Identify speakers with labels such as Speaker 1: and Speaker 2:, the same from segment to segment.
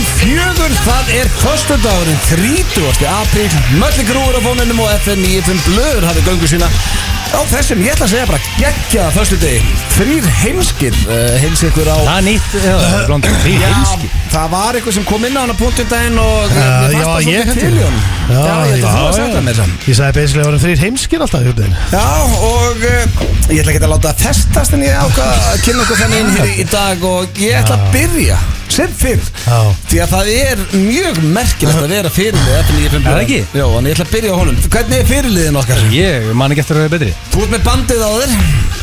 Speaker 1: morgun, það er föstudagurinn 30. apríl Mölli grúur á fónunum og FN 95 blöður hafið göngu sína á þessum, ég ætla að segja bara geggja föstudegi þrýr heimskir uh, heims ykkur á
Speaker 2: Það er nýtt, já, það er blóndið Því
Speaker 1: Já,
Speaker 2: heimski
Speaker 1: það var eitthvað sem kom inn á hana punktum daginn og uh,
Speaker 3: Já,
Speaker 1: við
Speaker 3: já,
Speaker 1: fannst það svolítið
Speaker 3: ég held
Speaker 1: til í
Speaker 3: ég.
Speaker 1: honum Já, ég ætla þú að segja það með þessum
Speaker 3: Ég sagði basically að það voru þrýr heimskir alltaf í hugdegin
Speaker 1: Já, og uh, ég ætla ekki að láta það festast en ég ákvað að kynna okkur þannig inn hér í- í dag og ég ætla að byrja sem fyrr,
Speaker 3: Já.
Speaker 1: því að það er mjög merkilegt að vera fyrirlið eftir nýjum
Speaker 2: Er það ekki?
Speaker 1: Já, en ég ætla að byrja á honum Hvernig er fyrirliðin okkar?
Speaker 2: Ég man ekki eftir að það er betri
Speaker 1: Þú ert með bandið á þér,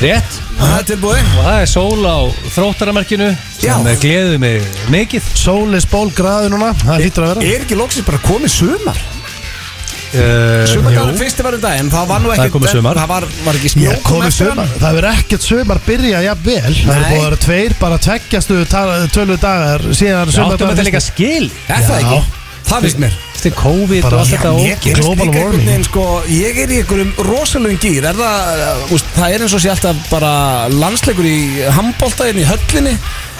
Speaker 2: Rétt
Speaker 1: það er tilbúið
Speaker 2: Og það er sól á þróttaramerkinu
Speaker 1: Já.
Speaker 2: Sem eh, gleður mig mikið
Speaker 3: Sól er spól graðu núna, það hlýttur að vera
Speaker 1: Er ekki loksins bara komið sumar?
Speaker 2: Eh,
Speaker 1: Sumardagur
Speaker 2: jú.
Speaker 1: fyrsti var um daginn, það var nú
Speaker 2: Það er
Speaker 1: ekki
Speaker 2: komið sumar.
Speaker 1: Það var, var ekki
Speaker 3: Já,
Speaker 1: snjókom
Speaker 3: komið sumar, það verður ekkert sumar byrja jafn vel Það eru
Speaker 1: Nei.
Speaker 3: búið að vera tveir, bara tveggjastu tölvu dagar síðan
Speaker 2: Við
Speaker 3: sumar
Speaker 2: Áttum að það líka skil
Speaker 1: Er það
Speaker 3: Já.
Speaker 1: ekki? Það finnst mér
Speaker 2: Eftir COVID og
Speaker 3: Bara-
Speaker 2: allt
Speaker 3: Já,
Speaker 2: þetta og
Speaker 1: Ég gerist
Speaker 3: global
Speaker 1: líka einhvern
Speaker 3: warming.
Speaker 1: veginn sko, ég er í einhverjum rosalögum gýr er það, uh, úst, það er eins og sé alltaf bara landsleikur í handbóltaðin í höllinni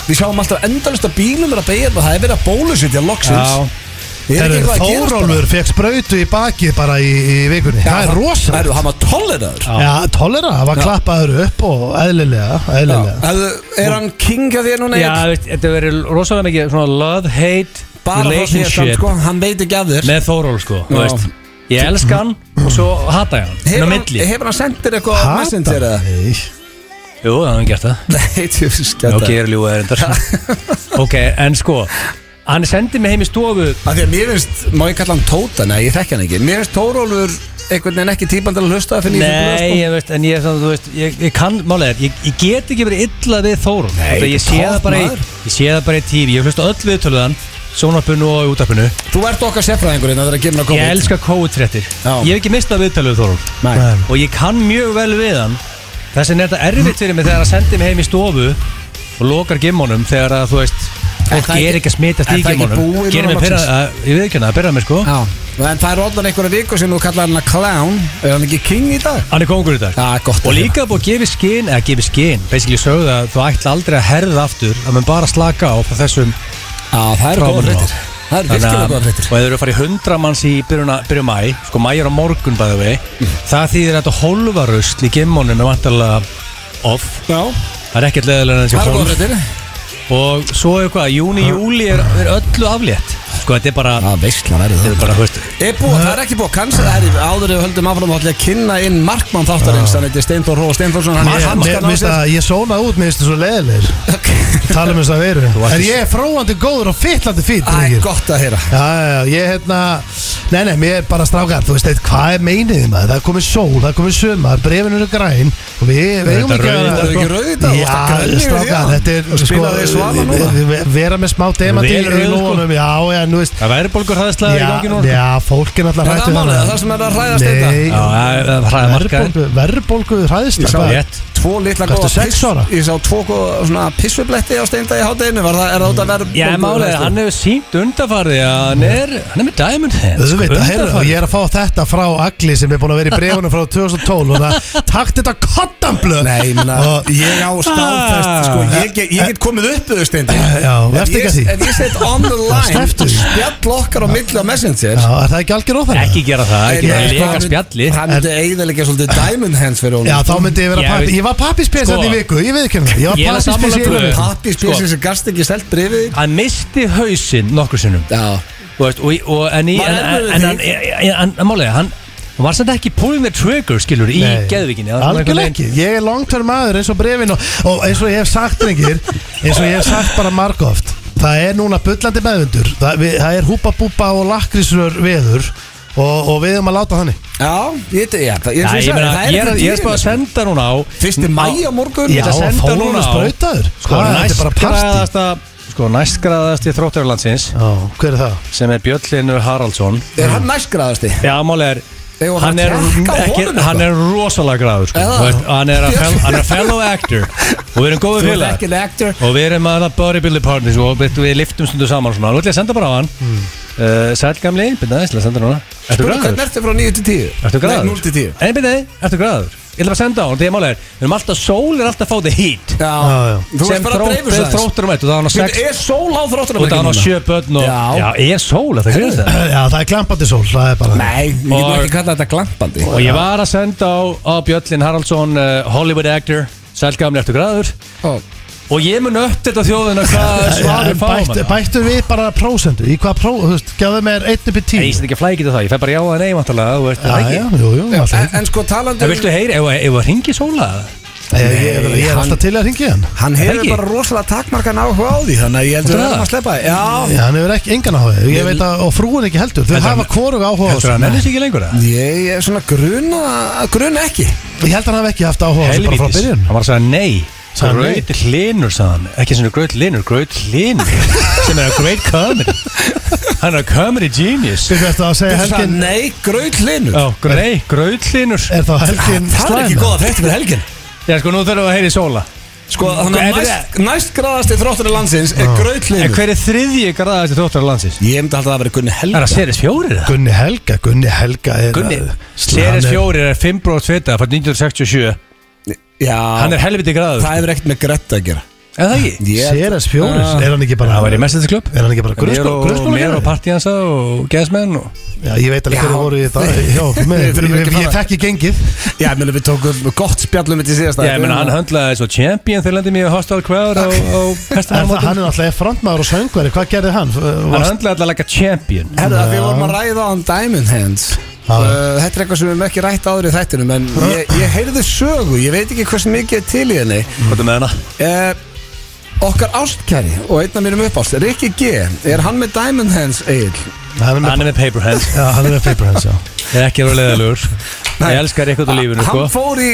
Speaker 1: við sjáum alltaf endalista bílum er að beigja það er verið að bólusetja loksins
Speaker 2: Já.
Speaker 1: er
Speaker 3: Herru,
Speaker 1: ekki eitthvað að gerast bara?
Speaker 3: Þórólfur fekk sprautu í bakið bara í, í vikunni
Speaker 1: Já,
Speaker 3: Það er
Speaker 1: það
Speaker 3: rosalega
Speaker 1: eru- hann var tolleraður
Speaker 3: Já, tólera, það var klappaður upp og eðlilega, eðlilega
Speaker 1: Hefðu- er hann king að þér núna
Speaker 2: Já,
Speaker 1: Egill?
Speaker 2: þú veist, þetta verður rosalega mikið svona love-hate
Speaker 1: bara frá því að hann,
Speaker 2: relationship
Speaker 1: sko, hann veit ekki af þér
Speaker 2: með Þóról sko þú
Speaker 1: Já.
Speaker 2: veist. Ég elska hann og svo hata ég hann Ná
Speaker 1: hefur hann,
Speaker 2: milli
Speaker 1: hefur hann sendt þér eitthvað á messenger eða?
Speaker 3: Nei.
Speaker 2: Jú, það hafði gert það
Speaker 1: nei, þú skjátt
Speaker 2: Ok, ég er ljúið erindar Ok, en sko Hann sendi mig heim í stofu
Speaker 1: Af því að mér finnst, má ég kalla hann Tóta? Nei, ég þekki hann ekki Mér finnst Tórólfur einhvern veginn ekki típan til að hlusta það fyrir
Speaker 2: Nei, ég veist, en ég, er svona, þú veist, ég, ég kann, málega, ég, ég get ekki verið illa við Þóról
Speaker 1: Nei,
Speaker 2: Þetta- ég
Speaker 1: þetta
Speaker 2: sé
Speaker 1: er
Speaker 2: það
Speaker 1: topp
Speaker 2: bara í,
Speaker 1: maður.
Speaker 2: Ég sé það bara í tífi, ég hlusta öll viðtöluðan Sjónarpinu og í útarpinu
Speaker 1: Þú ert okkar sérfræðingurinn að það er að kemur að
Speaker 2: Ég
Speaker 1: koma
Speaker 2: elska kóutréttir
Speaker 1: Já.
Speaker 2: Ég hef ekki mistað viðtöluð Þóról
Speaker 1: Nei.
Speaker 2: og ég kann mjög vel við hann þess vegna er þetta erfitt fyrir mig þegar hann sendir mig heim í stofu og lokar gimmunum þegar að þú veist fólk
Speaker 1: það
Speaker 2: er
Speaker 1: ekki-
Speaker 2: ekki að smitast
Speaker 1: er
Speaker 2: í
Speaker 1: það ekki
Speaker 2: gimmunum
Speaker 1: búið
Speaker 2: gerir
Speaker 1: núna
Speaker 2: mig pyrra, að, ég veit ekki hann að byrja mig sko
Speaker 1: Já, en það er orðan einhverja viku sem þú kallar hann að clown Er hann ekki king í dag?
Speaker 2: hann er kongur í dag
Speaker 1: Já, gott
Speaker 2: og líka búið að gefa skinn eða gefa skinn basically sögðu að þú ætla aldrei að herða aftur að mun bara slaka á frá þessum
Speaker 1: Já, það eru
Speaker 2: Frábært.
Speaker 1: góða fréttir Það eru virkilega góða
Speaker 2: og
Speaker 1: fréttir
Speaker 2: ef þú eru að fara í 100 manns í byrjun byrju mæ sko mæ er á morgun bæðu við það þýðir að þetta holvarusl í gimmunum er vantarlega off
Speaker 1: Já,
Speaker 2: það er ekkert leðilega en þessi
Speaker 1: það eru
Speaker 2: hólf
Speaker 1: góða fréttir
Speaker 2: og svo eitthvað, júni, júli er, er öllu aflétt sko, þetta er bara,
Speaker 1: Já, veistla verður
Speaker 2: þetta er bara, höfst
Speaker 1: Er búið, það er ekki búið að cancela það er áður við höldum áfram þá ætla ég að kynna inn markmann þáttarins hann heitir Steinþór Róa Steinþórsson hann er
Speaker 3: Mér- mér-
Speaker 1: hanskan á
Speaker 3: mér finnst
Speaker 1: sér
Speaker 3: að Ég sónaði út, mér finnst það svo leðilegir Talum við þess að veru En ég er fróandi góður og fyllandi fýtt
Speaker 1: Æ, gott að heyra
Speaker 3: Já, já, já, ég hérna Nei, nei, mér er bara strákar, þú veist eitthvað, hvað er meiniðið maður? Það er komið sól, það er komið sumar, brefin eru græn og við, við eigum
Speaker 2: þetta
Speaker 3: ekki
Speaker 2: rauðið,
Speaker 1: það er
Speaker 3: að
Speaker 1: ekki rauðið þetta, þú varst
Speaker 3: Já,
Speaker 1: að grænja yfir
Speaker 3: strákar,
Speaker 1: því,
Speaker 3: þetta
Speaker 1: og
Speaker 3: er
Speaker 1: spilaði Svala núna.
Speaker 3: við- við- Vera með smá demantí
Speaker 2: Vel
Speaker 3: í
Speaker 2: rauð, sko.
Speaker 3: lónum, já, já, nú veist
Speaker 2: það væri bólgur hraðislega í
Speaker 3: Já,
Speaker 2: gangi núna
Speaker 3: já, fólk er
Speaker 1: Er það
Speaker 3: náttúrulega hrættu
Speaker 1: málið? Er það sem er að hræðast þetta?
Speaker 2: Já, það er hraðamarkaðin
Speaker 3: Verðbólgu, verðbólgu, hræðist
Speaker 1: Ég sá
Speaker 3: þetta
Speaker 2: Rétt.
Speaker 1: tvo litla
Speaker 3: Ertu
Speaker 1: góða
Speaker 3: sex ára?
Speaker 1: Ég sá tvo góða svona pissubletti á steinda í hátteginu Var það, er það út að vera
Speaker 2: Já, málega, hann hefur sínt undarfarði að hann er, hann er með diamond hands
Speaker 3: Þú
Speaker 2: sko,
Speaker 3: veit, heyrðu,
Speaker 2: undanfarið.
Speaker 3: ég er að fá þetta frá Agli sem er búin að vera í brefunum frá 2012 og það takt þetta kottanblöð
Speaker 1: Nei, ég meina,
Speaker 3: Og-
Speaker 1: ég á staðfest
Speaker 2: Ah.
Speaker 1: sko, ég, get- ég get komið upp við steindi
Speaker 3: Já, verðst ekki að því
Speaker 1: En ég set on the line
Speaker 3: slepptu því.
Speaker 1: Spjall okkar á milli á messenger
Speaker 3: Já, er það ekki algjör óþæra?
Speaker 2: ekki gera það,
Speaker 1: En
Speaker 2: ekki bara
Speaker 1: ég- sko,
Speaker 2: leka
Speaker 1: hann-
Speaker 2: spjalli
Speaker 1: Hann myndi eiginlega svolítið diamond hands fyrir hún
Speaker 3: Já, þá myndi ég vera
Speaker 2: Ég
Speaker 3: pappi
Speaker 2: veit-
Speaker 3: Ég var pappispes
Speaker 2: Mm. Sko.
Speaker 3: hérna í viku, ég veit ekki hérna Ég
Speaker 2: Ég er
Speaker 3: var
Speaker 2: sammála
Speaker 3: pappispes í einu
Speaker 2: Guðjóni.
Speaker 3: viku
Speaker 1: Pappi
Speaker 2: Sko.
Speaker 1: spilsið sem gast ekki stelt brefið
Speaker 2: hann misti hausinn nokkur sinnum
Speaker 1: Já,
Speaker 2: Þú veist, og, og, en í, en,
Speaker 1: Maður er
Speaker 2: en,
Speaker 1: erfiður
Speaker 2: en,
Speaker 1: því.
Speaker 2: en, en, en, en málega, hann hann var samt ekki pulling the trigger, skilur, í
Speaker 3: Nei.
Speaker 2: geðvikinni Það var einhvern
Speaker 3: Algjörlega
Speaker 2: veginn-
Speaker 3: ekki, ég er long term maður eins og brefin og, og eins og ég hef sagt drengir eins og ég hef sagt bara margóft það er núna bullandi meðundur það, við, það er húpa búpa og lakrísrör veður og, og við erum að láta þannig
Speaker 1: já, ég veit, já, það, ég,
Speaker 2: Nei,
Speaker 1: ég,
Speaker 2: ég
Speaker 1: sagði,
Speaker 2: meina,
Speaker 1: það
Speaker 2: ég er-
Speaker 1: ekki
Speaker 2: ég er bara að
Speaker 1: tíðin.
Speaker 2: senda núna á
Speaker 1: Fyrsti mæ á morgun
Speaker 2: Ég ætla að senda
Speaker 3: fólk
Speaker 2: núna
Speaker 3: er
Speaker 2: á-
Speaker 3: sprautaður.
Speaker 2: Sko,
Speaker 3: Hvað, þetta er bara partí
Speaker 2: næstgraðasta Sko, næstgraðasti þróttarlandsins
Speaker 3: Já, hver er það?
Speaker 2: sem er Björn Linur Haraldsson
Speaker 1: Er hann næstgraðasti?
Speaker 2: Já, mál er
Speaker 1: Eigum við að
Speaker 2: Hann er,
Speaker 1: fara að tékka á
Speaker 2: ekki,
Speaker 1: honum
Speaker 2: hann
Speaker 1: eitthvað?
Speaker 2: er rosalega græður sko.
Speaker 1: Eða?
Speaker 2: Þú veist, hann, er að fel, hann er fellow actor og við erum góðið
Speaker 1: Þú ert
Speaker 2: félag
Speaker 1: ekki the actor
Speaker 2: og við erum að bodybuilding partners og við, við liftum stundu saman og svona. Nú ætlum ég að senda bara á hann
Speaker 1: Hmm.
Speaker 2: mm. uh, Sæll gamli, byrnaði, ætlum ég að senda núna Ertu
Speaker 1: Spurðu
Speaker 2: græður?
Speaker 1: hvernig ertu frá 9 til 10?
Speaker 2: Ertu græður?
Speaker 1: Nei, 0 til 10
Speaker 2: En byrnaði, ertu græður? Ég ætla bara að senda á hann, því að mála er Við erum alltaf, sól er alltaf að fá the heat
Speaker 1: Já,
Speaker 3: Já, já.
Speaker 1: Þú veist
Speaker 2: Sem
Speaker 1: bara að dreifur
Speaker 2: þrótt- þróttur um eitt og það var hann að sex
Speaker 1: Er sól á þróttur
Speaker 2: Og það var hann að sjö börn og
Speaker 1: Já.
Speaker 2: er sól, er það grunst það
Speaker 3: Já, það er glampandi sól, það er bara
Speaker 1: Nei, ég getur
Speaker 2: Og-
Speaker 1: ekki að kalla þetta glampandi
Speaker 2: Og ég var að senda á, á Bjöllin Haraldsson, uh, Hollywood actor Sælgamli eftir græður Og ég mun upp þetta þjóðina hvað um
Speaker 3: Já,
Speaker 2: svaður fáum
Speaker 3: bættu, bættu við bara prósendu Í hvað próf, þú veist, gefðu mér 1 upp í
Speaker 2: Ég
Speaker 3: 10
Speaker 2: sem ekki að flækita það, ég fær bara já að nei vantarlega, þú veist
Speaker 3: Já,
Speaker 2: það ekki
Speaker 3: já, jú, jú, alltaf
Speaker 1: En, en sko talandi
Speaker 2: En
Speaker 1: um-
Speaker 2: viltu heyri, ef ef að ringi sóla
Speaker 3: Ég, ég, ég er
Speaker 1: hann-
Speaker 3: alltaf til að ringja hann
Speaker 1: Hann hefur
Speaker 2: Helgi?
Speaker 1: bara rosalega takmarkan áhuga á því Þannig að ég heldur að
Speaker 2: Heldur það?
Speaker 1: hann að sleppa því. Já,
Speaker 3: Já, hann hefur ekki engan áhuga Ég
Speaker 1: Ég-
Speaker 3: veit að, og frúin ekki heldur Þau
Speaker 2: Heldur
Speaker 3: hafa
Speaker 2: hann-
Speaker 3: hvorug áhuga á
Speaker 2: Heldur
Speaker 3: þessu.
Speaker 2: það nennist ekki lengur það?
Speaker 1: ég er svona gruna, gruna ekki
Speaker 3: Ég held að hann hafi ekki haft áhuga á þessu bara frá
Speaker 2: Helvítis,
Speaker 3: byrjun
Speaker 2: hann var að segja nei
Speaker 3: Sagði hann nei?
Speaker 2: Gröð hlinur sagðan, ekki svona gröð hlinur, gröð hlinur Sem er að great comedy Hann er að comedy genius
Speaker 3: Þú veist að segja
Speaker 1: Helgi... Það,
Speaker 3: helgin
Speaker 1: nei, grautlinu
Speaker 2: Já, grö- nei, gröð hlinur
Speaker 3: Er þá helgin
Speaker 1: Það er ekki
Speaker 3: slæma?
Speaker 1: góða frétti fyrir helgin
Speaker 2: Já, sko, nú þurfum við að heyri sóla
Speaker 1: Sko, þannig
Speaker 2: Er
Speaker 1: að næst, næst graðasti þróttunni landsins er
Speaker 2: En
Speaker 1: grautlinu
Speaker 2: hver er þriðji græðasti þróttar landsins?
Speaker 1: Ég myndi alltaf að vera Gunni
Speaker 2: Er
Speaker 1: Helga
Speaker 2: það Seris fjórir það?
Speaker 3: Gunni Helga, Gunni Helga er,
Speaker 2: Gunni,
Speaker 3: Hann
Speaker 2: Seris
Speaker 3: er-
Speaker 2: fjórir er 5 bróð tvita frá 1967
Speaker 1: Já,
Speaker 2: Hann er helviti græður
Speaker 1: það hefur ekkert með grötta að gera
Speaker 2: Er það ekki?
Speaker 1: Ég-
Speaker 3: Seres fjóris,
Speaker 2: Ah.
Speaker 3: er hann ekki bara
Speaker 2: Það var í mestins klubb
Speaker 3: Er hann ekki bara
Speaker 2: Mér
Speaker 3: grunnskóla hérna?
Speaker 2: og, mér og partíansa og geðsmenn og
Speaker 3: Já, ég veit alveg
Speaker 1: Já.
Speaker 3: hverju voru í það Já, með,
Speaker 1: Við þurfum ekki
Speaker 3: ég, ég,
Speaker 1: að
Speaker 3: ég
Speaker 1: fara.
Speaker 3: þekki gengið
Speaker 1: Já, ég meina við tókum gott spjallum þetta í síðasta
Speaker 2: Já, ég meina hann höndlaði svo champion þegar lendi mér hostile crowd á, á
Speaker 3: En það,
Speaker 2: hestamótum
Speaker 3: hann hérna. er náttúrulega frontmaður og söngveri, hvað gerði hann?
Speaker 2: Hann
Speaker 3: Var,
Speaker 2: höndlaði alltaf like a champion
Speaker 1: uh, Herðu að því vorum að ræða án Diamond Hands
Speaker 3: Já.
Speaker 1: uh, Þetta er eitthvað sem við höfum ekki rætt áður í þættinum En ég, ég heyrði sögu, ég veit ekki hversu mikið er til í henni
Speaker 2: Hvað er með hana?
Speaker 1: uh, Okkar ástkæri og einn af mínum uppást Rikki G, er hann með Diamond Hands Egil?
Speaker 3: hann er með,
Speaker 2: Hann er með paper hands
Speaker 3: já, hann er með paper hands, já
Speaker 2: Ég er ekki að vera leiðilegur Ég elskar eitthvað á lífinu,
Speaker 1: Hann
Speaker 2: sko
Speaker 1: fór í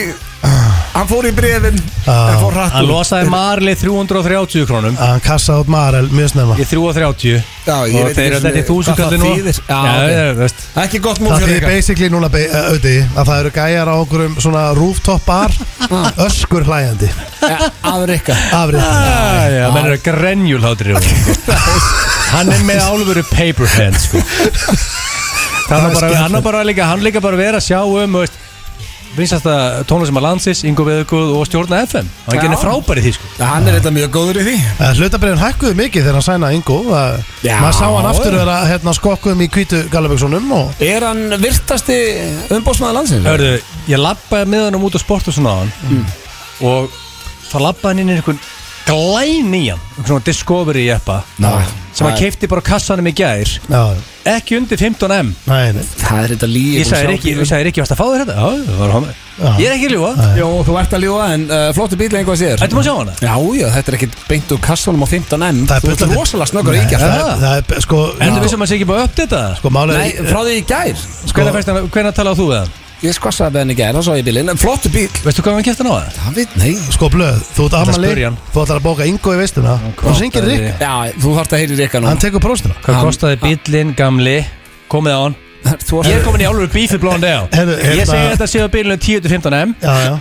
Speaker 1: Hann fór í brefin
Speaker 3: Já.
Speaker 1: En fór hratt
Speaker 2: Hann
Speaker 1: úr.
Speaker 2: losaði Marley 330 krónum
Speaker 3: Hann kassaði út Marel mjög snemma
Speaker 2: Ég 330
Speaker 1: Já, ég
Speaker 2: Og
Speaker 1: veit
Speaker 2: þeir
Speaker 1: ekki
Speaker 2: eru
Speaker 1: einu
Speaker 2: þetta í
Speaker 1: sinni hvað
Speaker 2: þúsundkalli
Speaker 1: það
Speaker 2: nú
Speaker 1: þýðir. Já, ok.
Speaker 2: Já, þú veist
Speaker 1: Það er ekki gott múl
Speaker 3: Það
Speaker 1: fyrir
Speaker 3: þýðir
Speaker 1: Rikka
Speaker 3: basically núna be- uh, auði að það eru gæjar á okkurum svona rooftop bar öskur hlæjandi
Speaker 1: Ja, Að Rikka
Speaker 3: afrið
Speaker 2: Já, já, menn er að grenjul hátir sko. Hann er með álveru paper hands sko. Það
Speaker 3: er
Speaker 2: er bara,
Speaker 3: skemmtilegt.
Speaker 2: hann er bara líka, hann líka bara verið að sjá um, þú veist Vinsasta tónlistum að landsins, Ingo Veðugóð og stjórna FM Og hann
Speaker 1: Já.
Speaker 2: genið frábæri því sko
Speaker 1: Ja, Hann er þetta mjög góður í því
Speaker 3: Hlutabriðin Eh, hækkuðu mikið þegar hann sænaði Ingo Það-
Speaker 1: Já.
Speaker 3: Maður sá hann aftur vera hérna, skokkuðum í kvítu galaböksunum og
Speaker 1: Er hann virtasti umbósmaður landsins?
Speaker 2: Hörðu, ég labbaði með hann út á sport og svona á hann Og það labbaði hann inn í einhvern glæn í hann Einhvern svona Discovery jeppa
Speaker 1: Ná.
Speaker 2: Sem hann
Speaker 1: Nei.
Speaker 2: keipti bara á kassanum í gær
Speaker 3: Já,
Speaker 2: Ekki undir 15M
Speaker 3: nei, nei
Speaker 1: Það er þetta líf
Speaker 2: Ég sagði ekki, ég sagði ekki, varst að fá þér hérna? þetta? Já, það var hann
Speaker 3: Já.
Speaker 2: Ég er ekki að ljúga
Speaker 1: Jó, þú ert að ljúa en uh, flottu bíl einhvað sér
Speaker 2: Ættum að sjá hana?
Speaker 1: Já, já, þetta er ekkit beint úr kassanum á 15N
Speaker 3: Það er
Speaker 1: Þú ert
Speaker 3: bullandi.
Speaker 1: rosalega snöggur
Speaker 3: Nei,
Speaker 1: í ekki
Speaker 3: það,
Speaker 2: Ah.
Speaker 3: það er be- sko,
Speaker 2: En þú
Speaker 3: já,
Speaker 2: vissum um að sé ekki bara að uppdata það?
Speaker 3: sko málið
Speaker 1: Nei,
Speaker 3: er-
Speaker 1: frá því í gær sko.
Speaker 2: Hvernig, fæst hann, hvernig talaðu þú við hann?
Speaker 1: Ég skvassaði við henni í gær, þá sá ég bílinn En flottu bíl
Speaker 2: Veistu hvað hann kæfti hann á það?
Speaker 1: Það veit, nei
Speaker 3: Sko blöð, þú ert
Speaker 2: að
Speaker 3: ammali
Speaker 2: spyrja hann.
Speaker 3: Þú ætlar að bóka Ingo í veistuna Þú syngir
Speaker 2: það er
Speaker 3: Rikka
Speaker 1: Já, þú þarft að heyri Rikka nú
Speaker 3: Hann tekur próstina
Speaker 2: Hvað
Speaker 1: Hann-
Speaker 2: kostaði bílinn gamli? Komið á hann
Speaker 1: Þú
Speaker 2: Ég er
Speaker 1: varst
Speaker 2: komin í álfur bífið blóðan dag
Speaker 3: Heyrðu,
Speaker 2: Ég
Speaker 3: hérna-
Speaker 2: segi að þetta séu að bílinn 10-15M
Speaker 3: Já, já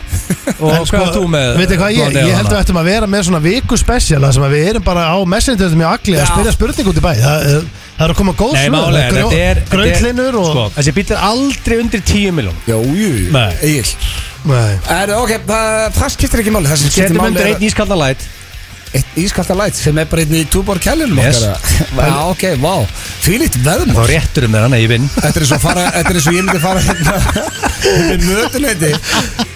Speaker 2: Og hvað
Speaker 1: sko,
Speaker 2: er þú með
Speaker 3: sko, Veitir hvað ég,
Speaker 2: Blondale
Speaker 3: ég held að við
Speaker 2: hana?
Speaker 3: ættum að vera með svona viku special þar sem að við erum bara á messengerum í agli að
Speaker 1: Já.
Speaker 3: spyrja spurning út í bæ Það, eh, það er að koma góð
Speaker 2: Nei, málega, þetta er þetta er-
Speaker 3: Gröntlinur og
Speaker 2: Sko, þessi bíl er aldrei undir 10 miljón
Speaker 1: Jú, jú,
Speaker 2: Nei.
Speaker 1: Egil
Speaker 3: Nei,
Speaker 1: Er, ok, það, það skiptir ekki máli Það sem skiptir
Speaker 2: Getum
Speaker 1: máli
Speaker 2: undir
Speaker 1: er
Speaker 2: einn ískaldan læt
Speaker 1: eitt ískalta læt sem er bara einn í túbor kælunum
Speaker 2: Yes.
Speaker 1: okkar Já, ok, vá Fýlíkt
Speaker 2: Þá
Speaker 1: veðmál
Speaker 2: réttur um þér hann að ég vinn
Speaker 1: Þetta er eins og fara, þetta er eins og ég myndi fara hérna við mötuneyti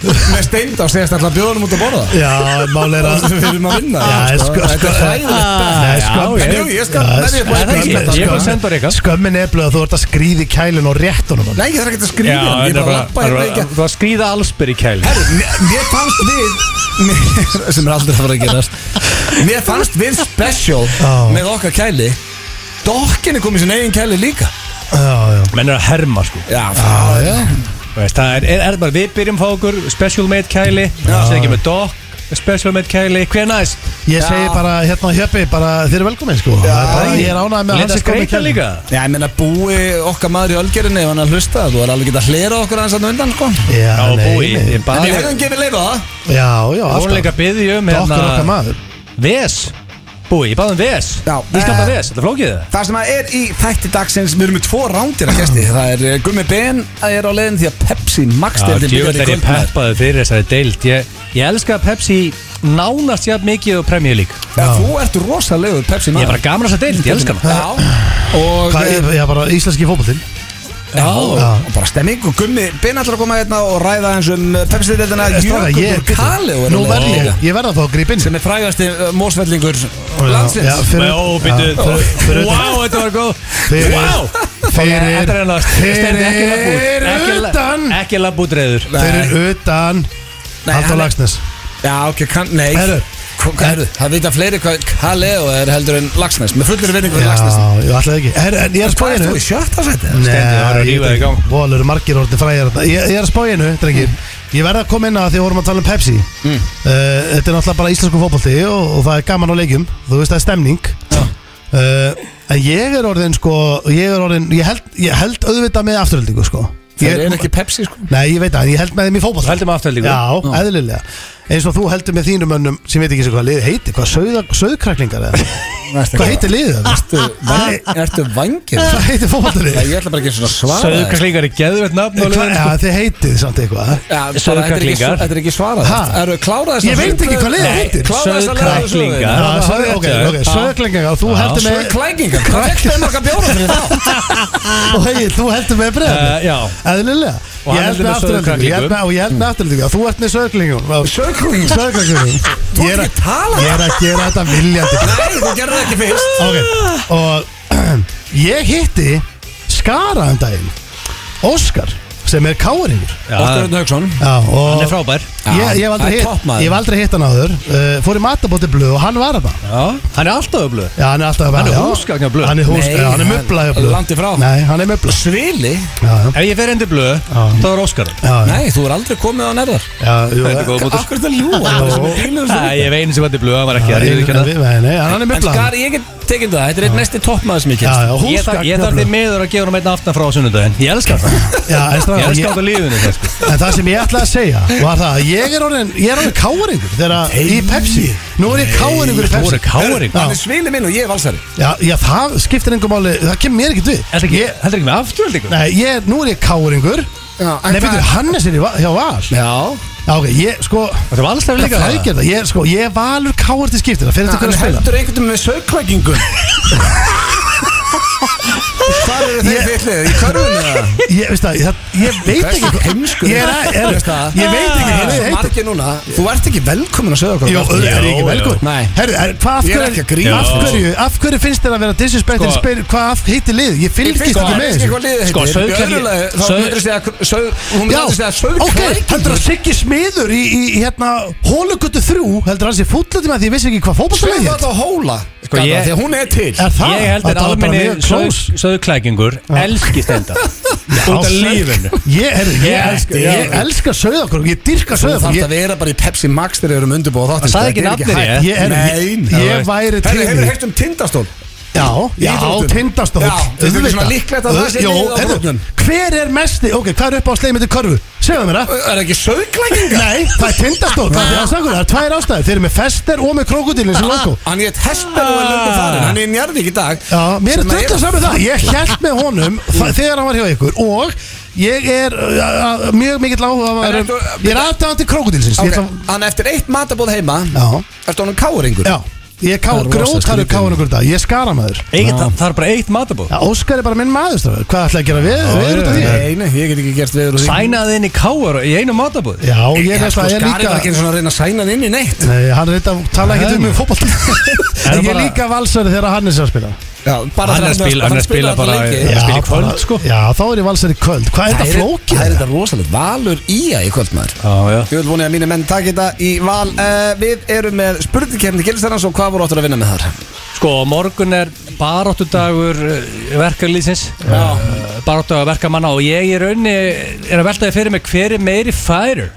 Speaker 1: með steind á segist alltaf bjóðunum út að borða
Speaker 3: já, málega er að
Speaker 1: það við erum að vinna
Speaker 3: Já,
Speaker 1: sko.
Speaker 3: sko-
Speaker 1: Þetta er
Speaker 3: sko- Nei,
Speaker 1: hræðilegt
Speaker 3: sko-
Speaker 1: En jú, ég skal
Speaker 3: Já,
Speaker 1: verði upp á sko.
Speaker 2: það er ekki.
Speaker 1: þetta.
Speaker 2: Ég er bara að senda á Rikka.
Speaker 3: Skömmin er blöð að þú ert að skríði kælin og réttunum hann.
Speaker 1: Nei, það er ekki að
Speaker 2: Já,
Speaker 1: skrýða hann Ég er
Speaker 2: þetta er
Speaker 1: bara að lappa
Speaker 2: bara- það
Speaker 1: hérna
Speaker 2: er
Speaker 1: ekki
Speaker 2: bara- þú að skríða allsbyr í kæli
Speaker 1: Mér- Mér fannst við mér- sem er aldrei að fara að gerast Mér fannst við special
Speaker 3: Já.
Speaker 1: með okkar kæli Dokkinni kom í sin eigin kæli líka
Speaker 3: Já, já
Speaker 2: Menn er að herma sko
Speaker 1: Já,
Speaker 3: Já, já
Speaker 2: Veist, það er, er, er bara við byrjum fá okkur Special made kæli Sér ekki með dock Special made kæli Hver næst?
Speaker 3: Ég segi
Speaker 1: Já.
Speaker 3: bara hérna á Hjöppi bara þeir eru velkomin sko já, bara, Ég er ánægð með að
Speaker 2: Lita
Speaker 3: hans er komið
Speaker 2: skreita líka
Speaker 1: Já, ég meina búi okkar maður í ölgerinni ef hann er að hlusta, þú er alveg getað að hlera okkur aðeins að undan, sko
Speaker 3: Já,
Speaker 2: Já,
Speaker 3: nei,
Speaker 2: búi
Speaker 3: nei.
Speaker 2: Ég
Speaker 1: En við
Speaker 2: bara
Speaker 1: hefum gefið leif á það
Speaker 3: Já, já,
Speaker 2: Hún
Speaker 3: alltaf
Speaker 2: líka byði um
Speaker 3: Dokkur okkar maður
Speaker 2: Ves Búi, ég báði um VS
Speaker 1: Já.
Speaker 2: Ég skapta VS, þetta er flókið það
Speaker 1: Það sem að er í þætti dagsins, við erum með tvo rándir að gæsti Það er eh, Gummi Ben að er á leiðin því að Pepsi Max
Speaker 2: Já,
Speaker 1: deildin
Speaker 2: djúvel er ég peppaði fyrir þessari deild Ég, ég elska Pepsi nánast jafn mikið og Premier League
Speaker 1: Já, þú ert rosalegur Pepsi
Speaker 2: Ég
Speaker 1: maður
Speaker 2: er bara gaman að þessa deild, ég elska hana
Speaker 1: Já Og
Speaker 3: Hvað er, já, bara íslenski fótboltinn
Speaker 1: Já, og bara stemming og Gummi Ben ætlar að koma hérna og ræða eins um eh, Pepsi deildina
Speaker 3: Strákar, ég-
Speaker 1: Jökull Kali
Speaker 3: Nú verð ég, ég verð að fá að grípa inn
Speaker 1: sem er frægasti uh, mósvellingur
Speaker 3: Já, já,
Speaker 1: landsins
Speaker 3: fyrir-
Speaker 2: Ó, býttu,
Speaker 3: já, fyrir- fyrir-
Speaker 2: wow, þetta var góð
Speaker 3: Fyrir-
Speaker 2: Wow
Speaker 3: Fyrir
Speaker 2: Þetta er ennast, stendur ekki labb út Ekki
Speaker 3: Fyrir
Speaker 2: la-
Speaker 3: utan
Speaker 2: Ekki labb út reyður
Speaker 3: Fyrir utan
Speaker 1: Nei,
Speaker 3: Halldór
Speaker 1: hann er-
Speaker 3: Lagsnes
Speaker 1: Já, ok, kann, nei
Speaker 3: Herru.
Speaker 1: Hva- hvað eru? Það vita fleiri hvað Kaleo er heldur en Lagsnes Með fullir vinningur en
Speaker 3: Já,
Speaker 1: Lagsnes
Speaker 3: ég ætlaði ekki Er- En ég er að spá
Speaker 1: Hvað
Speaker 3: í
Speaker 1: er þú
Speaker 3: hennu
Speaker 1: í sjötta seti?
Speaker 2: Stendur, það er að rífa þig í gang.
Speaker 3: Vol eru margir orðin fræðir þarna. Ég, ég er að spá í hennu, drengir
Speaker 1: Mm.
Speaker 3: Ég verð að koma inn að því að vorum að tala um Pepsi uh, Þetta er náttúrulega bara íslensku fótbolti og, og það er gaman á leikjum Þú veist það er stemning uh, En ég er orðin sko Ég, er orðin, ég, held, ég held auðvitað með afturöldingu sko
Speaker 1: Það
Speaker 3: Ég-
Speaker 1: er ekki Pepsi sko
Speaker 3: Nei, ég veit það, en ég held með þeim í fótbolta
Speaker 2: Heldur með afturhaldingu?
Speaker 3: Já, eðlilega Eins og þú heldur með þínum önnum sem veit ekki sem hvað liðið heiti Hvað sauða- sauðkræklingar eða Hvað heitir liðið
Speaker 2: Ah.
Speaker 3: það?
Speaker 1: Ertu, væng- ertu vangir?
Speaker 3: Hvað heitir fótboltalið?
Speaker 1: Ég ætla bara ekki svona svara þér.
Speaker 2: Söðkarslíkar er geðvett nafn á
Speaker 3: Hvað-
Speaker 2: liðinu,
Speaker 3: Já,
Speaker 2: sko.
Speaker 3: þið heitið samt eitthvað
Speaker 1: Já, bara þetta er ekki-
Speaker 2: Sauðkræklingar.
Speaker 1: Þetta er ekki svarað
Speaker 3: Ha?
Speaker 1: Eru klára þess
Speaker 3: Ég veit ekki hvað liðið
Speaker 2: Nei,
Speaker 3: heitir
Speaker 1: Klára þess að
Speaker 2: Sauðkræklingar.
Speaker 3: Já,
Speaker 2: það
Speaker 3: sauð-
Speaker 2: er
Speaker 3: ok,
Speaker 2: rétt,
Speaker 3: ok,
Speaker 2: já.
Speaker 3: Sauðkræklingar, þú heldur
Speaker 1: Svöðu
Speaker 3: með
Speaker 1: klækingar Hvað er það marga bjóra fyrir þá?
Speaker 3: Og hei, þú heldur með
Speaker 2: Eh,
Speaker 3: bregðar
Speaker 2: Já
Speaker 3: Eðlilega
Speaker 2: Og
Speaker 3: Ég
Speaker 2: hann
Speaker 3: held
Speaker 2: heldur
Speaker 3: með
Speaker 2: með
Speaker 3: afturöldingu Ég held með- og ég held með afturöldingu Þú ert með sauðkræklingum
Speaker 1: Söðklækingar
Speaker 3: Sauðkræklingum Ég er
Speaker 1: ekki tala.
Speaker 3: að- ég er að gera þetta viljandi
Speaker 1: Nei, þú gerði það ekki fyrst
Speaker 3: Ok, og ég hitti Skara um daginn Óskar, sem er káringur
Speaker 2: Já.
Speaker 1: Óttur Örn Hauksson
Speaker 3: Já, og
Speaker 2: Hann er frábær
Speaker 3: Ég, ég hef
Speaker 1: Það
Speaker 3: aldrei
Speaker 1: er
Speaker 3: hitt-
Speaker 1: toppmaður.
Speaker 3: ég hef aldrei hitt hann áður uh, Fór í matabóti blöð og hann var að það
Speaker 2: Já Hann er alltaf öflug
Speaker 3: Já, hann er alltaf
Speaker 2: Hann er
Speaker 3: já.
Speaker 2: húsgagn hjá Blöð.
Speaker 3: Hann er hús,
Speaker 1: Nei,
Speaker 3: já, hann er
Speaker 1: hann-
Speaker 3: mubla hjá blöð
Speaker 1: langt í frá.
Speaker 3: Nei, hann er mubla
Speaker 1: Svili?
Speaker 3: Já, já,
Speaker 2: Ef ég fer endur blöð,
Speaker 3: Já.
Speaker 2: þá er Óskar
Speaker 3: já,
Speaker 1: Nei, þú er aldrei komið á nærðar
Speaker 3: já jú,
Speaker 2: Þetta er góð bútur
Speaker 1: Akkur er það ljúa Það er sem er bílur svo
Speaker 2: Æ,
Speaker 1: um
Speaker 2: ég hef einu sem var til blöð, hann var ekki hérna.
Speaker 3: Já,
Speaker 2: það
Speaker 3: ég-
Speaker 2: ég viðurkenni það.
Speaker 3: við- Nei, nei, hann er
Speaker 1: En
Speaker 3: mubla
Speaker 1: skar, ég get tekið það Þetta er eitt mesti toppmaður sem ég kynst
Speaker 3: Já, já,
Speaker 2: Ég þarf- ég
Speaker 3: húsgagn hjá
Speaker 2: þarf
Speaker 3: Blöð.
Speaker 2: þið meður að gefa hann einn aftan frá sunnudaginn Ég elskar það
Speaker 3: Já, en
Speaker 2: Ég
Speaker 3: strákar,
Speaker 2: elskar
Speaker 3: ég-
Speaker 2: þetta lífinu það, sko.
Speaker 3: En það sem ég ætlaði að segja var það að ég er orðin, ég er orðin káringur þegar að í Pepsi Nú er ég káringur í
Speaker 2: Þú
Speaker 3: Pepsi
Speaker 2: voru káring
Speaker 3: Já.
Speaker 1: Það er svili minn og ég er valsari
Speaker 3: Já, já, það skiptir engum máli, það kemur mér ekkert við
Speaker 2: Heldur ekki,
Speaker 3: Ég,
Speaker 2: heldur ekki með afturhaldingu
Speaker 3: nei, ég, nú er ég káringur
Speaker 1: Já, en
Speaker 3: Nei,
Speaker 1: hvað-
Speaker 3: betur, Hannes er í Va- hjá Val Já,
Speaker 1: Já
Speaker 3: ok, ég, sko
Speaker 2: Það var alls
Speaker 3: Það
Speaker 2: það líka
Speaker 3: er ekki það, ég, sko, ég er valur káar til skiptir Það fyrir þetta
Speaker 1: En
Speaker 3: hvernig að spila
Speaker 1: heldur einhvern veginn með sögklækingum Hvað eru þeir
Speaker 3: Ég-
Speaker 1: fyllið? Í körfunni eða?
Speaker 3: Ég, veist það, það, ég veit ekki
Speaker 1: Þessi heimskur
Speaker 3: Ég, er, er,
Speaker 1: Veist það?
Speaker 3: ég veit ekki
Speaker 1: Það
Speaker 3: hvað það
Speaker 1: er
Speaker 3: heitir
Speaker 1: margir núna Þú ert ekki velkomin að sögja okkur
Speaker 3: Jó, það er ég ekki
Speaker 2: Jó,
Speaker 3: velkomin
Speaker 1: Nei.
Speaker 3: Herru, er- hvað af
Speaker 1: Ég er
Speaker 3: hverju-
Speaker 1: ekki að sko. grínast.
Speaker 3: af hverju, af hverju finnst þér að vera disrespectin
Speaker 2: Sko-
Speaker 3: spyr, Hvað af- heitir lið? Ég fylgist
Speaker 1: Fyrst
Speaker 3: ekki
Speaker 1: það
Speaker 3: með
Speaker 1: veist
Speaker 3: þessu
Speaker 1: ekki hvað liðið
Speaker 2: Sko,
Speaker 1: heitir Í
Speaker 2: sauðklæki-
Speaker 1: öðru lagi, Þá
Speaker 2: sauð-
Speaker 1: myndir segja að sög- Hún
Speaker 3: Já,
Speaker 1: myndir segja að
Speaker 3: ok, heldur
Speaker 1: sögklækingur
Speaker 3: að Siggi Smiður í, í, í hérna Hólugötu 3, heldur hann sé fúllandi með því ég vissi ekki hvað fótballtalið
Speaker 1: Sögklækingur
Speaker 3: hér
Speaker 1: á hóla
Speaker 2: Sko,
Speaker 1: Gata,
Speaker 2: ég-
Speaker 1: Því að hún er til
Speaker 3: Er það?
Speaker 2: Ég held
Speaker 3: Þetta
Speaker 2: að
Speaker 3: var bara
Speaker 2: almenni
Speaker 3: mjög close.
Speaker 2: söðklækingur elski stenda Út af lífinu
Speaker 3: Ég, er, ég,
Speaker 2: Ég-
Speaker 3: elska,
Speaker 2: já.
Speaker 3: ég elska söðakröng, ég dyrka
Speaker 1: Þú þarf
Speaker 3: söðakröng
Speaker 1: að vera bara í Pepsi Max þegar við erum undirbúið sko,
Speaker 2: Það sagði ekki nafnið
Speaker 3: hægt.
Speaker 2: ég
Speaker 3: Ég er-
Speaker 1: Nein
Speaker 3: ég- ég væri til
Speaker 1: Hefur
Speaker 3: í-
Speaker 1: þið heyrt um tindastól?
Speaker 3: Já, já,
Speaker 1: íþróttum.
Speaker 3: tindastók
Speaker 1: Já, þetta er ekki svona líklegt að það sé liðið á brotnum.
Speaker 3: Hver er mesti, ok, hvað er upp á sleimið til körfu? Segðu mér það
Speaker 1: Er ekki sögklækingar?
Speaker 3: Nei, það er tindastók, það er það sakur, það er tvær ástæður Þeir eru með fester og með krokodilin sem logo
Speaker 1: Hann hétt Hesper og er löngu farin Hann er í Njarðvík í dag
Speaker 3: Já, mér er
Speaker 1: Sem að
Speaker 3: drögglega saman það Ég held með honum þa- þegar hann var hjá ykkur Og ég er uh, uh, mjög mikill áhuga
Speaker 1: En
Speaker 3: um,
Speaker 1: ertu-
Speaker 3: Ég er aðdæðandi krokodilsins
Speaker 1: Ok,
Speaker 3: okay. ætla,
Speaker 1: Hann eftir eitt matabóð heima
Speaker 3: Já.
Speaker 1: Ertu honum káringur?
Speaker 3: Já, ég er ká,
Speaker 1: Það er rosa
Speaker 3: grótarur
Speaker 1: skrítið.
Speaker 3: káin okkur dag Ég er skaramaður
Speaker 2: Eitt- Það það er bara eitt matabóð
Speaker 3: Já, Óskar er bara minn maður strákar. Hvað ætla að gera við, við út af því?
Speaker 1: Nei, nei, ég get ekki gert veður og því
Speaker 2: Sænaði inn í káar í einu matabóð
Speaker 3: Já,
Speaker 1: Já,
Speaker 3: ég er
Speaker 1: sko,
Speaker 3: það er
Speaker 1: Skari var ekki eins
Speaker 3: líka
Speaker 1: og að reyna að sæna hann inn í neitt
Speaker 3: Nei, hann er þetta, tala ekki um
Speaker 2: Nei.
Speaker 3: mig fótbolt En
Speaker 2: Hann
Speaker 3: ég er
Speaker 2: bara-
Speaker 3: líka valsari þegar hann er sér að spila
Speaker 1: Já, bara
Speaker 2: Hann er að spila- hann er að spila bara-
Speaker 1: Það
Speaker 2: að spila í
Speaker 3: bara-
Speaker 2: kvöld, sko.
Speaker 3: Já, þá er ég valsari í kvöld Hvað er þetta flókið?
Speaker 1: Það er þetta rosalega valur í að í kvöld maður
Speaker 2: Já, já
Speaker 1: Þú vil vonið að mínu menn takk þetta í val uh, Við erum með spurningkefni gilstarans og hvað voru áttur að vinna með þar?
Speaker 2: Sko, á morgun er baráttudagur eh, verkarlýðsins baráttudagur verkamanna og ég í raunni er að veltaði fyrir mig hver er meiri færir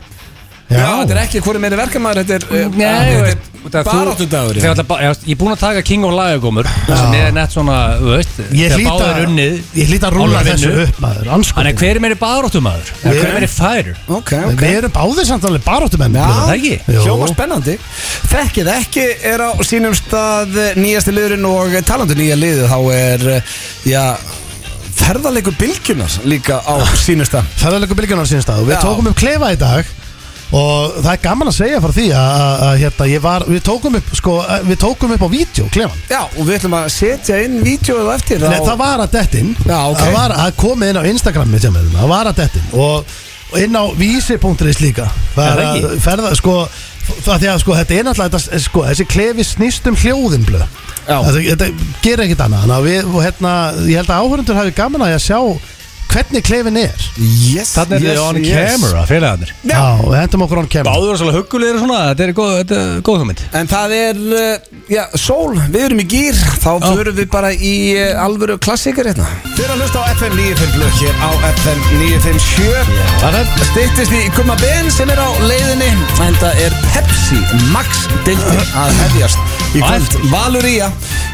Speaker 1: Já,
Speaker 3: Já.
Speaker 1: þetta er ekki hverju meiri verkamæður Þetta er,
Speaker 2: Nei,
Speaker 1: eh,
Speaker 2: þú veist,
Speaker 1: þetta er baráttu dagur
Speaker 2: Þegar alltaf ba- já, Ég er búinn að taka King of Lagagómur sem er nett svona, þú veist
Speaker 3: Ég
Speaker 2: þegar
Speaker 3: hlýt
Speaker 2: báðir
Speaker 3: að-
Speaker 2: unnið
Speaker 3: Ég hlýt að rúla
Speaker 2: Álfur
Speaker 3: þessu
Speaker 2: vinnur.
Speaker 3: upp maður anskotinn.
Speaker 2: Þannig að hver er meiri baráttumadur? Eða
Speaker 3: Við
Speaker 2: Hver er
Speaker 3: erum-
Speaker 2: meiri færir?
Speaker 1: Ok, ok
Speaker 3: Við erum báðir samt alveg baráttumenn
Speaker 1: Já,
Speaker 2: það ekki?
Speaker 3: Jú.
Speaker 1: Hljóma spennandi Þekkið ekki er á sínum stað eh, nýjasti liðurinn og talandi um nýja liðu þá er, eh, já ferðarleikur bylgjunar líka á sínum stað
Speaker 3: ferðarleiku bylgjarnar síðan stað og við
Speaker 1: Já.
Speaker 3: tókum upp klefa í dag og það er gaman að segja frá því að, að, að hérna, ég var, við tókum upp sko, að- við tókum upp á vídeo klefan
Speaker 1: Já, og við ætlum að setja inn vídeoið á eftir
Speaker 3: Nei, það var að dettin
Speaker 1: Já, ok.
Speaker 3: það var að komið inn á Instagrammi sem er það var að dettin og, og inn á vísi.is líka það
Speaker 2: Er
Speaker 3: er
Speaker 2: það
Speaker 3: að
Speaker 2: ekki?
Speaker 3: ferða sko það því að sko þetta er náttúrulega þetta, sko, þessi klefi snýst um hljóðin blöð
Speaker 1: Já.
Speaker 3: þetta, þetta gerir ekkit annað Þannig að við, og hérna, ég held að áhörundur hafi gaman að ég að sjá hvernig klefin er
Speaker 1: Yes,
Speaker 2: Þannig er
Speaker 1: yes,
Speaker 2: þið on
Speaker 1: yes.
Speaker 2: camera, félagarnir
Speaker 1: Já.
Speaker 3: Já, við hendum okkur án kemur
Speaker 2: Báður er svolítið huggulegir og svona, þetta er góð, þetta er góð hugmynd
Speaker 1: En það er, eh, já, sól, við erum í gýr Þá förum við bara í eh, alvöru klassikar hérna Þeir að hlusta á FM 957 Hér á FM 957
Speaker 3: Það er
Speaker 1: Stýttist í Gumma Ben sem er á leiðinni en það er Pepsi Max deildir að hefjast í
Speaker 2: Á
Speaker 1: kvöld Valuría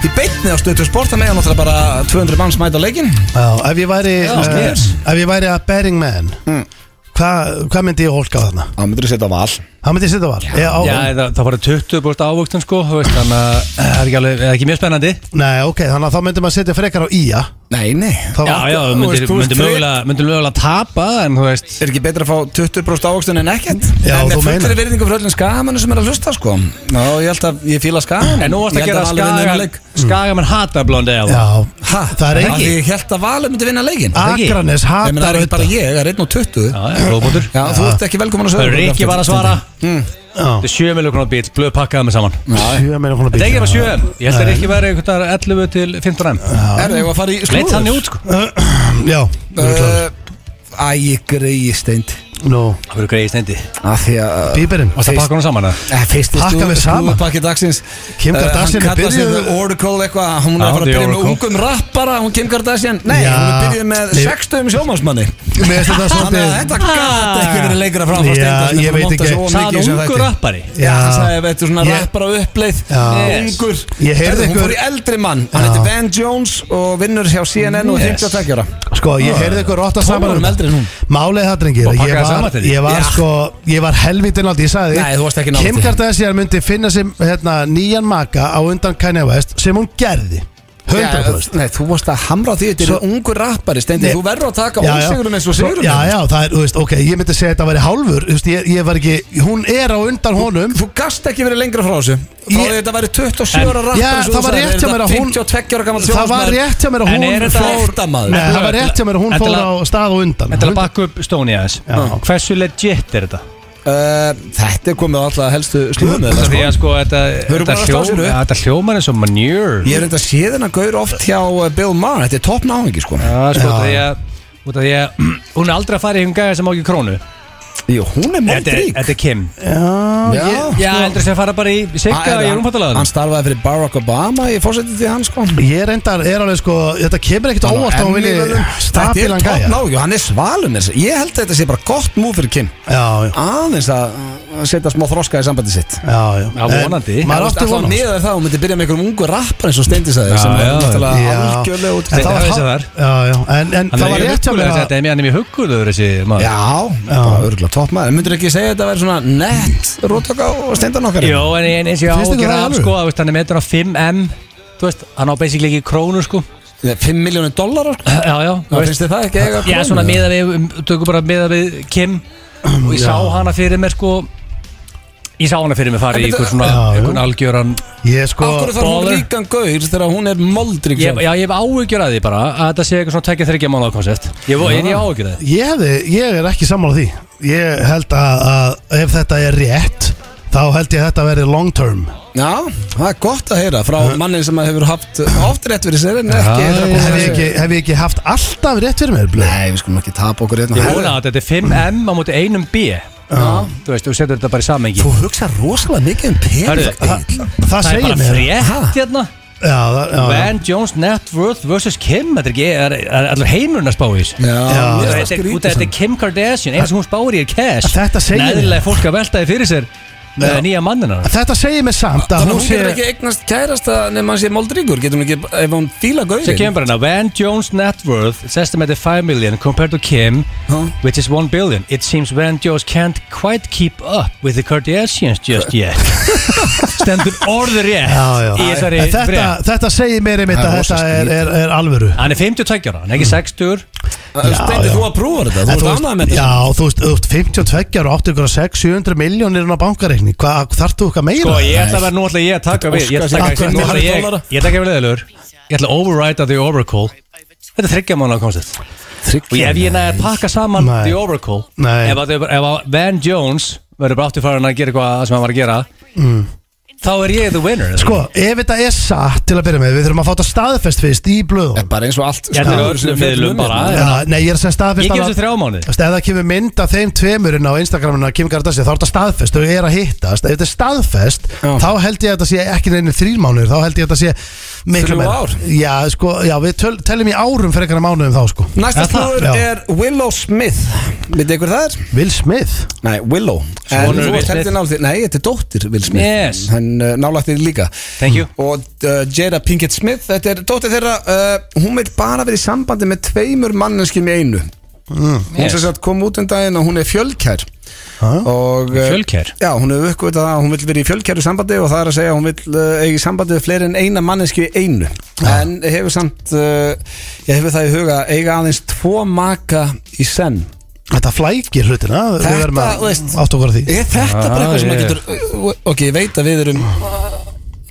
Speaker 1: í beitni á stötu sporta með og náttúrulega bara 200 manns mæta á leikin
Speaker 3: Já, ef ég væri
Speaker 1: Já,
Speaker 3: eh,
Speaker 1: sniðugt.
Speaker 3: Ef ég væri að bearing man mm. Hvað hva myndi ég hólka á þarna?
Speaker 1: Það myndir að setja val
Speaker 3: Hvað myndi ég setja var? Já,
Speaker 2: Já,
Speaker 3: á,
Speaker 2: það, það var 20% ávöxtun sko, þú veist, þannig að það er ekki, alveg, það er ekki mjög spennandi
Speaker 3: Nei, ok, þannig að þá myndi maður setja frekar á ía
Speaker 1: Nei, nei
Speaker 3: Þá-
Speaker 2: Já, já, þú myndir,
Speaker 1: þú veist,
Speaker 2: myndir
Speaker 1: þú-
Speaker 2: mögulega, myndir mögulega tapa, en þú veist
Speaker 1: Er ekki betra að fá 20% ávöxtun en ekkert?
Speaker 3: Já,
Speaker 1: en
Speaker 3: þú
Speaker 1: með fullri
Speaker 3: meinar.
Speaker 1: virðingu fyrir öllum skagamanu sem er að hlusta sko Já, ég held að ég fíla skagan
Speaker 2: En nú varst að gera skaga, Mm. skaga menn hata blóndi eða
Speaker 3: Já,
Speaker 1: Ha,
Speaker 3: það er
Speaker 1: ekki
Speaker 3: ekki
Speaker 1: Ég held að valur myndi vinna leikin
Speaker 2: það ekki?
Speaker 1: Ég
Speaker 3: Akranes
Speaker 1: meina, það
Speaker 3: hatar
Speaker 1: er ekki bara ég, það er 1 og 20
Speaker 2: Já, já, góðbútur
Speaker 1: Já, þú ert ekki velkomin að
Speaker 2: Það
Speaker 1: sögur
Speaker 2: eru ekki bara að svara
Speaker 3: Já,
Speaker 2: Þetta er 7 miljókunar bíl, blöð pakkaði með saman
Speaker 3: sjö meina konar
Speaker 2: Þetta er ekki bara 7 m Ég held að Rikki væri einhvern veginn 11 til 15 m
Speaker 1: Er það að fara í
Speaker 2: Leit
Speaker 1: slúður?
Speaker 2: þannig út sko
Speaker 3: Já, við erum klárir
Speaker 1: Uh, Æ, greiði steint
Speaker 3: Nú,
Speaker 2: Það verður greið í steindi
Speaker 1: Af því að
Speaker 3: bíberinn
Speaker 2: Varst að pakka hún saman eða?
Speaker 1: Eh, Fyrsti
Speaker 3: Pakka við saman.
Speaker 1: Pakki dagsins
Speaker 3: Kim
Speaker 1: Eh,
Speaker 3: Kardashian
Speaker 1: Hann kallar sig
Speaker 3: byrjuðu-
Speaker 1: The Oracle eitthvað Hún er
Speaker 2: Já,
Speaker 1: að fara að
Speaker 2: The
Speaker 1: byrja með
Speaker 2: Oracle.
Speaker 1: ungum rappara Hún Kim Kardashian Nei,
Speaker 3: Já.
Speaker 1: hún er byrjuð með
Speaker 3: Nei.
Speaker 1: 60 sjómannsmanni
Speaker 3: Mér finnst þetta
Speaker 1: Þannig að
Speaker 3: svolítið
Speaker 1: þetta gat ekki verið lengra frá frá
Speaker 3: Já,
Speaker 1: Steindór,
Speaker 3: ég
Speaker 1: hann
Speaker 3: veit
Speaker 1: montar
Speaker 3: ekki.
Speaker 1: sig of mikið í
Speaker 2: Sæðan
Speaker 1: þessum
Speaker 2: ungur
Speaker 1: þætti.
Speaker 2: rappari
Speaker 1: Já, hann sagði
Speaker 3: Já,
Speaker 1: að þetta er svona
Speaker 3: Ég-
Speaker 1: rappara uppleið
Speaker 3: Já.
Speaker 1: Ungur
Speaker 3: Ég heyrði
Speaker 1: Herðu, Hún
Speaker 3: ykkur-
Speaker 1: fór í eldri mann Hann heitir Van Jones og vinnur hjá CNN og er
Speaker 2: Yes.
Speaker 1: 52 ára
Speaker 3: Sko, ég heyrði ykkur rotta
Speaker 1: Tólf
Speaker 3: saman um
Speaker 1: árum eldri en hún.
Speaker 3: Málið það, drengir
Speaker 2: Og
Speaker 3: að Ég
Speaker 2: pakkaði saman
Speaker 3: var,
Speaker 2: til því.
Speaker 3: ég var
Speaker 1: Já.
Speaker 3: sko, ég var helvítið nátt Ég sagði
Speaker 1: Nei, þú varst ekki nálægt
Speaker 3: Kim
Speaker 1: því.
Speaker 3: Kardashian myndi finna sem hérna, nýjan maka á undan Kanye West sem hún gerði 100%
Speaker 1: Já, Nei, þú varst að hamra á því Þetta
Speaker 3: Svo-
Speaker 1: er ungur rappari, Steindi
Speaker 3: Nei.
Speaker 1: Þú verður að taka
Speaker 3: Já, já.
Speaker 1: ósigurum eins og sigurum
Speaker 3: Já, já, það er, þú veist, ok, ég myndi segja að þetta væri hálfur þú veist, ég, ég var ekki, hún er á undan honum
Speaker 1: Þú gast ekki verið lengra frá þessu Frá
Speaker 3: Ég-
Speaker 1: því þetta væri 27 ára rappari
Speaker 3: Já,
Speaker 1: sem þú
Speaker 3: það var
Speaker 1: sagðir,
Speaker 3: rétt hjá
Speaker 1: er
Speaker 3: mér að
Speaker 1: þetta
Speaker 3: hún
Speaker 1: 52 ára gammal
Speaker 3: Það var rétt hjá mér að
Speaker 2: En
Speaker 3: hún
Speaker 2: er þetta
Speaker 3: fór
Speaker 1: Þetta maður
Speaker 3: Nei, það var rétt hjá mér að hún
Speaker 2: En til
Speaker 3: fór á
Speaker 2: að-
Speaker 3: stað og undan
Speaker 2: En til að bakka upp Stóni aðeins
Speaker 3: Já.
Speaker 2: Hversu legit er þetta?
Speaker 1: Uh, Þetta er komið á alltaf helstu slúðum
Speaker 2: Það því að sko Þetta
Speaker 1: Við erum
Speaker 2: þetta
Speaker 1: bara að
Speaker 2: hljó-
Speaker 1: stá sér upp.
Speaker 2: þetta hljómar eins og manure
Speaker 1: Ég er enda séðin að gaur oft hjá uh, Bill Maher Þetta er topp náhingi sko
Speaker 2: Já, sko,
Speaker 3: Já.
Speaker 2: út af því að Út af því að Hún er aldrei að fara í hún gæja sem á ekki krónu
Speaker 1: Jú, hún er
Speaker 2: Þetta er-
Speaker 1: moldrík
Speaker 2: þetta er Kim
Speaker 1: Já,
Speaker 2: Já, heldur sem fara bara í Sigga
Speaker 1: er
Speaker 2: í
Speaker 1: hann-
Speaker 2: rúmfattalaðan
Speaker 1: Hann starfaði fyrir Barack Obama Ég fórsetið því hann sko
Speaker 3: Ég reyndar, er alveg sko, þetta kemur ekkert á óvart að hún vilji stabilan
Speaker 1: eh, Þetta er
Speaker 3: gæja
Speaker 1: topp náhingi og hann er svalun Ég held að þetta sé bara gott múf fyrir Kim
Speaker 3: Já, já,
Speaker 1: aðeins að að setja smá þroska í sambandi sitt
Speaker 3: já, já
Speaker 2: Já, vonandi.
Speaker 3: En Maður átti
Speaker 1: alltaf
Speaker 3: vonast
Speaker 1: með það hún myndi byrja með einhverjum ungu rappar eins og Steindi sagði
Speaker 2: Já,
Speaker 1: sem
Speaker 2: já,
Speaker 1: er náttúrulega
Speaker 3: já.
Speaker 1: algjörlega út
Speaker 3: En það var
Speaker 2: Þetta
Speaker 3: hál-
Speaker 2: vissi þar.
Speaker 3: Já, já, en, en
Speaker 2: Hann
Speaker 3: það
Speaker 2: er
Speaker 3: var
Speaker 2: mjög
Speaker 3: rétt hjá mér
Speaker 2: huggulegur Þetta er
Speaker 3: að
Speaker 2: mjög- hann er mjög huggulegur þessi maður
Speaker 1: Já, bara örgulega topp maður Myndir ekki segja að þetta verður svona nett rótaka á Steindan okkar
Speaker 2: Jó, en en eins og ég á
Speaker 3: Finnst
Speaker 2: að
Speaker 3: ykkur
Speaker 2: gera
Speaker 3: það
Speaker 2: af
Speaker 3: alveg?
Speaker 2: sko, þú veist, hann er metur á 5M Þú veist, hann á basically ekki krónu sko
Speaker 1: 5 miljónir dólarar sko.
Speaker 2: Já, já, þú
Speaker 1: Það
Speaker 2: veist
Speaker 1: finnst þið það ekki eiga
Speaker 2: Já,
Speaker 1: krónu?
Speaker 2: svona miða við, um, tökum bara miða við Kim Og ég sá hana fyrir mér sko Ég sá hana fyrir mér fara í
Speaker 1: En
Speaker 2: einhver
Speaker 1: byrju,
Speaker 2: svona
Speaker 3: já, já.
Speaker 2: einhvern algjöran
Speaker 3: Ég sko
Speaker 1: Akkur þarf hún
Speaker 2: Baller.
Speaker 1: ríkan gaur þegar hún er moldrík
Speaker 2: ég,
Speaker 1: sjálf?
Speaker 2: Já, ég hef áhyggjur að því bara að þetta sé eitthvað svona tekja þryggja mánuða koncept Ég vo- en ég hef áhyggjur að því
Speaker 3: Ég, hefði, ég er ekki sammála því Ég held að, að ef þetta er rétt Þá held ég að þetta veri long term
Speaker 1: Já, það er gott að heyra frá mannin sem hefur haft oft rétt fyrir sér en ekki
Speaker 2: Já,
Speaker 1: hundrað
Speaker 2: já.
Speaker 3: hef
Speaker 1: prósent.
Speaker 3: ég, ekki, hef ég ekki haft alltaf rétt fyrir mér blöð?
Speaker 1: Nei, við skulum ekki tapa okkur hérna
Speaker 2: Ég vona að þetta er 5M á móti 1B Þú veist, þú setur þetta bara í samengi
Speaker 1: Þú hugsa rosalega mikið um
Speaker 2: Hörðu,
Speaker 1: pening
Speaker 2: það-
Speaker 1: Egill.
Speaker 3: Það
Speaker 2: Það er
Speaker 3: segir
Speaker 2: bara
Speaker 3: mér
Speaker 2: frétt hérna
Speaker 3: já, það- já, já.
Speaker 2: Van Jones net worth vs. Kim Þetta er ekki, er, er allir heimurinn að spá í þessu
Speaker 1: Já,
Speaker 3: Já,
Speaker 1: já,
Speaker 2: Þetta er- Út af þetta er Kim Kardashian eins og hún spáir í er cash
Speaker 3: Þetta segir mér.
Speaker 2: Neðurlega fólk að velta því fyrir sér með
Speaker 3: Já.
Speaker 2: nýja mannina
Speaker 3: Þetta segir mér samt að
Speaker 1: Þannig að
Speaker 3: hún
Speaker 1: hún
Speaker 3: sé
Speaker 1: getur ekki eignast kærasta nema hann sé moldríkur, getur hún ekki, ef hún fíla
Speaker 2: Svo
Speaker 1: gauðin
Speaker 2: kemur bara hérna Van Jones net worth is estimated 5 million compared to Kim
Speaker 1: Huh?
Speaker 2: which is 1 billion It seems Van Jones can't quite keep up with the Kardashians just yet Stendur orður rétt
Speaker 3: Já, já.
Speaker 2: í þessari
Speaker 3: En þetta,
Speaker 2: frétt
Speaker 3: þetta segir mér einmitt
Speaker 1: Það er
Speaker 3: að
Speaker 1: rosa
Speaker 3: þetta er,
Speaker 1: skrítið.
Speaker 3: er, er alvöru
Speaker 2: Hann er 52 ára, hann er ekki
Speaker 3: Mm.
Speaker 2: 60
Speaker 1: Steindi,
Speaker 3: já.
Speaker 1: þú að prófa þetta, þú ert ánægð með þetta
Speaker 3: Já, þú veist, þú veist 52 ára og áttu ykkur að 600-700 miljónir inn á bankareikni, hvað þarf þú eitthvað meira?
Speaker 2: Sko, ég ætla að vera nú ætla ég að taka við Ég ætla að taka
Speaker 1: Óskar,
Speaker 2: við Nú
Speaker 1: þetta
Speaker 2: ætla
Speaker 1: er
Speaker 2: ég
Speaker 1: dollara.
Speaker 2: Ég ætla ekki að vera leðilegur Ég ætla að override the Oracle Þetta er þryggja mánu á konstið Og ef ég næði að pakka saman
Speaker 3: Nei.
Speaker 2: the Oracle
Speaker 3: Nei.
Speaker 2: Ef að, þau- ef að Van Jones verður bara áttu farin að gera eitthvað sem hann var að gera Þá er ég the winner
Speaker 3: Mm. Sko, ef þetta er satt til að byrja með, við þurfum að fá þetta staðfest fyrst í blöðum.
Speaker 1: Er bara eins og allt sko.
Speaker 2: Ég ætla að vera öllum miðlum bara
Speaker 3: Já, nei, ég er að segja
Speaker 2: Ég
Speaker 3: staðfest
Speaker 2: gef
Speaker 3: að-
Speaker 2: þessu þrjá mánuði
Speaker 3: Þú veist, ef það kemur mynd af þeim tveimurinn á Instagraminu að Kim Kardashian, þá er þetta staðfest, þau er að hittast ef þetta er staðfest,
Speaker 1: Já.
Speaker 3: þá held ég að þetta sé ekki neynir þrír mánuður, þá held ég að þetta sé miklu
Speaker 1: Þrjú
Speaker 3: meira.
Speaker 1: ár?
Speaker 3: Já, sko, já, við töl, teljum í árum fyrir einhverja mánuðum þá, sko
Speaker 1: Næsta
Speaker 3: Er það?
Speaker 1: slúður
Speaker 3: Já.
Speaker 1: er Willow Smith Vitið ykkur það er?
Speaker 3: Will Smith
Speaker 1: Nei, Willow En
Speaker 2: Sonur
Speaker 1: þú
Speaker 2: Will
Speaker 1: varst heldur
Speaker 2: Smith.
Speaker 1: nálægt því- Nei, þetta er dóttir Will Smith
Speaker 2: Yes.
Speaker 1: Hann uh, nálægt þér líka
Speaker 2: Thank you.
Speaker 1: Og uh, Jada Pinkett Smith Þetta er dóttir þeirra uh, Hún vil bara vera í sambandi með tveimur manneskim í einu Hún
Speaker 2: Yes.
Speaker 1: sem sagt kom út um daginn og hún er fjölkær
Speaker 3: Ha?
Speaker 1: og,
Speaker 3: eh,
Speaker 1: uh,
Speaker 2: Fjölkær?
Speaker 1: Já, hún hefur uppgötað að hún vil vera í fjölkæru sambandi og það er að segja að hún vil uh, eigi sambandi við fleiri en eina mannesku í einu en hefur samt uh, ég hefur það í huga að eiga aðeins tvo maka í senn
Speaker 3: Þetta flækir hlutina,
Speaker 1: Þetta,
Speaker 3: við verðum
Speaker 1: þú veist-
Speaker 3: að átt okkur á því
Speaker 1: Er þetta
Speaker 2: Ah,
Speaker 1: bara eitthvað sem að
Speaker 2: ég-
Speaker 1: getur ok, ég veit að við erum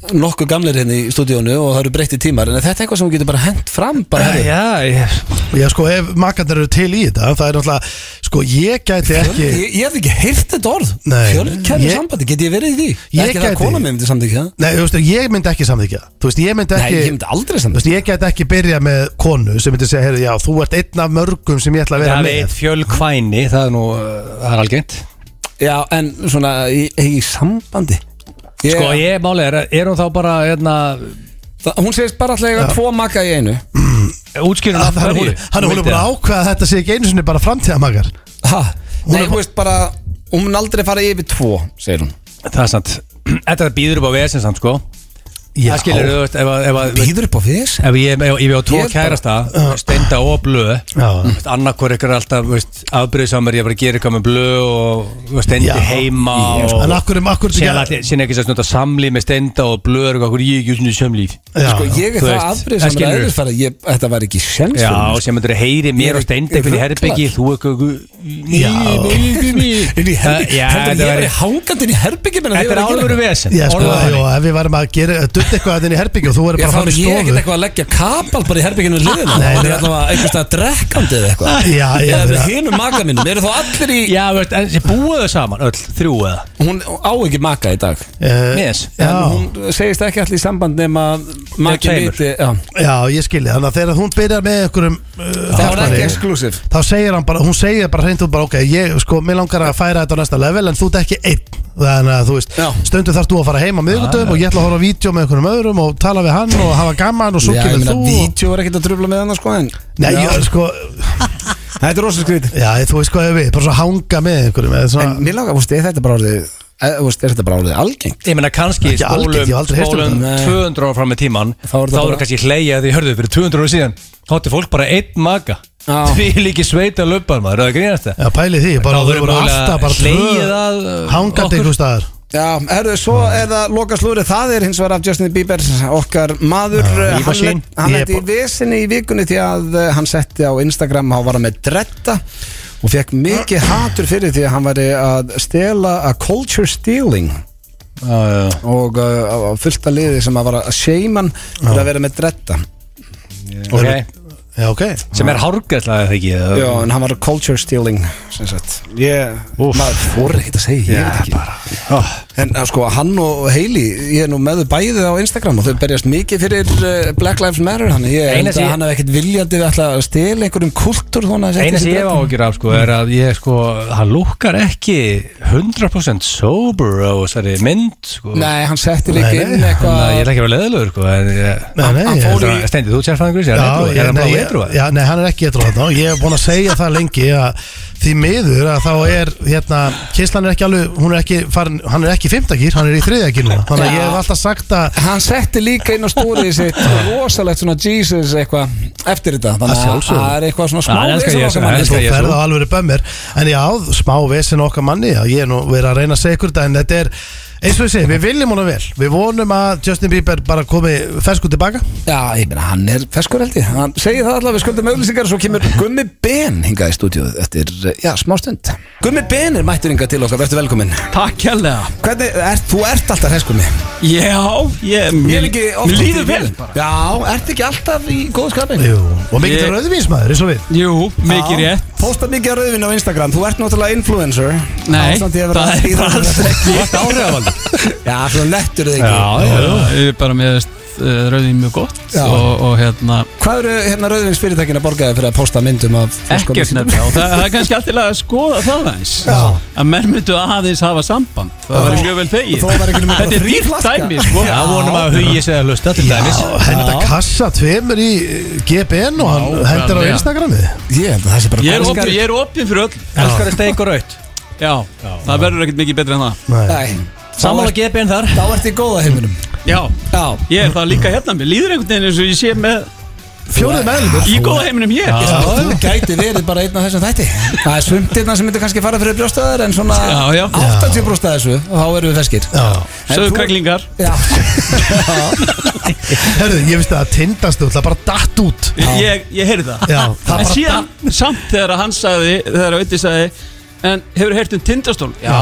Speaker 1: nokkuð gamlir hérna í stúdíónu og það eru breytti tímar en er þetta eitthvað sem hún getur bara hent fram bara, herri,
Speaker 2: Já, ég
Speaker 3: Já, sko, ef makarnir eru til í þetta, það er náttúrulega, sko, ég gæti ekki
Speaker 1: Ég, ég hef ekki heyrt þetta orð
Speaker 3: Nei.
Speaker 1: Fjölkæru
Speaker 3: Ég-
Speaker 1: sambandi, get ég verið í því?
Speaker 3: Ég
Speaker 1: ekki það
Speaker 3: gæti.
Speaker 1: að kona mér myndi samtíkja það?
Speaker 3: Nei, þú veist, ég myndi ekki samþykja Þú veist, ég myndi
Speaker 1: Nei,
Speaker 3: ekki
Speaker 1: ég myndi aldrei
Speaker 3: Þú
Speaker 1: samtíkja
Speaker 3: veist, ég get ekki byrja með konu sem myndi segja, heyrðu, já, þú ert einn af mörgum sem ég ætla að vera
Speaker 2: Það er eitt
Speaker 3: með
Speaker 2: fjölkvæni, það er nú, uh, það er algengt
Speaker 1: Já, en svona í, í sambandi ég,
Speaker 2: Sko ég máli er, er hún þá bara hérna,
Speaker 1: það, Hún segist bara alltaf eiga tvo makka í einu
Speaker 2: útskýrun
Speaker 3: Ah, Hann er hún- hann er hún er búin að ákveða að þetta sé ekki einu sinni bara framtíðamakar
Speaker 1: ha,
Speaker 3: Hún
Speaker 1: Nei,
Speaker 3: er-
Speaker 1: hún veist bara Hún mun aldrei fara yfir tvo, segir hún
Speaker 2: Það er sant, þetta býður upp á vesen samt sko
Speaker 3: Já,
Speaker 2: Það skilur þú veist, ef, að- ef, að-
Speaker 1: Býður upp á fyrst
Speaker 2: ef ég ef ég á tvo
Speaker 1: Ég bara-
Speaker 2: kærasta Steinda og blöð
Speaker 3: Já.
Speaker 2: Annarkor ykkur er alltaf veist, afbrýðsamur Ég bara gera eitthvað með blöð og og
Speaker 3: Já.
Speaker 2: steindi heima og-
Speaker 3: En akkur um akkur
Speaker 2: Síðan allir- síðan ekki sér samlíf með steinda og blöð og okkur ég ekki svona samlíf
Speaker 1: Sko, ég er
Speaker 2: þú
Speaker 1: það
Speaker 2: veist,
Speaker 1: afbrið
Speaker 2: það
Speaker 1: sem er
Speaker 2: skilur.
Speaker 1: aðeins fara ég, Þetta var ekki sjens
Speaker 2: Já, sko, sem myndur heyri mér og steinda eitthvað í herbyggi Þú eitthvað
Speaker 3: Já.
Speaker 1: Inn í herbyggi,
Speaker 2: Já,
Speaker 1: heldur
Speaker 2: þetta
Speaker 1: ég
Speaker 2: væri-
Speaker 1: verið hangandi inn í herbyggi meðan
Speaker 2: Þetta
Speaker 1: þið voruð að
Speaker 2: er
Speaker 1: gera
Speaker 2: álveru
Speaker 1: eitthvað?
Speaker 2: vesen
Speaker 3: Já, sko,
Speaker 2: orðaðu það.
Speaker 3: já, ef við varum að gera, dutt eitthvað að þinn í herbyggju og þú
Speaker 1: Ég
Speaker 3: verður bara
Speaker 1: fann
Speaker 3: fram
Speaker 1: ég
Speaker 3: í
Speaker 1: ekkert
Speaker 3: stofu
Speaker 1: eitthvað að leggja kapal bara í herbygginu
Speaker 2: Ah,
Speaker 1: liðina
Speaker 3: Nei,
Speaker 1: Það
Speaker 3: nei.
Speaker 1: er allavega einhvers stað drekkandi eða eitthvað
Speaker 3: Já, já,
Speaker 1: Eða við
Speaker 3: já.
Speaker 1: hinum maka mínum, eru þá allir í
Speaker 2: Já, veist, en þið búið þau saman öll, þrjú eða
Speaker 1: Hún á ekki maka í dag
Speaker 3: Eh,
Speaker 2: Yes.
Speaker 3: já,
Speaker 1: en hún segist ekki allir í samband nema maki
Speaker 2: tveimur.
Speaker 1: viti já.
Speaker 3: já, ég skilji Þannig að þegar hún byrjar með einhverjum uh,
Speaker 1: það var ekki
Speaker 3: kjartmanni,
Speaker 1: exklusiv
Speaker 3: Þá segir hann bara, hún segir bara hreint út bara Ok, ég, sko, mér langar að færa þetta á næsta level En þú ert ekki einn Þannig að þú veist,
Speaker 1: Já.
Speaker 3: stundu þarf þú að fara heim á miðgutum Og ég ætla að horfa á vídeo með einhverjum öðrum Og tala við hann og hafa gaman og svo
Speaker 1: Já, ég
Speaker 3: kemur
Speaker 1: meina,
Speaker 3: þú og-
Speaker 1: vítjó er ekkert að dröfla með hana sko en
Speaker 3: Nei,
Speaker 1: Já.
Speaker 3: ég, sko,
Speaker 1: Þetta er rosa skrítið
Speaker 3: já, þú veist hvað ég við Bara svo hanga með einhverjum eða
Speaker 2: Ah.
Speaker 1: En
Speaker 3: svona,
Speaker 1: mér langar, þú veist, er þetta bara orðið eh, þú veist, Er þetta bara orðið algengt?
Speaker 2: Ég meina kannski
Speaker 3: Ekki algengt,
Speaker 2: spólum,
Speaker 3: ég hef aldrei heyrt um
Speaker 2: spólum
Speaker 1: þetta. Nei.
Speaker 2: 200 ára fram með tíman
Speaker 1: Þá er þetta
Speaker 2: Þá
Speaker 1: bara-
Speaker 2: eru kannski hleyja því hörðu fyrir 200 ára síðan Þá átti fólk bara einn maga
Speaker 1: Já.
Speaker 2: Því líki sveita löpar maður, er það grínast það?
Speaker 3: Já, pæli því, bara
Speaker 2: Þá
Speaker 3: þú
Speaker 2: verður
Speaker 3: voru
Speaker 2: mögulega
Speaker 3: alltaf bara
Speaker 2: hlegið að,
Speaker 3: tvö
Speaker 2: uh,
Speaker 3: Hangandi
Speaker 2: okkur.
Speaker 3: einhvers staðar
Speaker 1: Já, herru, svo er það loka slúrið Það er hins vegar af Justin Bieber Okkar maður, eh,
Speaker 2: Bieber
Speaker 1: hann,
Speaker 2: sín.
Speaker 1: lent- hann
Speaker 3: Ég
Speaker 1: lendi
Speaker 3: er
Speaker 1: í vesinni í vikunni Því að eh, hann setti á Instagram Há var hann með dretta Og fekk mikið hatur fyrir því að hann væri að stela A culture stealing
Speaker 2: Já, já
Speaker 1: og uh, á- á fullt að liði sem að vara að shame hann fyrir að vera með dretta
Speaker 2: Ok,
Speaker 3: Já, ok
Speaker 2: sem er hárgæðslega það ekki eða-
Speaker 1: Já, en hann var culture stealing sem sagt Ég,
Speaker 2: Úff.
Speaker 3: Ah.
Speaker 1: maður fór ekkert að segja, ég veit ekki
Speaker 2: Ó,
Speaker 1: En að sko, hann og Hailey, ég er nú með þau bæðið á Instagram og þau berjast mikið fyrir eh, Black Lives Matter hann. Ég
Speaker 2: Eina
Speaker 1: held að
Speaker 2: sem ég-
Speaker 1: hann hef ekkert viljandi við ætla að stela einhverjum kultúr þóna að
Speaker 2: Eina sem ég hef ágjur af sko er að ég sko, hann lukkar ekki 100% sober á þessari mynd sko.
Speaker 1: Nei, hann setti líka
Speaker 3: Nei, eh, nei,
Speaker 1: inn
Speaker 2: Þannig að ég
Speaker 1: eitthvað...
Speaker 2: ætla ekki að vera leðilegur sko en ég...
Speaker 3: Nei, nei,
Speaker 1: Hann
Speaker 3: ég-
Speaker 1: fór í-
Speaker 2: Stendi, þú sér fæðingur sér,
Speaker 3: Já,
Speaker 2: er
Speaker 3: ég-
Speaker 2: hann bara
Speaker 3: nei,
Speaker 2: vetrú að?
Speaker 3: já, nei, hann er ekki edru þarna og ég hef búin að segja það lengi að því miður að þá er hérna, Kislan er ekki alveg, hún er ekki farin, hann er ekki fymtakýr, hann er í þriðjakýr núna þannig að
Speaker 1: Já.
Speaker 3: ég hef alltaf sagt að
Speaker 1: Hann setti líka inn á stórið sitt rosalegt svona Jesus eitthvað eftir þetta Þannig að
Speaker 3: sjálfsögðu.
Speaker 1: það er eitthvað svona smá
Speaker 2: Hann elskar
Speaker 1: vesen á
Speaker 2: Jesú,
Speaker 1: okkar
Speaker 2: hann
Speaker 1: manni,
Speaker 2: elskar
Speaker 1: sko.
Speaker 3: þú
Speaker 2: Jesú.
Speaker 3: ferð á alveg bömmir en já, smá vesen okkar manni já, ég er nú verið að reyna að segja ykkur þetta en þetta er eins og ég segi, við viljum hana vel við vonum að Justin Bieber bara komi fersku tilbaka
Speaker 1: Já, ég meina, hann er feskur held ég Hann segir það allavega, við skuldum auðlýsingar Svo kemur Gummi Ben hingað í stúdíu Eftir, já, smá stund Gummi Ben er mættur hingað til okkar, verður velkominn
Speaker 4: Takk kjærlega
Speaker 1: Hvernig, er, þú ert alltaf hess Gummi
Speaker 4: Já, ég,
Speaker 1: Ég er ekki oft
Speaker 4: mér líður vel
Speaker 1: Já, ert ekki alltaf í góð skapin
Speaker 3: Jú. og mikið
Speaker 4: Ég-
Speaker 3: ég... rauðvísmaður, eins og við
Speaker 4: Jú, mikið rétt
Speaker 1: Pósta mikið á rauðvinn á Instagram, þú ert náttúrulega influencer
Speaker 4: Nei,
Speaker 1: Ásamt ég að vera
Speaker 4: það
Speaker 1: að
Speaker 4: er
Speaker 1: stýra-
Speaker 4: bara alls ekki
Speaker 2: Þetta áhrifavald
Speaker 1: Já, svona nettur þig ekki
Speaker 2: Já, já,
Speaker 4: Ég er bara með uh, rauðin mjög gott
Speaker 1: Já.
Speaker 4: og, og hérna
Speaker 1: Hvað eru hérna rauðvins fyrirtækin að borgaði fyrir að posta myndum af ferskum
Speaker 4: ekkert
Speaker 1: vísindum?
Speaker 4: nefnilega og það, það er kannski alltaf að skoða það aðeins að menn myndu aðeins hafa samband það verður mjög vel þegið
Speaker 1: Þó var ekki nema
Speaker 4: þetta er
Speaker 1: þrír
Speaker 4: dýrt
Speaker 1: flaska.
Speaker 4: dæmi sko.
Speaker 2: Já, vonum að hugið segja að hlusta til dæmis
Speaker 3: Já, henda kassa tveimur í eh, GBN og hann
Speaker 4: Já,
Speaker 3: hendur á
Speaker 4: já.
Speaker 3: Instagramið
Speaker 1: Ég held að það sé bara
Speaker 4: ég er
Speaker 1: góð-
Speaker 4: opið, ég er opið fyrir öll já,
Speaker 2: Elskar að steik og raut
Speaker 4: það verður ekkert mikið betra en það
Speaker 3: Nei.
Speaker 1: Nei,
Speaker 2: Samála GBN þar
Speaker 1: Þá ert í góða heiminum
Speaker 4: já,
Speaker 1: Já,
Speaker 4: ég er það líka hérna mér líður einhvern veginn eins og ég sé með
Speaker 3: Fjórið meðlum
Speaker 4: í góða heiminum ég
Speaker 1: Já, þú gæti verið bara einn af þessum þætti Það er svumtirna sem myndir kannski fara fyrir brjóstaðar En svona
Speaker 4: Já, já.
Speaker 1: 80 brjóstað þessu Þá erum við feskir
Speaker 3: Já.
Speaker 4: söðu kræklingar
Speaker 1: Já,
Speaker 3: Herðu, ég vissi að tindast það bara datt út
Speaker 4: ég, ég heyrði það
Speaker 3: Já, það
Speaker 4: En
Speaker 3: bara
Speaker 4: síðan, samt þegar hann sagði Þegar Ötti sagði En hefur heyrt um tindastól? Já,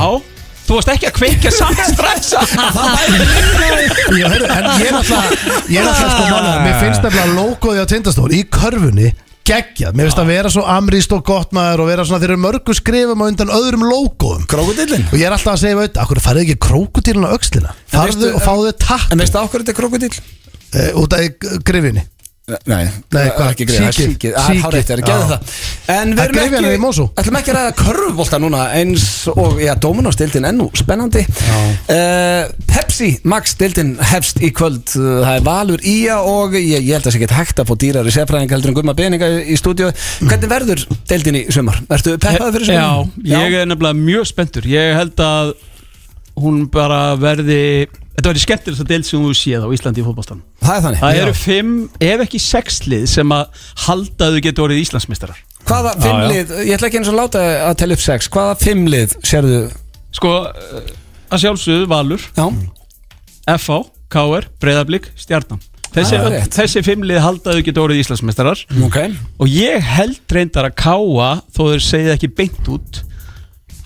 Speaker 4: Þú varst ekki að kveikja samt stressa
Speaker 3: Já, heyrðu, en ég er alltaf Ég er alltaf sko manna Mér finnst nefnilega logoði á tindastól Í körfunni geggjað Mér finnst að vera svo amrýst og gott maður Og vera svona þeir eru mörgu skrifum á undan öðrum logoðum
Speaker 1: krokodillin
Speaker 3: Og ég er alltaf að segja veit Akkur farið ekki krókutílun á öxlina Farðu
Speaker 1: veistu-
Speaker 3: og fáðu takk
Speaker 1: En veistu á hverju þetta er krokodill?
Speaker 3: eh, Út af grifinni
Speaker 1: Nei,
Speaker 3: Nei,
Speaker 1: það
Speaker 3: hvað?
Speaker 1: er ekki greið Það er
Speaker 3: Síkið.
Speaker 1: síkið, það er
Speaker 3: Síkið.
Speaker 1: hárætt Það er gerðið
Speaker 3: Já.
Speaker 1: það En við
Speaker 3: Það
Speaker 1: erum
Speaker 3: grefjan er í
Speaker 1: ekki
Speaker 3: Mosó.
Speaker 1: ætlum ekki að ræða körfubolta núna Eins og, já, Dominos deildin ennú Spennandi uh, Pepsi Max deildin hefst í kvöld Uh, Það er valur í að og ég, ég held að það sé ekki hægt að fá dýrar í sefræðing heldur en gumma beninga í, í stúdíu Hvernig verður deildin í sumar? Ertu peppaði fyrir
Speaker 4: Já,
Speaker 1: sumar?
Speaker 4: ég er nefnilega mjög spenntur Ég held að hún bara verði Þetta verði skemmtilegst að deil sem þú séð á Íslandi í fótballstann
Speaker 1: Það er þannig
Speaker 4: Það eru fimm, ef ekki sex lið sem að halda að þau getur orðið Íslandsmeistarar
Speaker 1: Hvaða fimm lið, ég ætla ekki eins og láta að tella upp sex Hvaða fimm lið sérðu
Speaker 4: Sko, eh, að sjálfsögðu Valur
Speaker 1: Já,
Speaker 4: FH, KR, Breiðablík, Stjarnan Þessi,
Speaker 1: Ah, rétt.
Speaker 4: þessi fimm lið halda að þau getur orðið Íslandsmeistarar
Speaker 1: ok
Speaker 4: Og ég held reyndar að káa þó þeir segið ekki beint út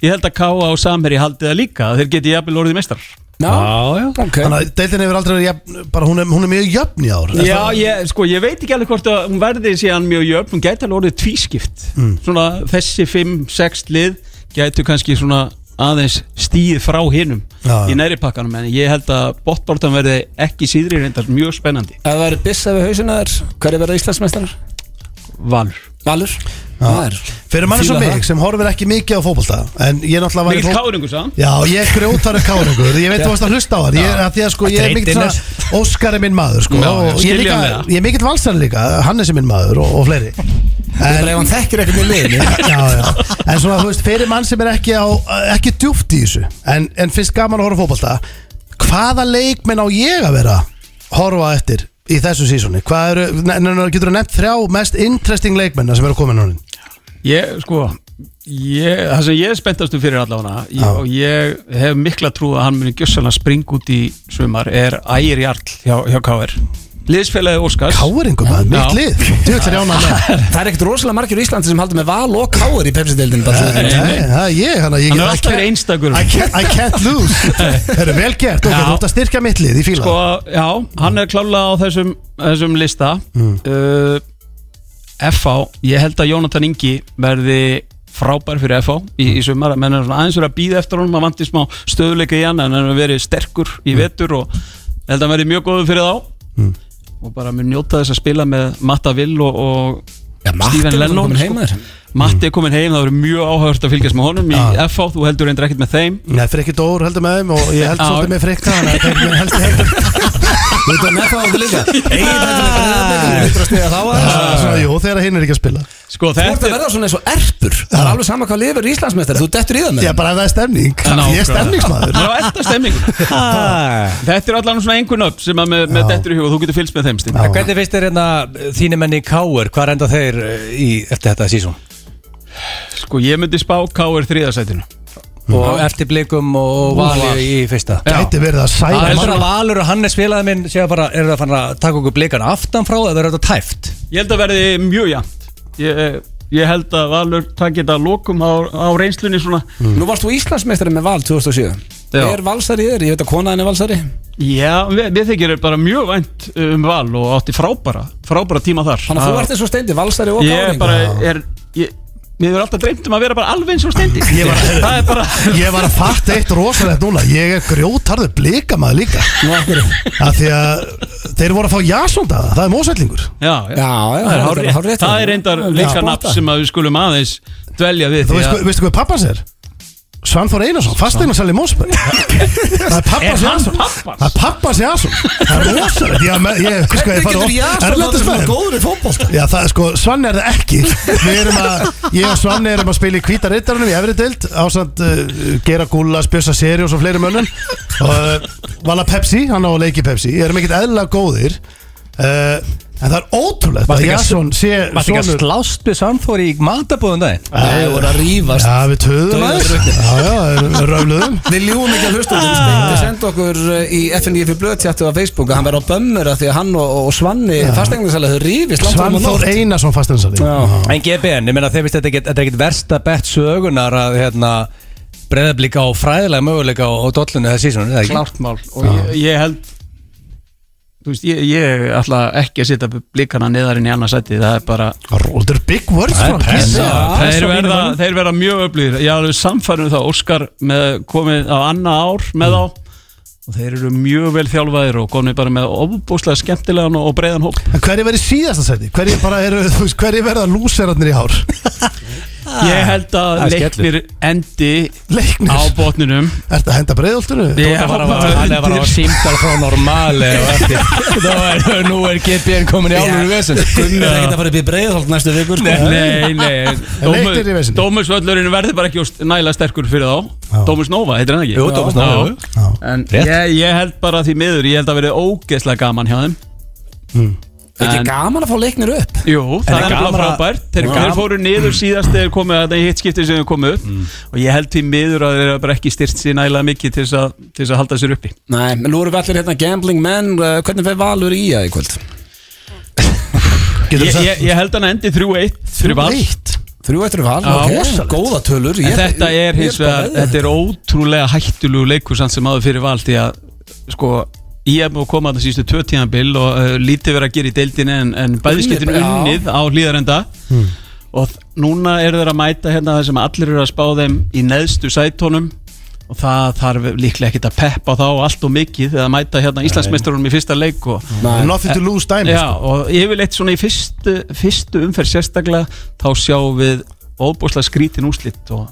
Speaker 4: Ég held að káa og samherji haldið það líka að þeir geti jafnvel orðið meistrar
Speaker 1: Já,
Speaker 2: já
Speaker 1: ok
Speaker 3: Þannig að deildin hefur aldrei verið jafn, bara, hún, er, hún er mjög jöfn í ár Er
Speaker 4: Já,
Speaker 3: það-
Speaker 4: ég, sko, ég veit ekki alveg hvort að hún verði síðan mjög jöfn, hún gæti alveg orðið tvískipt Svona þessi 5-6 lið gætu kannski svona aðeins stíð frá hinnum
Speaker 3: Já, já.
Speaker 4: í næri pakkanum en ég held að botbártan verði ekki síðri reyndar mjög spennandi
Speaker 1: Ef það eru byssa við hausina þér, hverju verða Íslandsmeistarar?
Speaker 4: Valur
Speaker 1: Valur? Það er
Speaker 3: Fyrir manni svo
Speaker 1: Fíla
Speaker 3: mig
Speaker 1: það.
Speaker 3: sem horfir ekki mikið á fótbolta En ég náttúrulega væri
Speaker 4: Mikið
Speaker 3: fót-
Speaker 4: káringu sann
Speaker 3: Já, ég grjótar er káringur Ég veit þú varst að hlusta á hann Ég, að því að sko, ég er mikill svona Óskar er minn maður sko
Speaker 4: Já, já,
Speaker 3: og ég, er
Speaker 4: skilja
Speaker 3: líka,
Speaker 4: mig það.
Speaker 3: ég er mikill valsar líka Hannes er minn maður og, og fleiri
Speaker 1: Bara ef
Speaker 3: en,
Speaker 1: hann þekkir ekkert í liðinu
Speaker 3: já, já. en svona þú veist, fyrir mann sem er ekki á Ekki djúft í þessu En, en finnst gaman að horfa á fótbolta Hvaða leikmenn á ég að vera að Horfa eftir í þessu sísoni Hvað eru, ne, ne, ne, getur þú nefnt þrjá Mest interesting leikmennar sem eru komin núna
Speaker 4: Ég, sko ég, Það sem ég er spenntastu fyrir allavega ég,
Speaker 3: Já.
Speaker 4: og ég hef mikla trú að hann muni gjössalega springa út í sumar er Ægir Jarl hjá, hjá KR Liðsfélagi Óskars
Speaker 3: Káringum, það er mitt
Speaker 4: Já.
Speaker 3: lið Djúvill er jána með
Speaker 1: Það er ekkert rosalega margir í Íslandi sem haldur með val og káur í Pepsi-deildinu bara svo þið
Speaker 4: Nei,
Speaker 1: veitir.
Speaker 4: nei.
Speaker 3: Nei, það er ég hann að ég
Speaker 4: Hann
Speaker 3: get-
Speaker 4: er
Speaker 3: I
Speaker 4: alltaf
Speaker 3: can't-
Speaker 4: verið einstakur
Speaker 3: I can't, I can't lose Það eru vel gert, ok,
Speaker 4: Já.
Speaker 3: þú ert að styrkja mitt lið í fíla
Speaker 4: sko, Já, hann er klálega á þessum, þessum lista mm. uh, FH Ég held að Jónatan Ingi verði frábær fyrir FH í, í sumar menn er svona aðeins verið að býða eftir honum að vanti smá stöðuleika í hann en hann er verið sterkur
Speaker 1: Mm.
Speaker 4: í vetur og ég held að hann verið mjög góður fyrir þá og bara mun njóta þess að spila með Matta Vill og, og
Speaker 1: Já, Matti er
Speaker 4: Steven
Speaker 1: náttúrulega
Speaker 4: Lennon sko.
Speaker 1: kominn heim, maður. Mm.
Speaker 4: Matti er komin heim, það verður mjög áhört að fylgjast með honum í
Speaker 3: Já.
Speaker 4: FH, þú heldur reyndir ekkert með þeim
Speaker 3: Nei, frikki Dór heldur með þeim og ég held
Speaker 4: Já.
Speaker 3: svolítið með frikka Þannig að það er heldur heldur
Speaker 1: Þú veit að nefna á þetta líka Egin þetta með bregðarblik Þú veitur að stiga þá að
Speaker 3: Ah, Svona, jú, þegar hinn er ekki að spila
Speaker 4: sko
Speaker 1: Þú ert
Speaker 4: þetta
Speaker 1: að verða svona eins og erpur Það er alveg sama hvað lifir Íslandsmeistar Þú dettur í það með
Speaker 3: Já, bara ef það er stemning
Speaker 4: Nákvæmlega.
Speaker 3: Ég er stemningsmaður
Speaker 4: Það var elda stemmingun Þetta er allan svona einhvern upp sem að með, með dettur í hug og þú getur fylgst með þeim Stín
Speaker 3: Já.
Speaker 2: Hvernig finnst þér hérna þínu menni í Káur, hvað enda þeir eh, í, eftir þetta sísón?
Speaker 4: Sko ég myndi spá K.R. þriðasætinu
Speaker 1: Mhm.
Speaker 2: Og eftir blikum og
Speaker 4: Val.
Speaker 2: vali í fyrsta
Speaker 3: Gæti verið að
Speaker 2: Það
Speaker 3: særa
Speaker 2: heldur
Speaker 3: mann
Speaker 2: að Valur og Hannes félagið minn séu bara, eru það fann að taka okkur blikana aftan frá eða er þetta tæft?
Speaker 4: Ég held að verði mjög jæmt ég, ég held að Valur takki þetta að lokum á, á reynslunni svona
Speaker 1: Nú varst þú Íslandsmeistari með val 2007
Speaker 4: Já.
Speaker 1: Er valsari þér? Ég veit að konaðin er valsari
Speaker 4: Já, við, við þykir bara mjög vænt um Val og átti frábæra frábæra tíma þar
Speaker 1: Þannig að þú ert eins og steindi Valsari og
Speaker 4: Ég er
Speaker 1: gáringur
Speaker 4: bara er, ég, Mér er alltaf dreymt um að vera bara alveg eins og stendi
Speaker 3: Ég var-
Speaker 4: Það er bara
Speaker 3: Ég var að fatta eitt rosalegt núna Ég er grjótarður blikamaður líka
Speaker 1: Nú af hverju?
Speaker 3: Af því að þeir voru að fá jasondaða Það er mósællingur
Speaker 4: Já,
Speaker 1: Já, já,
Speaker 4: það
Speaker 1: það
Speaker 4: er
Speaker 1: er
Speaker 4: hárrétt.
Speaker 1: hárrétt.
Speaker 4: Það er reyndar
Speaker 1: Já,
Speaker 4: líka
Speaker 1: spotta.
Speaker 4: nafn sem að við skulum aðeins dvelja við
Speaker 3: Þú
Speaker 4: því
Speaker 3: veist,
Speaker 4: að
Speaker 3: veistu hvað pappans er? Svanþór Einarsson, fasteinarsæli Mósberg Það er
Speaker 4: Er
Speaker 3: pappans
Speaker 4: hann
Speaker 3: Jason
Speaker 4: pabbans?
Speaker 3: Það er pappans Jason Það er rosalegt Ég, ég, ég, sko, ég
Speaker 1: Hvernig
Speaker 3: fara
Speaker 1: getur
Speaker 3: á
Speaker 1: Jason látið
Speaker 3: erlendis
Speaker 1: svona
Speaker 3: með
Speaker 1: góður í fótbolta?
Speaker 3: Já, það er sko, Svann er það ekki Við erum að, ég og Svann erum að spila í hvíta reytarunum í efri deild Ásand uh, gera gúla, spjösa seri og svo fleiri mönnum Og uh, vala Pepsi, hann á að leiki Pepsi Ég erum ekkit eðla góðir uh, En það er ótrúlegt
Speaker 2: Varstu
Speaker 3: að
Speaker 2: ekki að-
Speaker 3: Jason sé
Speaker 2: Varst ekki að
Speaker 3: sonur-
Speaker 2: slást við samþóri í matabóðum daginn?
Speaker 1: Nei, voru að rífast
Speaker 3: Já, við töðum
Speaker 1: Dauða
Speaker 3: aðeins Já, já, röfluðum
Speaker 1: Við ljúum ekki að hlusta
Speaker 4: Ah.
Speaker 1: Þú steindi sendi okkur uh, í FNF blöðtjættu á Facebook að hann verði á bömmur af því að hann og, og Svanni fastegningarsælega þau rífist langt fram á
Speaker 3: Svanþór
Speaker 1: nótt.
Speaker 3: Einarsson fasteinsali
Speaker 1: Já.
Speaker 2: En GBN, ég meina þeir veist þetta er ekkit- þetta er ekkit versta bett sögunar að hérna breyðablika á fræðilega möguleika á, á dollunni þessi sísónu, eða ekki?
Speaker 4: klárt mál og ég, ég held þú veist, ég, ég ætla ekki að setja blikana neðarinn í annars sæti það er bara
Speaker 3: Þetta eru big sko. words
Speaker 2: Það er
Speaker 3: frá
Speaker 2: pessa.
Speaker 3: Gísla.
Speaker 2: Já,
Speaker 4: þeir,
Speaker 2: svo fínir
Speaker 4: verða,
Speaker 2: mönnum.
Speaker 4: þeir verða mjög öflýr ég er alveg samfærum það Óskar með komið á annað ár með þá og þeir eru mjög vel þjálfaðir og komið bara með ofbúslega skemmtilegan og breiðan hóp
Speaker 3: En Hverju verið síðasta sæti? Hverju bara eru, þú veist, hverju verða lúserarnir í hár?
Speaker 4: ég held að
Speaker 2: það er
Speaker 4: leiknir endi á
Speaker 3: Leiknir?
Speaker 4: botninum
Speaker 3: Er þetta að henda breiðoltinu?
Speaker 4: Ég
Speaker 2: Það var
Speaker 4: held
Speaker 2: að-
Speaker 4: að
Speaker 2: hann er bara á
Speaker 4: undir-
Speaker 2: símtal frá normali og eftir Þá er, nú er GBN komin í álur vesen
Speaker 1: Gummi er ekkert að fara upp í breiðholt næstu vikur sko.
Speaker 4: Nei, nei
Speaker 3: leiknir í vesinni.
Speaker 4: Dómusvöllurinn verður bara ekki úst- nægilega sterkur fyrir þá Dómus Nova, heitir hann ekki?
Speaker 2: Jú, Dómus Nova,
Speaker 4: Já.
Speaker 2: jú.
Speaker 3: Já.
Speaker 4: En
Speaker 2: Rétt.
Speaker 4: ég, ég held bara því miður Ég held að verið ógeðslega gaman hjá þeim
Speaker 1: Er ekki
Speaker 4: En-
Speaker 1: gaman að fá leiknir upp?
Speaker 4: Jú, það
Speaker 2: er
Speaker 4: er
Speaker 2: gaman
Speaker 4: alveg
Speaker 2: að-
Speaker 4: frábært Þeir,
Speaker 2: Já.
Speaker 4: þeir fóru niður síðast þegar komið Þetta er hitt skiptið sem þeir komið upp Og ég held því miður að þeir eru bara ekki styrt sér nægilega mikið Til þess að, til þess að halda sér uppi
Speaker 1: Nei, menn nú erum við allir hérna gambling menn uh, Hvernig fer Valur í það í kvöld?
Speaker 3: Getur
Speaker 4: Ég,
Speaker 3: þú sagt?
Speaker 4: ég, ég held hann endi 3-1 fyrir Val.
Speaker 1: 3 eftir Val,
Speaker 4: Já,
Speaker 1: ok,
Speaker 4: rosalegt.
Speaker 1: góða tölur
Speaker 4: En þetta er hins vegar, þetta er ótrúlega hættulegu leikur samt sem áður fyrir val því að sko ég hef múið að koma að það sístu tvö tíðanbill og uh, lítið verið að gera í deildinni en, en bæðisleitin
Speaker 1: Unnið bara, já. Hmm.
Speaker 4: unnið á hlýðarenda og þ- núna eru þeir að mæta hérna það sem allir eru að spá þeim í neðstu sætónum og það þarf líklega ekkert að peppa þá allt og mikið þegar að mæta hérna Íslandsmeistarunum í fyrsta leik og
Speaker 1: Nei,
Speaker 3: Nothing to lose dæmi sko?
Speaker 4: Já, og yfirleitt svona í fyrstu, fyrstu umferð sérstaklega þá sjáum við óbúslega skrítin úslitt og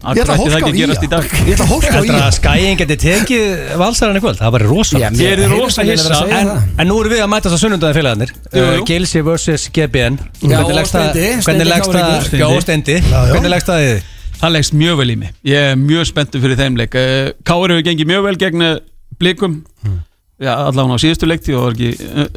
Speaker 3: Ég ætla að
Speaker 4: ætti það
Speaker 3: hólka á
Speaker 4: ekki að gerast í
Speaker 3: ía
Speaker 4: dag
Speaker 3: Ég ætla að hólka á
Speaker 2: Heldur
Speaker 3: ía
Speaker 2: að skæin geti tekið valsarinn í kvöld? Það var rosalegt
Speaker 1: Já, mér-
Speaker 4: Ég er
Speaker 1: Heyrðu
Speaker 4: rosa
Speaker 1: hvernig
Speaker 4: hissa
Speaker 1: þeir eru að segja
Speaker 4: en
Speaker 1: það.
Speaker 2: En nú erum við að mætast á sunnundaði félagarnir
Speaker 4: Jú,
Speaker 2: uh,
Speaker 4: jú.
Speaker 2: Gilsi vs. GBN
Speaker 1: Já,
Speaker 2: Hvernig
Speaker 1: og
Speaker 2: leggst það-
Speaker 1: Steindi,
Speaker 2: Hvernig
Speaker 1: Steindi
Speaker 2: leggst
Speaker 1: Káringur.
Speaker 2: það
Speaker 4: Steindi.
Speaker 2: Já, og Steindi
Speaker 3: Já, já.
Speaker 2: Hvernig leggst það í þið?
Speaker 4: það leggst mjög vel í mig Ég er mjög spenntur fyrir þeim leik Eh, Káur hefur gengið mjög vel gegn eh, blikum Já, allavega á síðustu leikti og var ekki eh,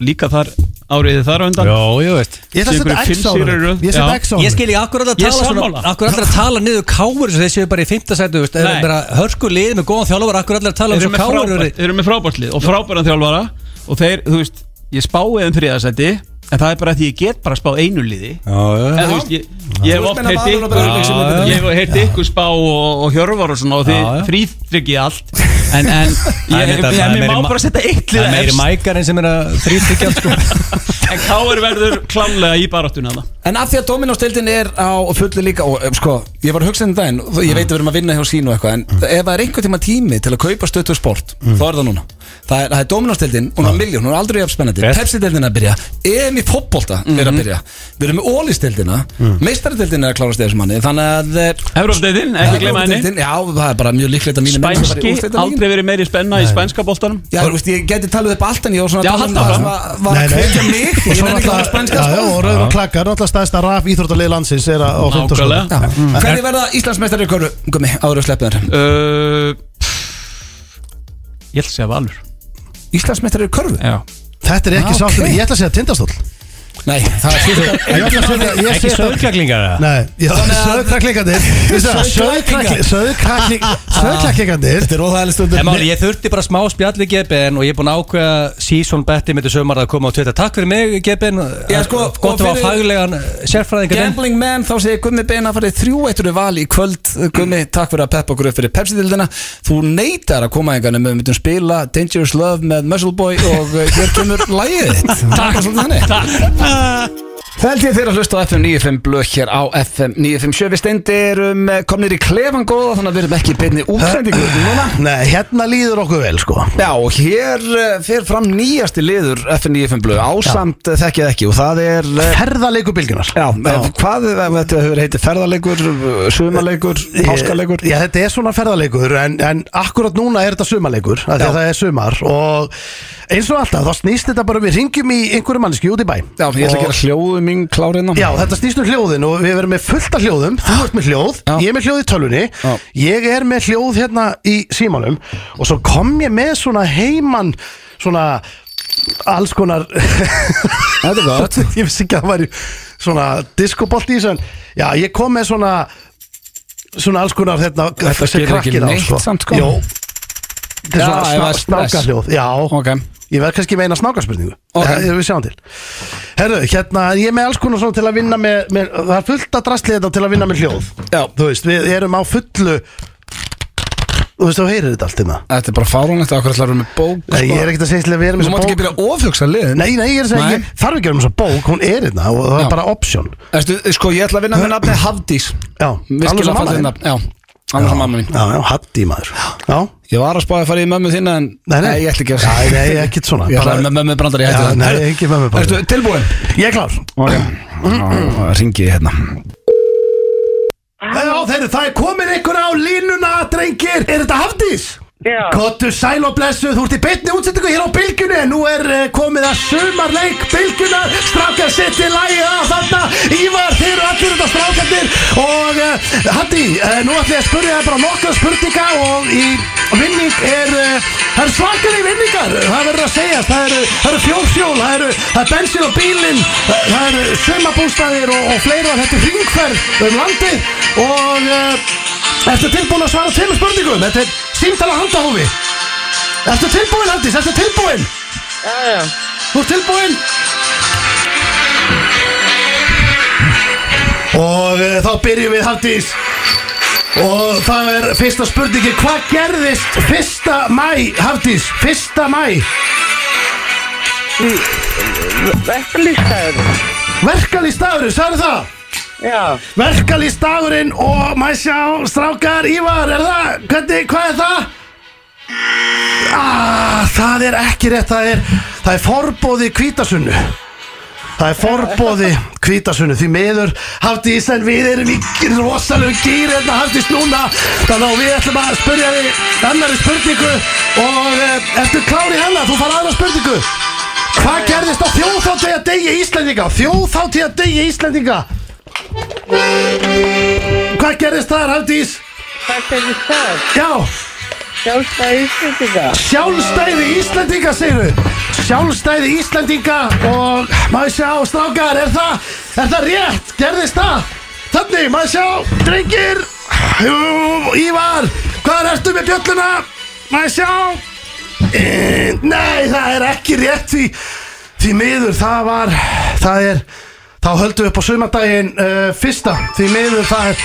Speaker 4: líka þar áriði þar á undan
Speaker 2: Jó, jú veist
Speaker 3: Ég ætla að setja
Speaker 4: Einhverju
Speaker 3: X á
Speaker 4: fimm sigrar í
Speaker 3: það
Speaker 4: röð.
Speaker 3: Ég setja
Speaker 4: Já.
Speaker 3: X á
Speaker 2: Ég
Speaker 3: það
Speaker 2: skil ég akkur að
Speaker 4: Ég
Speaker 2: tala svona
Speaker 4: sammála.
Speaker 2: Akkur að tala niður káur Þessi séu bara í fimmtasætu
Speaker 4: Nei.
Speaker 2: Hörku lið með góðan þjálfur Akkur að tala um svo
Speaker 4: Þeir eru með
Speaker 2: káur
Speaker 4: frábært- þeir eru með frábært lið og frábæran þjálfara og þeir, þú veist, ég spáði þeim þriðasæti en það er bara því ég get bara spáð einu liði
Speaker 2: Já,
Speaker 4: En
Speaker 2: já
Speaker 4: þú veist, ég, ég hef
Speaker 1: Þú
Speaker 4: oft
Speaker 1: ert meina
Speaker 4: heyrt
Speaker 1: Valur og Breiðablik sem
Speaker 4: ykkur
Speaker 2: þetta
Speaker 4: Ég hef heyrt ykkur spá og, og hjörvar og svona og
Speaker 2: Já, já.
Speaker 4: þið þrýþryggið allt En,
Speaker 2: Það er
Speaker 4: en ég,
Speaker 2: þetta-
Speaker 4: ég,
Speaker 2: það er
Speaker 4: ég,
Speaker 2: meiri
Speaker 4: má
Speaker 2: ma-
Speaker 4: bara setja eitt
Speaker 2: Það
Speaker 4: lið
Speaker 2: er meiri
Speaker 4: efst
Speaker 2: mækarinn sem er að þrýttikja sko.
Speaker 4: En Káur verður klálega í baráttuna það
Speaker 1: En af því að Dominos-deildin er á fullu líka og eh, sko, ég var að hugsa um daginn og ég veit að við erum að vinna hjá sín og eitthvað en
Speaker 4: Mm.
Speaker 1: ef það er einhvern tíma tími til að kaupa stöttu sport þá er það núna Það er, það er Dominos-deildin,
Speaker 4: Ah.
Speaker 1: hún er miljón, hún er aldrei jafn spennandi
Speaker 2: Rétt.
Speaker 1: Pepsi-deildin er að byrja, EM í popbolta er
Speaker 4: Mhm.
Speaker 1: að byrja Við erum með Ólís-deildina,
Speaker 4: Mm.
Speaker 1: meistaradeildin er að klárast í þessum manni Þannig að eh,
Speaker 4: Evrópdeildin, ekki gleyma henni
Speaker 1: Evrópudeildin, Já, það er bara mjög líklegt að mínu
Speaker 4: Spænski, aldrei verið meiri spenna í spænska boltanum
Speaker 1: Já, þú veist, ég geti talið upp allt en ég var svona
Speaker 4: Já,
Speaker 1: að tala um
Speaker 4: haltu
Speaker 1: það
Speaker 4: áfram.
Speaker 1: sem að var að kveikja mig
Speaker 3: og
Speaker 1: Ég
Speaker 3: svo
Speaker 1: nefnir ekki að hafa spænska
Speaker 3: náttúrulega já, já,
Speaker 1: spáð.
Speaker 3: og rauður og klakkar, náttúrulega staðista raf íþróttalegi landsins er að- á 15
Speaker 4: Nákvæmlega.
Speaker 1: Já. Hvernig verða Íslandsmeistari í körfu? Gumi, áður og sleppið þar
Speaker 4: Uh, Ég ætla að segja Valur
Speaker 1: Íslandsmeistari í körfu?
Speaker 4: Já
Speaker 3: þetta er ekki
Speaker 1: Ah,
Speaker 3: sáttum,
Speaker 1: ok.
Speaker 3: ég ætla að segja tindastóll
Speaker 1: Nei, það er fyrir
Speaker 3: ég ætla að segja, ég
Speaker 2: Ekki
Speaker 3: segja það
Speaker 2: stöðkaklingar eða?
Speaker 3: Nei, já,
Speaker 1: Þannig að-
Speaker 3: söðkraklingandir
Speaker 1: Sauðkræklingar. Ah.
Speaker 3: Söðkraklingandir
Speaker 1: Þetta er óþægileg
Speaker 2: En
Speaker 1: stundum
Speaker 2: máli, ég þurfti bara smá spjall við GBN og ég er búinn að ákveða season betti mitt í sömar að koma á Twitter. Takk fyrir mig GBN,
Speaker 1: Já, sko, og
Speaker 2: gott að
Speaker 1: fyrir-
Speaker 2: hafa faglegan eh, sérfræðingar þinn.
Speaker 1: Gambling man, þá segir Gummi Beina farið þrjú eittur val í kvöld Gummi, takk fyrir að peppa okkur upp fyrir Pepsi-dildina Þú neytar að koma einhvern veginn við myndum spila Dangerous Love með Muscle Boy og uh, hér kemur lægið þitt Takk Takk Held ég þeir að hlusta á FM 95 blöð hér á FM 957 Við steindir um komnir í klefan góða þannig að við erum ekki í beinni útsendingu núna
Speaker 3: Nei, hérna líður okkur vel sko
Speaker 1: Já, og hér uh, fer fram nýjasti liður FNÍFM Blöð, ásamt uh, þekkið ekki og það er, uh,
Speaker 3: Ferðaleiku bylgjunar
Speaker 1: já, já. hvað uh, þetta hefur heitið ferðarleikur, uh, sumarleikur, páskaleikur
Speaker 3: Já, þetta er svona ferðaleikur en, en akkurat núna er þetta sumarleikur af því
Speaker 1: Já.
Speaker 3: að það er sumar og eins og alltaf, þá snýst þetta bara við ringjum í einhverju manneski út í bæ
Speaker 1: Já, ég ætla að gera hljóðu mín hérna. klárinn á
Speaker 3: Já, þetta snýst um hljóðin og við verðum með fullt af hljóðum Þú ert með hljóð,
Speaker 1: Já.
Speaker 3: ég er með hljóð í tölvunni
Speaker 1: Já.
Speaker 3: Ég er með hljóð hérna í símanum Og svo kom ég með svona heiman Svona alls konar
Speaker 1: Þetta er gott
Speaker 3: Ég vissi ekki að það væri svona diskobolt í þessu en Já, ég kom með svona Svona alls konar hérna,
Speaker 1: Þetta
Speaker 3: sem
Speaker 1: gerir ekki
Speaker 3: krakkir á,
Speaker 1: neitt samt, sko.
Speaker 3: Jó, þetta
Speaker 1: Já,
Speaker 3: er
Speaker 1: ef það
Speaker 3: svona
Speaker 1: er
Speaker 3: sná, snáka
Speaker 1: stress.
Speaker 3: hljóð Já,
Speaker 1: Ok,
Speaker 3: Ég verð kannski meina snákarspurningu
Speaker 1: Ok.
Speaker 3: okay. Við sjáum til Herru, hérna, ég er með alls konar svona til að vinna með, með Það er fullt að drastlið þetta til að vinna með hljóð
Speaker 1: Já.
Speaker 3: Þú veist, við erum á fullu Þú veist, þú heyrir þetta allt hérna
Speaker 1: þetta er bara fáránlegt að okkur ætlar við með bók
Speaker 3: Nei, ég er ekkert að segja til að við erum
Speaker 1: Sko. Þú
Speaker 3: með
Speaker 1: mátt
Speaker 3: þessa
Speaker 1: ekki byrja að ofhugsa liðin
Speaker 3: Nei, nei, ég er að
Speaker 1: Nei.
Speaker 3: segja, ég þarf ekki að vera með svo bók Hún er hérna og
Speaker 1: Já.
Speaker 3: það er bara option
Speaker 1: Ertu, sko, ég ætla að vinna með nafni Hafdís
Speaker 3: Já, alveg
Speaker 1: Virkilega
Speaker 3: svo mamma
Speaker 1: fallið
Speaker 3: þín.
Speaker 1: nafn, já Annars að mamma mín
Speaker 3: Já, já, hatt í maður Já,
Speaker 1: Ég var að spáði að fara í mömmu þína en
Speaker 3: Nei, nei.
Speaker 1: ég ætla ekki að
Speaker 3: Nei, nei, ekkert svona.
Speaker 1: Ég ætla að
Speaker 3: Bara-
Speaker 1: með mömmu brandar, ég hætti
Speaker 3: Já,
Speaker 1: það
Speaker 3: nei, ekki mömmubrandari.
Speaker 1: Ertu tilbúin?
Speaker 3: ég er klár
Speaker 1: Ok Ringi ég hérna
Speaker 3: Já, þeirri, það er komin einhver á línuna, drengir Er þetta Hafdís?
Speaker 5: Já,
Speaker 3: Kottu sæl og blessu, þú ert í beinni útsendingu hér á Bilgjunni en Nú er eh, komið að sumarleik Bilgjunar Strákar setti lægi að þarna Ívar, þeir eru allir þetta strákarnir Og uh, Hatti, uh, nú ætlum ég að spurja þér bara nokkra spurninga Og í vinning er, uh, það eru svakar í vinningar Það verður að segja, það eru, það eru fjórfjól Það eru það er bensin og bílinn eh, Það eru sumabústæðir og, og fleira Þetta er hringferð um landi Og uh, ertu tilbúin að svara tveimur spurningum Þetta er símtala handahófi Ertu tilbúin, Haldís? Ertu tilbúin?
Speaker 5: já, já.
Speaker 3: Þú ert tilbúin? Og uh, þá byrjum við, Haldís Og það er fyrsta spurningi Hvað gerðist fyrsta mæ, Haldís? Fyrsta mæ
Speaker 5: Verkalýstæður.
Speaker 3: Verkalýstdagurinn, sagðu það?
Speaker 5: Já,
Speaker 3: Verkalýstdagurinn og maður sjá strákar Ívar, er það? Hvernig, hvað er það? Ah, það er ekki rétt, það er, það er forbóði kvítasunnu Það er forbóði kvítasunnu Því miður Hafdís en við erum í rosalegu gýr Þetta Hafdís núna Þannig að við ætlum að spurja þig annari spurningu Og eh, ertu klári hana? Þú fara aðra spurningu Hvað gerðist á þjóðþáttíða degi Íslendinga? Þjóðþáttíða degi Íslendinga Hvað gerðist þar Hafdís?
Speaker 5: hvað gerðist það?
Speaker 3: Já,
Speaker 5: Sjálfstæði Íslandinga.
Speaker 3: Sjálfstæði Íslendinga, segir þau Sjálfstæði Íslendinga og maður sjá, strákar, er það, er það rétt? Gerðist það? Þannig, maður sjá, drengir, jú, Ívar, hvað ertu með Eh, bjölluna? Maður sjá, e, nei, það er ekki rétt því Því miður, það var, það er, þá höldum við upp á sumardaginn uh, fyrsta, því miður, það er,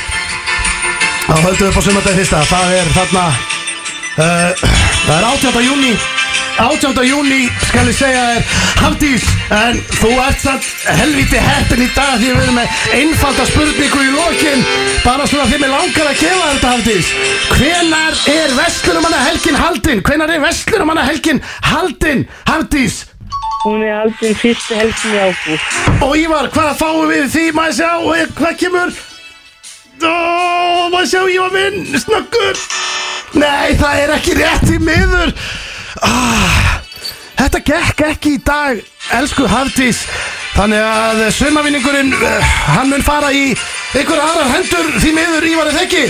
Speaker 3: þá höldum við upp á sumardaginn fyrsta, það er þarna, uh, það er 18. júni, 18. júni, skal ég segja þér, Hafdís, en þú ert samt helviti heppin í dag því við erum með einfalda spurningu í lokin, bara svona því mig langar að gefa þér þetta, Hafdís. Hvenar er Vestlunumanna helgin haldin? Hvenar er Vestlunumanna helgin haldin, Hafdís?
Speaker 5: Hún er aldrei fyrstu helgin í ágúst.
Speaker 3: Og Ívar, hvað fáum við því? Maður sjá, eh, hvað kemur? Ó, maður sjá Ívar minn, snöggur Nei, það er ekki rétt í miður ah, Þetta gekk ekki í dag, elsku Hafdís Þannig að sumavinningurinn, eh, hann mun fara í ykkur aðrar hendur því miður Ívar er þekki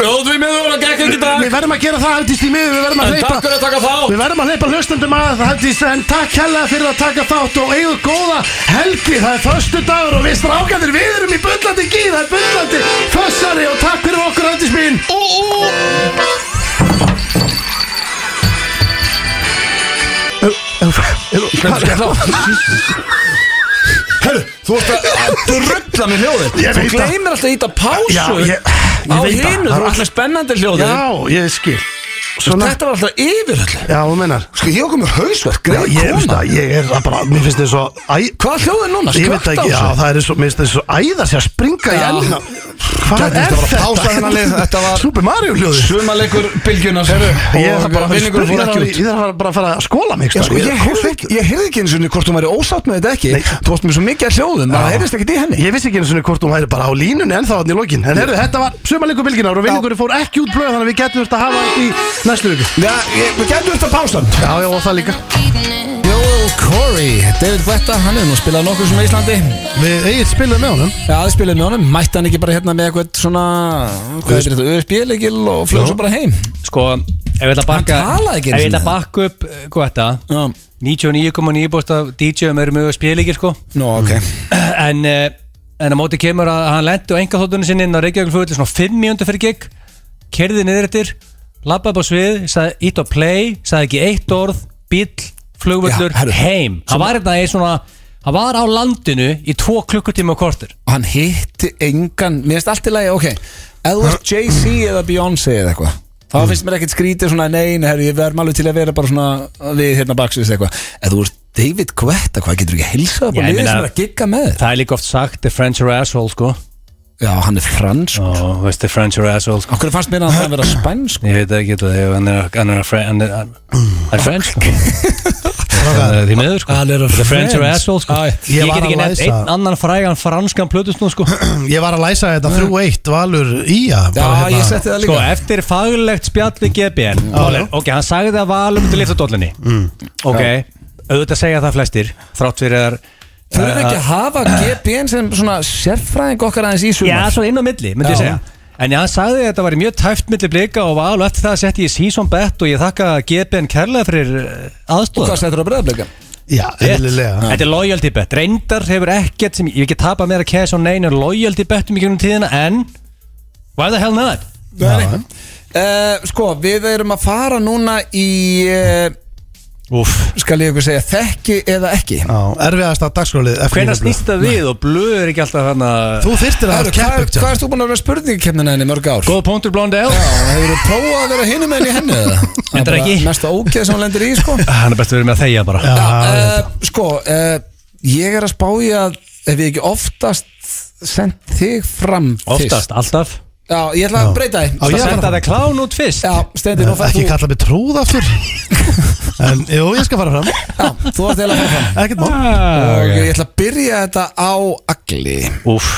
Speaker 1: Jóðum við miður að gegn ekki dag
Speaker 3: Við verðum að gera það, Hafdís, því miður, við verðum að
Speaker 1: En takk
Speaker 3: hleypa
Speaker 1: fyrir að taka þá
Speaker 3: Við verðum að hleypa hlustendum að Hafdís En takk hella fyrir að taka þátt og eigðu góða helgi Það er förstu dagur og við strákanir Við erum í bullandi gíð, það er bullandi Fössari og takk fyrir okkur Hafdís mín
Speaker 1: Herru, þú ert að- að drulla með hljóðið
Speaker 3: Ég
Speaker 1: Þú
Speaker 3: veit það.
Speaker 1: gleymir alltaf að íta pásu
Speaker 3: Já, ég- ég
Speaker 1: Á
Speaker 3: veit það.
Speaker 1: hinu,
Speaker 3: Það
Speaker 1: þú
Speaker 3: er
Speaker 1: er alltaf spennandi hljóðið
Speaker 3: Já, ég skil Svona,
Speaker 1: Þetta var alltaf yfir öllu
Speaker 3: já, þú meinar
Speaker 1: Sko, ég okkur með hausverk,
Speaker 3: Já,
Speaker 1: greið
Speaker 3: ég, veist
Speaker 1: kona
Speaker 3: það, ég er það bara, mér finnst þið svo æ,
Speaker 1: Hvað hljóðið er núna?
Speaker 3: Ég
Speaker 1: Skvögt
Speaker 3: veit
Speaker 1: á
Speaker 3: ekki, já,
Speaker 1: þessu
Speaker 3: það er svo, mér finnst þið svo æða sér að springa í
Speaker 1: Já.
Speaker 3: ennina Hvað
Speaker 1: Þetta
Speaker 3: er
Speaker 1: var að
Speaker 3: þetta?
Speaker 1: pása þennan lið, þetta var-
Speaker 3: Super Mario hljóði
Speaker 1: Sumaleikur bylgjunar Herru,
Speaker 3: Ég þarf bara að fara að
Speaker 1: vinningur fór
Speaker 3: spurninga
Speaker 1: ekki út
Speaker 3: Ég þarf bara að fara að skóla mig
Speaker 1: Já, sko, ég, heyrði, ekki- ég heyrði ekki eins og hvort hún væri ósátt með þetta ekki
Speaker 3: Nei.
Speaker 1: Þú varst með svo mikið að hljóðum, maður
Speaker 3: Já.
Speaker 1: heyrðist ekkert í henni
Speaker 3: Ég vissi ekki einu svona hvort hún væri bara á línunni ennþá hann í lokin En herru, þetta var sumarleikur bylginar og vinningurinn fór ekki út blöð Þannig að við getum þetta að hafa þetta í næstu viku
Speaker 1: Já, ég, við gætum þetta pásan
Speaker 3: Já, já, og það líka
Speaker 1: Joel Corey, David Guetta, hann er nú að spila nokkur sem í Íslandi Já,
Speaker 3: Við eigin spilaði með honum
Speaker 1: þið spilaði með honum, mætti hann ekki bara hérna með eitthvað svona Hvað er þetta, USB-legil og flög svo bara heim
Speaker 2: Sko, ef ég ætla að bakka
Speaker 1: Hann talaði ekki einu
Speaker 2: Ef ég
Speaker 1: sinni
Speaker 2: ætla að
Speaker 1: það.
Speaker 2: bakka upp, eh, hvað þetta
Speaker 1: Já,
Speaker 2: 99,9% af DJ-um eru mjög spilíkir sko
Speaker 1: nú, ok
Speaker 2: en, eh, en á móti kemur að hann lendi á engaþóttunni sinni inn á Reykjavíkflugulli svona 5 mjöndu fyrir gig kerði niður eftir, labbaði upp á svið sagði ít á play, sagði ekki eitt orð bíll, flugvöllur,
Speaker 1: Já, herru,
Speaker 2: heim hann
Speaker 1: sem-
Speaker 2: var þetta í svona hann var á landinu í 2 klukkutíma og kortur
Speaker 1: Og hann hitti engan, mér finnst allt í lagi, ok Ef þú ert Jay-Z eða Beyoncé eða eitthvað Þá
Speaker 2: Mm.
Speaker 1: finnst mér ekkert skrítið svona nein, herri, ég verðum alveg til að vera bara svona við hérna baksins eitthvað Ef þú ert David Guetta, hvað getur ekki að hilsa
Speaker 2: Já,
Speaker 1: bara
Speaker 2: ég
Speaker 1: liðið
Speaker 2: meina-
Speaker 1: sem er að gigga með þér?
Speaker 2: það er líka oft sagt, the French are asshole sko
Speaker 1: Já, hann er fransk
Speaker 2: Ó, veist, the French are asshole sko
Speaker 1: Okkur fannst mér að það vera spænsk
Speaker 2: ég veit ekki, þetta, ég- hann er hann er að fre- hann er- hann- hann er French sko Það er því miður sko
Speaker 1: Hann er að
Speaker 2: The French are
Speaker 1: French.
Speaker 2: asshole sko
Speaker 1: Æ,
Speaker 2: Ég
Speaker 3: ég var
Speaker 2: get ekki
Speaker 3: að
Speaker 2: nefnt
Speaker 3: læsa-
Speaker 2: einn annan frægan franskan plötusnúð sko
Speaker 3: Ég var að læsa þetta 3-1 Valur Ía hérna.
Speaker 1: Já, ég setti það
Speaker 2: Sko,
Speaker 1: líka
Speaker 2: eftir faglegt spjall við GBN Valur, Ok, hann sagði að Valur myndi lifta dollinni
Speaker 1: Mm.
Speaker 2: Ok, auðvitað segja það flestir Þrátt fyrir að
Speaker 1: Þú
Speaker 2: eh,
Speaker 1: verður ekki að hafa GBN sem svona sérfræðing okkar aðeins í
Speaker 2: Já,
Speaker 1: sumar
Speaker 2: svo inn á milli, myndi ég
Speaker 1: Já.
Speaker 2: segja En hann sagði að þetta var mjög tæft milli blika og val og eftir það setti ég season bet og ég þakka GBN kærlega fyrir aðstóða
Speaker 1: Hvað settur á breðablikar?
Speaker 3: Já, eðlilega
Speaker 2: Þetta er loyalty bet Reyndar hefur ekkert sem ég hef ekki tapað meira cash á neina loyalty betum í gegnum tíðina en why the hell not?
Speaker 3: Já,
Speaker 1: Uh, sko, við erum að fara núna í uh,
Speaker 2: Úff
Speaker 1: skal ég ykkur segja, þekki eða ekki
Speaker 3: já, erfiðasta dagskrálið
Speaker 2: Hvenær snýst það við og blöð er ekki alltaf hann að
Speaker 3: Þú þyrtir að
Speaker 1: Herru, hvað,
Speaker 3: keppa
Speaker 1: er-
Speaker 3: upp
Speaker 1: hvað
Speaker 3: tjá
Speaker 1: erst þú búin að vera spurningkeppnina henni í mörg ár?
Speaker 2: Góða punktur Blondell
Speaker 1: Já, hefur þú prófað að vera hinum enn í henni eða? Það
Speaker 2: Reyndar
Speaker 1: bara
Speaker 2: ekki.
Speaker 1: Mesta ógeð sem hún lendir í, sko
Speaker 2: Hann er best að vera með að þegja bara
Speaker 3: Ah, Já,
Speaker 1: uh, Sko, uh, ég er að spá í að ef ég ekki oftast sendt þig fram fyrst
Speaker 2: Oftast, alltaf
Speaker 1: Já, ég ætla að
Speaker 3: Já.
Speaker 1: breyta
Speaker 3: Já,
Speaker 1: þig
Speaker 3: ég-
Speaker 2: Það
Speaker 3: bara-
Speaker 2: senda það klán út fyrst
Speaker 1: Já, Steindi, nú
Speaker 3: já,
Speaker 1: fætt
Speaker 3: Ekki
Speaker 1: þú
Speaker 3: kalla mig trúða fyrr En, jú, ég skal fara fram
Speaker 1: Já, þú varst eiginlega að fara fram
Speaker 3: Ekkert mál
Speaker 2: Ah,
Speaker 1: Og
Speaker 2: ok.
Speaker 1: ég ætla að byrja þetta á agli
Speaker 2: Úff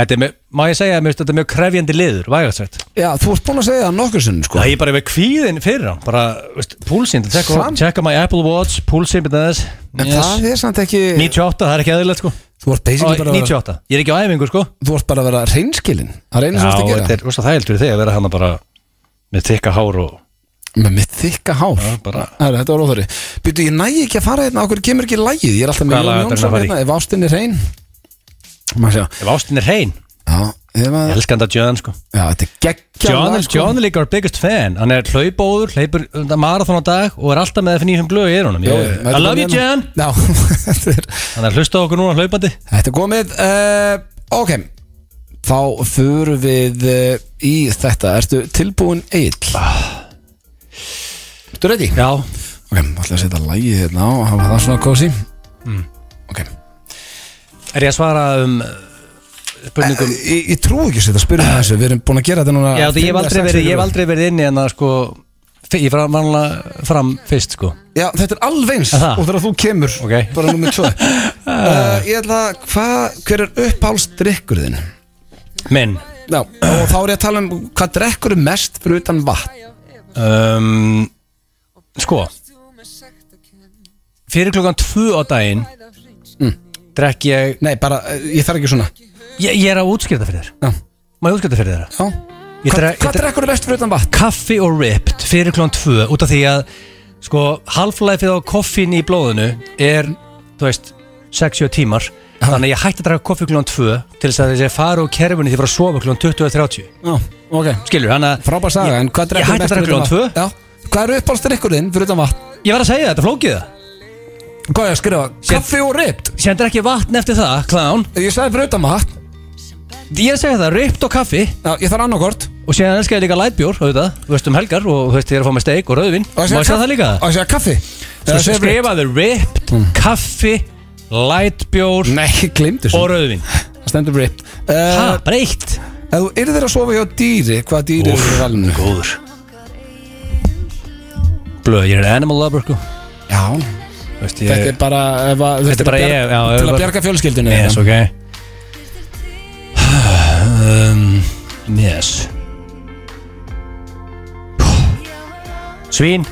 Speaker 2: Þetta er mjög, má ég segja, mér finnst þetta er mjög krefjandi liður, vægast sagt
Speaker 1: Já, þú ert búin að segja það nokkur sunn, sko
Speaker 2: Það er bara með kvíðin fyrir hann, bara, veist, púlsinn Tjekka
Speaker 1: Samt-
Speaker 2: tjekka my Apple Watch, púlsinn byrja þess
Speaker 1: En það er samt ekki
Speaker 2: 98, það er ekki aðeinlega sko
Speaker 1: Þú ert
Speaker 2: Ó,
Speaker 1: basically bara að vera
Speaker 2: 98, ég er ekki á æfingu sko
Speaker 1: Þú ert bara að vera reynskilin Það reynir
Speaker 2: Já,
Speaker 1: svo að
Speaker 2: þetta
Speaker 1: gera
Speaker 2: er úst, það heldur þig að vera hann bara með þykka hár og
Speaker 1: Með mitt þykka hár
Speaker 2: bara-
Speaker 1: Æra, Þetta var óþóri Býtu, ég næ ekki að fara hérna Okkur kemur ekki lægið Ég er alltaf með
Speaker 2: Hvaða lag
Speaker 1: Jón
Speaker 2: ætlarðu að
Speaker 1: Jónsson
Speaker 2: fara í?
Speaker 1: hérna Ef ástin er reyn Má sjá
Speaker 2: ef ástin er hrein
Speaker 1: Já, Ef að-
Speaker 2: Elskanda John sko
Speaker 1: Já, þetta er geggjað
Speaker 2: John,
Speaker 1: lag, sko.
Speaker 2: er, John er líka our biggest fan Hann er hlaupóður, hleypur uh, marathon á dag og er alltaf með F9 blöð í eyrunum
Speaker 1: Jó,
Speaker 2: Ég-
Speaker 1: þetta
Speaker 2: Eh, I
Speaker 1: er
Speaker 2: love you
Speaker 1: bara
Speaker 2: John
Speaker 1: hérna. Já, þetta er
Speaker 2: Hann er að hlusta á okkur núna hlaupandi
Speaker 1: Þetta er komið uh, Ok Þá förum við uh, í þetta Ertu tilbúin eill?
Speaker 2: Ah.
Speaker 1: Ertu ready?
Speaker 2: Já,
Speaker 1: Ok, ætla að setja lagið hérna á og hafa það svona kósi
Speaker 2: Mm.
Speaker 1: Ok
Speaker 2: er ég að svara um uh, spurningum
Speaker 1: Ég, ég trú ekki að setja spyrum það þessu Við erum búin að gera þetta núna
Speaker 2: Já, þetta ég hef aldrei verið, ég hef aldrei verið inni en að sko f- Ég var vanlega fram fyrst sko
Speaker 1: Já, þetta er alveg eins
Speaker 2: Er það?
Speaker 1: Og þegar þú kemur
Speaker 2: Ok.
Speaker 1: Bara nummið tvö uh, Ég ætla að Hvað Hver er uppálsdrykkur þinn?
Speaker 2: Minn
Speaker 1: Já Og þá er ég að tala um Hvað drekkur mest fyrir utan vatn?
Speaker 2: um, Sko Fyrir klukkan tvö á daginn
Speaker 1: Mm.
Speaker 2: Drekk ég
Speaker 1: Nei, bara eh, Ég þarf ekki svona
Speaker 2: Ég, ég er að útskýrta fyrir þér
Speaker 1: Já
Speaker 2: Má ég útskýrta fyrir þér það?
Speaker 1: Já
Speaker 2: Ég
Speaker 1: Hvað
Speaker 2: drek- ég
Speaker 1: hvað
Speaker 2: drek-
Speaker 1: drekkur þú mest fyrir utan vatn?
Speaker 2: Kaffi og ripped fyrir klón 2 út af því að sko half-lifeið á koffin í blóðinu er, þú veist 6-7 tímar, þannig að ég hætti að draga koffi klón 2 til þess að þessi fara úr kerfunni því að fara að sofa klón 20-30
Speaker 1: Já, ok
Speaker 2: skilur, hann að
Speaker 1: Frábær saga,
Speaker 2: Ég-
Speaker 1: en hvað
Speaker 2: ég
Speaker 1: drekkur
Speaker 2: hætti að drekka klukkan tvö.
Speaker 1: Já Hvað er uppáhaldsdrykkurinn fyrir utan vatn?
Speaker 2: ég var að segja þetta, flókið það
Speaker 1: Hvað er að skrifa?
Speaker 2: Sér-
Speaker 1: Kaffi og ript
Speaker 2: sendur ekki vatn eftir það, klán
Speaker 1: Ég sagði fyrir utan vatn
Speaker 2: ég er að segja það, ripped og kaffi
Speaker 1: Já, ég þarf annarkort
Speaker 2: og síðan elskar ég líka lightbjór, auðvitað, þú veist um helgar og þú veist ég er að fá með steik og rauðvin má ég segja það líka?
Speaker 1: Og ég segja kaffi Eh,
Speaker 2: Svo
Speaker 1: Eða segja ript?
Speaker 2: skrifaðu ripped, kaffi lightbjór
Speaker 1: Nei, ég glimtu
Speaker 2: og
Speaker 1: svo
Speaker 2: rauðvin
Speaker 1: Það stendur ript
Speaker 2: ha,
Speaker 1: Ef
Speaker 2: bara eitt
Speaker 1: þú yrðir að sofa hjá dýri Hvaða dýri eru þér valinu?
Speaker 2: Góður Blöð, ég er animal lover sko
Speaker 1: Já
Speaker 2: Veist,
Speaker 1: Þetta
Speaker 2: ég,
Speaker 1: er bara ef að-
Speaker 2: Þetta er bara
Speaker 1: bjar-
Speaker 2: ég, já, ef
Speaker 1: Til að
Speaker 2: bara-
Speaker 1: bjarga fjölskyldinu
Speaker 2: Yes, ok um, Yes Svín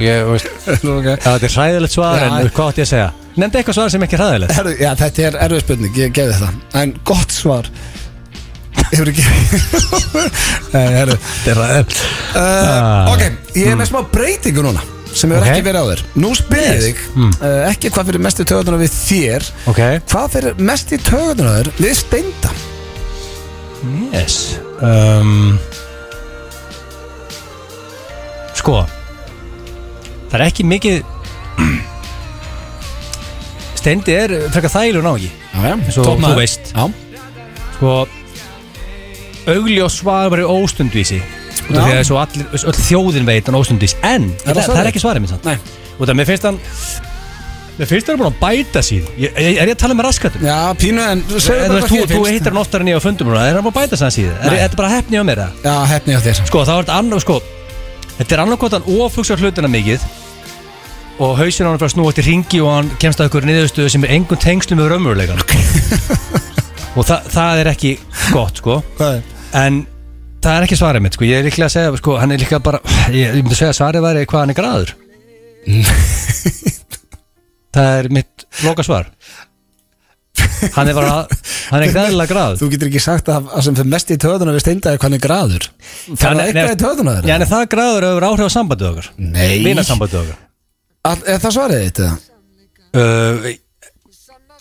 Speaker 1: Ég, veist Ok
Speaker 2: Já, þetta er hræðilegt svar
Speaker 1: Já.
Speaker 2: en hvað átti ég að segja? Nefndi eitthvað svar sem ekki er hræðilegt
Speaker 1: Herru, já, þetta er erfið spurning, ég gefði það En gott svar Hefur ekki Nei, herru
Speaker 2: Þetta er hræðilegt
Speaker 1: uh, Ok, ég er með smá breytingu núna Sem hefur
Speaker 2: Ah. Hmm. Ok. Hmm.
Speaker 1: ekki verið áður Nú spyrir yes. þig uh, ekki hvað fyrir mest í töðunar við þér
Speaker 2: Ok
Speaker 1: Hvað fyrir mest í töðunar við steinda
Speaker 2: Yes um, Sko Það er ekki mikið Steindi er frekar þægilegur ná ekki
Speaker 1: Já, já,
Speaker 2: Svo þú veist.
Speaker 1: Já,
Speaker 2: sko augljós svar var í óstundvísi út af
Speaker 1: Já.
Speaker 2: því að svo allir, öll þjóðin veit hann óstundvís en
Speaker 1: Er það
Speaker 2: það, það
Speaker 1: svarið?
Speaker 2: er ekki svarið minn sann
Speaker 1: Nei.
Speaker 2: út af mér finnst hann mér finnst hann búin að bæta sín ég, ég, er ég að tala með raskatum
Speaker 1: já pínu en
Speaker 2: En
Speaker 1: Segðu
Speaker 2: þú
Speaker 1: bara
Speaker 2: veist, þú,
Speaker 1: hvað
Speaker 2: þú
Speaker 1: þú
Speaker 2: hittar hann oftar en ég á fundum núna, er hann búin að bæta sann síðan er,
Speaker 1: Nei.
Speaker 2: Þetta er bara hefni á mér það
Speaker 1: Já, hefni á þér
Speaker 2: Sko, þá er þetta annar, sko Þetta er annarkot hann ofugsa hlutina mikið og hausinn á hann fyrir að snúa til ringi og hann kemst að ykkur niðurstöðu sem er engum tengslum við raumurleikan og þa það er ekki gott, sko
Speaker 1: Hvað er?
Speaker 2: en það er ekki svarið mitt sko. ég er líklega að segja, sko, hann er líklega bara ég, ég myndi segja að svarið væri hvað hann er graður það er mitt loka svar hann er bara hann er græðilega graður
Speaker 1: Þú getur ekki sagt að, að sem fyrir mest í töðunar við steinda er hvernig graður Það er eitthvað í töðunar
Speaker 2: já, en er það graður hefur áhrif á sambandið okkar
Speaker 1: Nei.
Speaker 2: vinasambandið okkar
Speaker 1: Er það svarið þitt? eða?
Speaker 2: uh,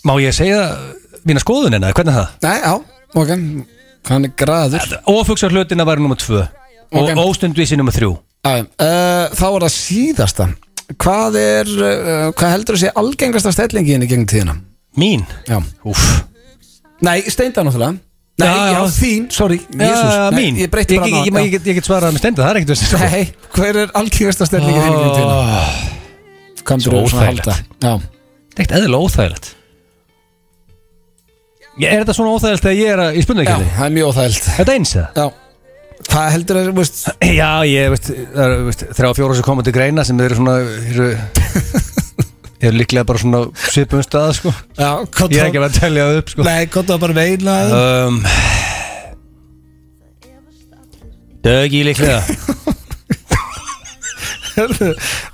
Speaker 2: má ég segja mína skoðunina, hvernig er það?
Speaker 1: Nei, já, ok Hann er graður
Speaker 2: ofugsar hlutina væri nummer 2
Speaker 1: Ok.
Speaker 2: og óstundvísi nummer 3
Speaker 1: Æ, uh, þá er það síðasta Hvað er, uh, hvað heldur þú sé algengasta stellingin í gegnum tíðina?
Speaker 2: mín,
Speaker 1: Já
Speaker 2: úff
Speaker 1: Nei, steinda náttúrulega Nei,
Speaker 2: Já,
Speaker 1: já,
Speaker 2: já.
Speaker 1: þín, sorry
Speaker 2: Já,
Speaker 1: Nei,
Speaker 2: mín
Speaker 1: Ég breyti bara
Speaker 2: ég, ég, ég, ég, get- ég get svarað með stendu, það er ekkert veist
Speaker 1: Nei, hver er algengasta stellingin í gegnum tíðina? Hvað er það að
Speaker 2: Svo Ah. óþægilegt.
Speaker 1: halda? Já
Speaker 2: Það er ekkert eðlilega óþægilegt ég, Er þetta svona óþægilegt þegar ég er að, ég spurningi
Speaker 1: Já,
Speaker 2: ekki
Speaker 1: það er mjög óþægild
Speaker 2: Er þetta eins eða?
Speaker 1: Já Hvað heldur þú, veist
Speaker 2: Já, ég veist, það eru, veist þrjá fjóra sem koma til greina sem eru svona eru, eru líklega bara svona svipum stað sko.
Speaker 1: Já, hvað
Speaker 2: Ég er ekki að vera að telja það upp sko.
Speaker 1: Nei, hvað það bara veina
Speaker 2: um, Dögi líklega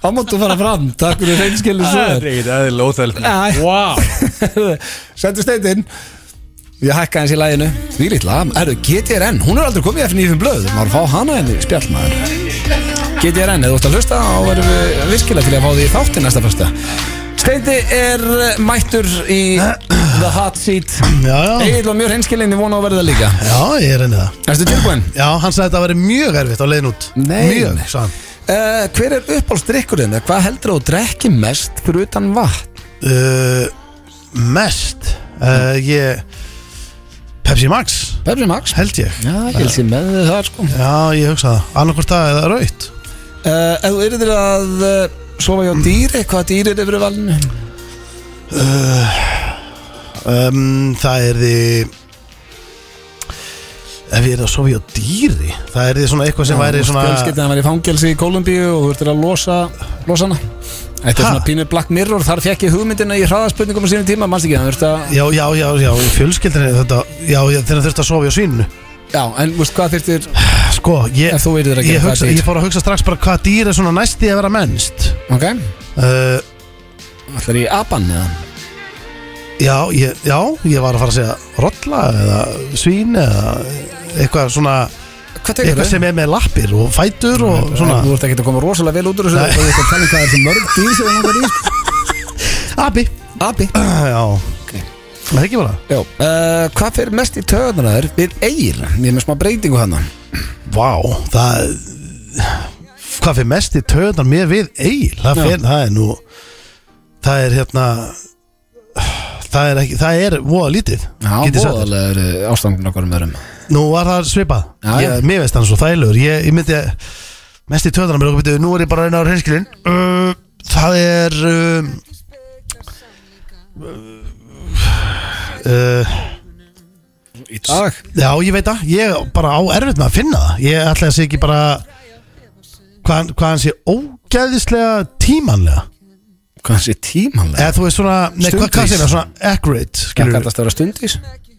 Speaker 1: Þá máttu fara fram, takk fyrir hreinskilin
Speaker 2: Það er ekkert eðlilega
Speaker 1: Nei.
Speaker 2: óþægilegt Vá
Speaker 1: Sendu steindin Ég hækka hans í læginu Því lítla, erðu GTRN, hún er aldrei komið eftir nýfum blöð Maður fá hana henni, spjallmaður GTRN, ef þú ert að hlusta Þá verðum við virkilega til að fá því þátti næsta fyrsta Steindi er eh, mættur í the hot seat
Speaker 3: Já, já,
Speaker 1: Egil var mjög hinskilinn, ég vona að verða líka
Speaker 3: já, ég er einnig það
Speaker 1: Erstu tilbúin?
Speaker 3: Já, hann sagði að þetta væri mjög erfitt á leiðin út
Speaker 1: Nei.
Speaker 3: Mjög, sagði hann
Speaker 1: Uh, hver er uppáhaldsdrykkurinn? eða Hvað heldur þú að drekki mest fyrir utan vatn?
Speaker 3: uh, Mest uh, Ég Pepsi Max,
Speaker 1: Pepsi Max
Speaker 3: held ég
Speaker 1: Já, ég held sér með þér það sko uh,
Speaker 3: Já, ég hugsa það, annarkvort það eða raut
Speaker 1: Eh, Ef þú yrðir að uh, sofa hjá dýri, hvaða dýri er yfir valinu?
Speaker 3: um, Það er því Ef ég er að sofa hjá dýri Það er því svona eitthvað sem væri svona
Speaker 1: Fjölskyldið hann var í fangelsi í Kolumbíu og þú ert að losa, losa hana Þetta er
Speaker 3: Ha?
Speaker 1: svona pínu Black Mirror, þar fekk ég hugmyndina í hraðaspurningum á sínum tíma, mannst ekki, þannig að
Speaker 3: Já, já, já, já, fjölskyldinni þetta Já, ég- þegar þurfti að sofa hjá svínu
Speaker 1: Já, en veist hvað þyrftir
Speaker 3: Sko, ég,
Speaker 1: Ef þú yrðir að gera
Speaker 3: ég,
Speaker 1: hvað
Speaker 3: hugsa,
Speaker 1: dýr?
Speaker 3: ég fór að hugsa strax bara hvað dýr er svona næsti að vera mennst
Speaker 1: Ok,
Speaker 3: uh,
Speaker 1: allir í aban eða
Speaker 3: já, ég, já, ég var að fara að segja Rolla eða svín eða eitthvað svona
Speaker 1: Hvað tekur
Speaker 3: Eitthvað
Speaker 1: þau?
Speaker 3: sem er með lappir og fætur og svona
Speaker 1: Þú ert ekki að koma rosalega vel út úr þessu
Speaker 3: Nei.
Speaker 1: og þú ert að tala um hvað er þessi mörg dýr sem það er í sko.
Speaker 3: Abi
Speaker 1: Abi
Speaker 3: Já Það er ekki bara
Speaker 1: Já, uh, hvað fyrir mest í töðunar þær við eigir? Ég er með smá breytingu hann
Speaker 3: Vá, það Hvað fyrir mest í töðan mér við Egil, það,
Speaker 1: Já.
Speaker 3: fer, það er nú Það er hérna Það er ekki, það er voða lítið
Speaker 1: Já,
Speaker 3: get ég sagt þér.
Speaker 1: voðalega eru ástangin okkur um öðrum
Speaker 3: Nú var það svipað
Speaker 1: Já,
Speaker 3: ég,
Speaker 1: já.
Speaker 3: Mér veist hann svo þælur Ég, ég myndi mest í töðanum mér og byrju, Nú er ég bara að reyna á reynskilin uh, Það er um, uh,
Speaker 1: Dag
Speaker 3: Já, ég veit það Ég bara á erfitt með að finna það Ég ætla að sé ekki bara Hvað, hann- hvað hann sé ógæðislega tímanlega
Speaker 1: Hvað sé tímanlega?
Speaker 3: Eða þú veist svona Nei, hvað, hvað
Speaker 1: Stundvís.
Speaker 3: segir það? Svona accurate
Speaker 1: Hvað
Speaker 3: skilur
Speaker 1: kallast það að vera stundis?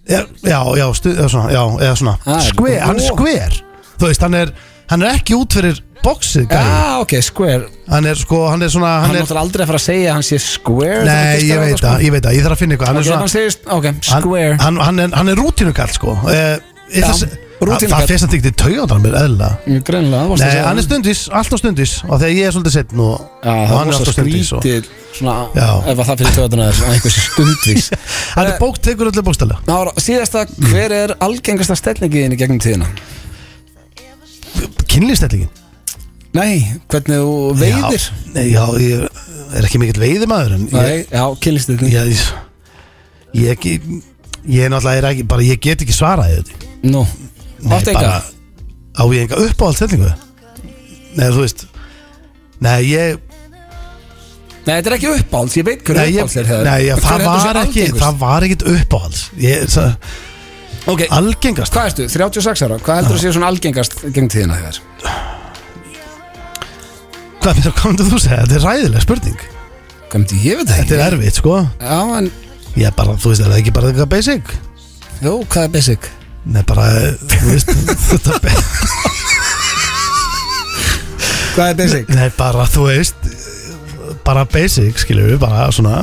Speaker 3: Já, já, já, stu, eða svona, já, eða svona
Speaker 1: Ah, er
Speaker 3: Square,
Speaker 1: þetta
Speaker 3: hann er
Speaker 1: ró?
Speaker 3: square Þú veist, hann er, hann er ekki út fyrir boxið,
Speaker 1: Já,
Speaker 3: gæði
Speaker 1: ok, square
Speaker 3: Hann er sko, hann er svona,
Speaker 1: Hann
Speaker 3: hann
Speaker 1: er
Speaker 3: er
Speaker 1: náttúrulega aldrei að fara að segja að hann sé square
Speaker 3: Nei, ég veit það, ég veit það, ég þarf að finna eitthvað Hann
Speaker 1: sko. Ok, ef
Speaker 3: er
Speaker 1: hann
Speaker 3: svona,
Speaker 1: segist, ok,
Speaker 3: hann,
Speaker 1: square
Speaker 3: hann, hann er, hann er rútinukall sko eh, ég
Speaker 1: Já,
Speaker 3: ætla að se- Það
Speaker 1: rútinukall.
Speaker 3: það fyrst hann tekti taugandanum er eðla
Speaker 1: Mjög greinlega, varst
Speaker 3: Nei, hann er stundis, alltaf stundis Og þegar ég er svolítið setn og,
Speaker 1: Já,
Speaker 3: og
Speaker 1: það er
Speaker 3: hann er
Speaker 1: rosa
Speaker 3: alltaf stundis og,
Speaker 1: skrítið Svona,
Speaker 3: Já.
Speaker 1: ef að það fyrir töðuna er svona einhversi stundvís
Speaker 3: Hann er bók, tekur öllu bókstælega
Speaker 1: Ná, síðasta, hver er algengasta stellingiðin í gegnum tíðina?
Speaker 3: Kynlýstællingin
Speaker 1: Nei, hvernig þú veiðir
Speaker 3: Já, ég er ekki mikill veiðimaður en ég,
Speaker 1: Nei, já, kynlistillin
Speaker 3: Já, ég, ég, ekki, ég náttúrulega er ekki, bara ég get ekki svarað þetta.
Speaker 1: Nú, áttu enga
Speaker 3: bara, á ég enga uppáhaldstellingu? Nei, þú veist, nei, ég,
Speaker 1: Nei, þetta er ekki uppáhalds, ég veit hver
Speaker 3: nei, ég,
Speaker 1: uppáhalds er það
Speaker 3: nei ég, það var ekki, það var ekkit uppáhalds. Ég, það,
Speaker 1: Ok,
Speaker 3: algengast,
Speaker 1: hvað ertu, 36 ára, hvað heldur þú að sé svona algengast gegn tíðina þegar?
Speaker 3: hvað mér komið þú að segja, þetta er ræðileg spurning.
Speaker 1: Hvað myndi ég veit það
Speaker 3: Þetta
Speaker 1: ekki?
Speaker 3: er erfitt, sko.
Speaker 1: Já, en,
Speaker 3: Ég bara, þú veist, er það ekki bara eitthvað basic?
Speaker 1: jú, hvað er basic?
Speaker 3: Nei, bara, þú veist, þetta be-
Speaker 1: Hvað er basic?
Speaker 3: Nei, bara, þú veist, bara basic, skiljum við, bara svona,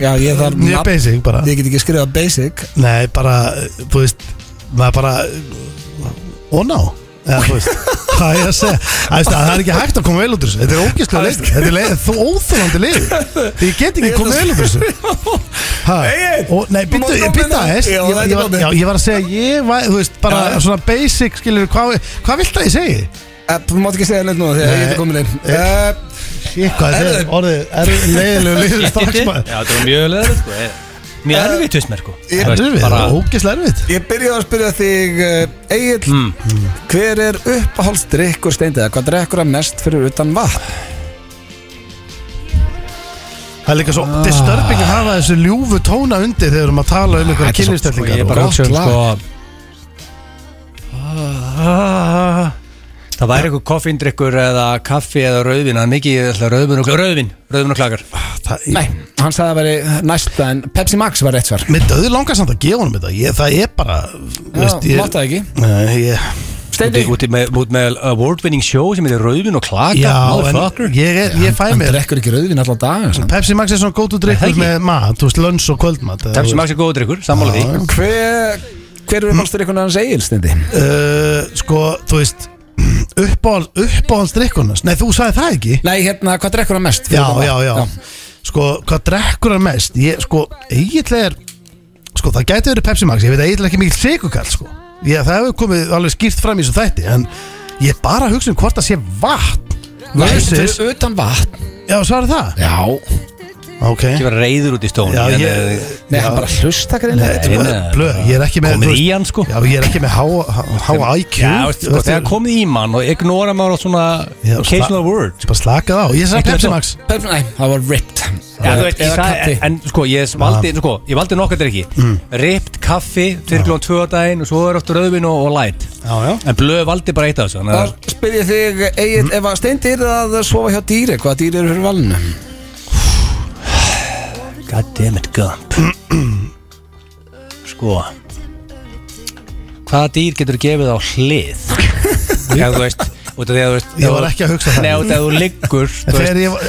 Speaker 1: Já, ég þarf
Speaker 3: mjög
Speaker 1: nafn-
Speaker 3: basic bara.
Speaker 1: Ég get ekki skrifað basic
Speaker 3: Nei, bara, þú veist maður bara og ná eða, þú veist, hvað er að segja Æ, veist, það er ekki hægt að koma vel út úr þessu þetta er ógæslega leik þetta er leik, þú óþólandi leik ég get ekki komið vel út úr þessu ha, og, nei, býttu,
Speaker 1: Má
Speaker 3: ég
Speaker 1: stoppa
Speaker 3: býtta
Speaker 1: hérna?
Speaker 3: aðeins
Speaker 1: Já,
Speaker 3: ég,
Speaker 1: þetta er
Speaker 3: ég, var-
Speaker 1: komið.
Speaker 3: já, ég var að segja, ég var, þú veist bara
Speaker 1: Já.
Speaker 3: svona basic, skilur, hvað hvað vilt það ég segi?
Speaker 1: Eh, Þú mátt ekki segja neitt núna þegar
Speaker 3: Nei.
Speaker 1: ég er komin inn Eh,
Speaker 3: Shit, hvað þetta er
Speaker 1: Herðu.
Speaker 3: orðið er leiðilegu liður strax maður.
Speaker 2: þetta var mjög leður sko. eh, Mjög erfitt veist mér sko
Speaker 1: Ég-
Speaker 2: Þú veist,
Speaker 3: Erfið,
Speaker 2: bara-
Speaker 3: ógæslega erfið
Speaker 1: Ég byrjaði að spyrja þig uh, Egil,
Speaker 3: Hmm.
Speaker 1: hver er uppáhaldsdrykkur steindiða? Hvað drekkur það mest fyrir utan vatn?
Speaker 3: það er líka svo disturbing að hafa þessu ljúfu tóna undir þegar við erum að tala um einhverja
Speaker 2: Ég
Speaker 3: kynlistellingar
Speaker 2: er bara
Speaker 1: Gott
Speaker 2: hugsa um
Speaker 1: lag.
Speaker 2: sko Ah, Það væri eitthvað koffindrykkur eða kaffi eða rauðvin Það er mikið alltaf rauðvin og klakar Rauðvin, rauðvin og klakar
Speaker 3: Ah, Það,
Speaker 1: Nei, hann sagði að veri næsta en Pepsi Max var rétt svar
Speaker 3: Mér döðu langar samt að gefa honum þetta ég, Það er bara
Speaker 1: Já,
Speaker 3: veist, ég,
Speaker 1: mátti það ekki.
Speaker 3: Nei, ég,
Speaker 1: Steindi,
Speaker 2: Út í- með- út með award winning show sem heitir rauðvin og klakar
Speaker 3: Já,
Speaker 2: motherfucker.
Speaker 3: en ég, er- ég fæ
Speaker 1: hann
Speaker 3: mér
Speaker 1: drekkur ekki rauðvin allan dag svona.
Speaker 3: Pepsi Max er svona gótt og
Speaker 2: Það
Speaker 3: drikkur
Speaker 2: ekki.
Speaker 3: með mat Þú veist, lönns og kvöldmat eða
Speaker 2: Pepsi
Speaker 3: þú
Speaker 2: Max er góður drykkur, sammála því
Speaker 1: Hver, hver er uppáhaldsdrykkur hans Egil, Steindi?
Speaker 3: veist. uh, Sko, þú veist uppáhald, uppáhalds drikkunast Nei, þú sagði það ekki
Speaker 1: Nei, hérna, hvað drekkur það mest? fyrir
Speaker 3: Já,
Speaker 1: utan vatn?
Speaker 3: já, já Sko, hvað drekkur hann mest? Ég, sko, eiginlega er sko, það gæti verið Pepsi Max Ég veit að eitthvað ekki mikill sigurkall sko. ég, Það hefur komið alveg skýrt fram í þessu þætti En ég er bara að hugsa um hvort það sé vatn Versus
Speaker 1: Versus utan vatn
Speaker 3: Já, svarar það?
Speaker 1: Já
Speaker 3: Ok
Speaker 2: Ekki vera reyður út í stónu
Speaker 3: Já,
Speaker 2: en,
Speaker 3: ég-
Speaker 2: eh,
Speaker 1: Nei, hann bara hlusta greinlega
Speaker 3: Þetta er bara
Speaker 2: Nei, nei.
Speaker 3: blöð, ég er ekki með
Speaker 2: Komið
Speaker 3: þú veist-
Speaker 2: í hann, sko.
Speaker 3: Já, ég er ekki með háa há, há IQ
Speaker 2: Já, veist, sko, þegar komið í mann og ignora maður á svona
Speaker 3: Já,
Speaker 2: occasional word
Speaker 3: Bara slakað á, ég sagði
Speaker 2: Ekki
Speaker 3: Pepsi
Speaker 2: þetta.
Speaker 3: Max
Speaker 1: Pepsi- Nei, það var ripped
Speaker 2: Já, þú veit, ég
Speaker 1: Eða
Speaker 2: sagði,
Speaker 1: kaffi.
Speaker 2: en, en sko, ég valdi, sko, ég valdi nokkað ekki
Speaker 3: Mm.
Speaker 2: Ripped kaffi, fyrir klón tvö á daginn og svo er oft rauðvin og, og light
Speaker 3: Já, já
Speaker 2: En blöð valdi bara eitt af þessu þannig að-
Speaker 1: Þá spyr ég þig, Egil, ef að steindi er að sofa hjá dýri, hvaða dýri eru fyrir valinu?
Speaker 2: Goddammit Gump Sko Hvaða dýr getur gefið á hlið? Já, þú veist Út af því að þú veist
Speaker 3: Ég var ekki að hugsa það.
Speaker 2: Nei, út af því að þú liggur þú veist,
Speaker 3: Þegar ég var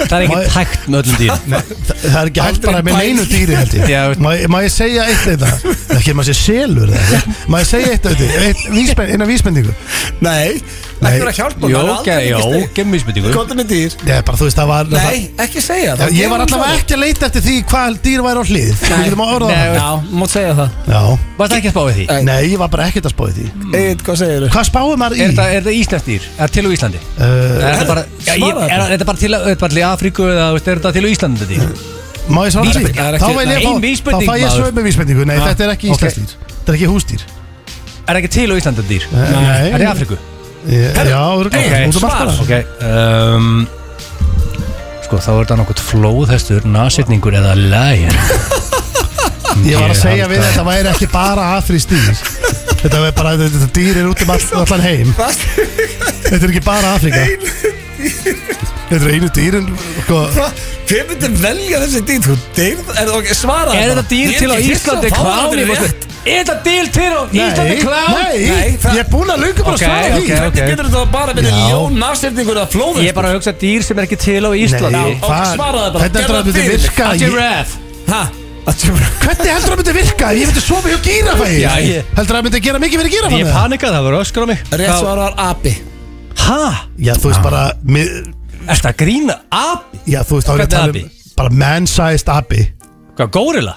Speaker 2: Það er ekki tækt með öllum dýr
Speaker 3: Þa- Það er ekki hægt
Speaker 1: Aldrei
Speaker 3: bara með
Speaker 1: bæn.
Speaker 3: neinu dýri held
Speaker 2: Já,
Speaker 3: ég
Speaker 2: veist.
Speaker 3: Má, má ég segja eitt eitthvað? Ekki, má ég segja selur eða eitthvað? Má ég segja eitt eitthvað? Eitt, vísbend, eina vísbendingu
Speaker 1: Nei,
Speaker 3: Nei.
Speaker 1: ekki vera að hjálpa
Speaker 2: Jó, ge- jó, gemmisbyttingu
Speaker 1: Konta með dýr
Speaker 3: Nei, bara þú veist, það var það,
Speaker 1: Nei, ekki segja
Speaker 3: Já,
Speaker 1: það
Speaker 3: Ég var allavega ekki að leita eftir því hvað dýr væri á hlið Þú getum að orða það
Speaker 1: Já, mót segja það
Speaker 3: Já,
Speaker 2: Varst ekki að spá við því?
Speaker 1: Nei.
Speaker 3: nei, ég var bara ekkert að spáði því
Speaker 1: Egil, Mm. hvað segir þú?
Speaker 3: Hvað spáði maður í?
Speaker 2: Er þetta- er þetta íslenskt dýr? Er það til á Íslandi?
Speaker 3: Uh,
Speaker 2: Er þetta bara, já, ég,
Speaker 1: svaraðu
Speaker 2: er er þetta bara til, er þetta bara til í Afríku eða þú veist, er þetta til á Íslandi þetta
Speaker 3: Eh.
Speaker 2: dýr?
Speaker 3: Má ég svara því?
Speaker 1: Vísbending. Það er
Speaker 3: Þá
Speaker 1: ekki-
Speaker 3: fæ ég
Speaker 2: Ein
Speaker 3: fá- þá
Speaker 2: vísbending,
Speaker 3: fæ ég
Speaker 2: maður.
Speaker 3: svör með vísbendingu Nei, þetta er ekki
Speaker 2: ok.
Speaker 3: íslensdýr Þetta er ekki húsdýr
Speaker 2: Er ekki til á Íslandi þetta dýr?
Speaker 3: Eh, Nei.
Speaker 2: Er þetta í Afríku?
Speaker 3: Ég- Eh, Já,
Speaker 2: Ok,
Speaker 3: þú
Speaker 2: svar
Speaker 3: veist
Speaker 2: Ok, um, Sko, þá er þetta nokkurt flóðhestur, nasetningur eða lægir
Speaker 3: Ég var að
Speaker 2: Ég
Speaker 3: segja
Speaker 2: held
Speaker 3: við
Speaker 2: að-
Speaker 3: þetta væri ekki bara afrísk dýr Þetta er bara, þetta- þetta dýr er út um all, allan heim Þetta er ekki bara Afríka Þetta er einu dýrin sko,
Speaker 1: Hver myndi velja þessi dýr? Þú deyrð, er það ok, svara
Speaker 2: Er þetta dýr til á Íslandi kláni? veistu? Er þetta dýr til á Íslandi kláni?
Speaker 3: Nei,
Speaker 1: Nei, það-
Speaker 3: ég er búin að lunga bara
Speaker 2: Ok,
Speaker 3: að svara því
Speaker 2: ok.
Speaker 1: Hvernig getur þetta bara verið
Speaker 3: Já.
Speaker 1: ljón, nafsendingur eða flóður?
Speaker 2: Ég er bara að hugsa dýr sem er ekki til á
Speaker 3: Nei,
Speaker 2: Íslandi
Speaker 1: ok,
Speaker 3: það-
Speaker 1: svaraðu bara,
Speaker 3: Hvernig heldur
Speaker 1: gerðu
Speaker 3: að þetta
Speaker 1: fyrir mig.
Speaker 3: virka?
Speaker 2: A
Speaker 3: Ég-
Speaker 2: giraffe
Speaker 1: Hæ? Að tjóra
Speaker 3: Hvernig heldur að þetta virka? Ég veit að sofa hjá gírafæði
Speaker 2: Já, ég-
Speaker 3: Heldur að þetta gera mikið fyrir
Speaker 2: Ég
Speaker 3: gírafæði?
Speaker 2: panikaði, það var öskur á mig
Speaker 1: Rétt
Speaker 2: Þá-
Speaker 1: svar var api
Speaker 2: Ha?
Speaker 3: Já, þú veist bara mið-
Speaker 2: Er þetta grína? Api?
Speaker 3: Já, þú veist, þá er ég að
Speaker 2: Hvernig
Speaker 3: tala um bara man-sized abi
Speaker 2: Hvað, górila?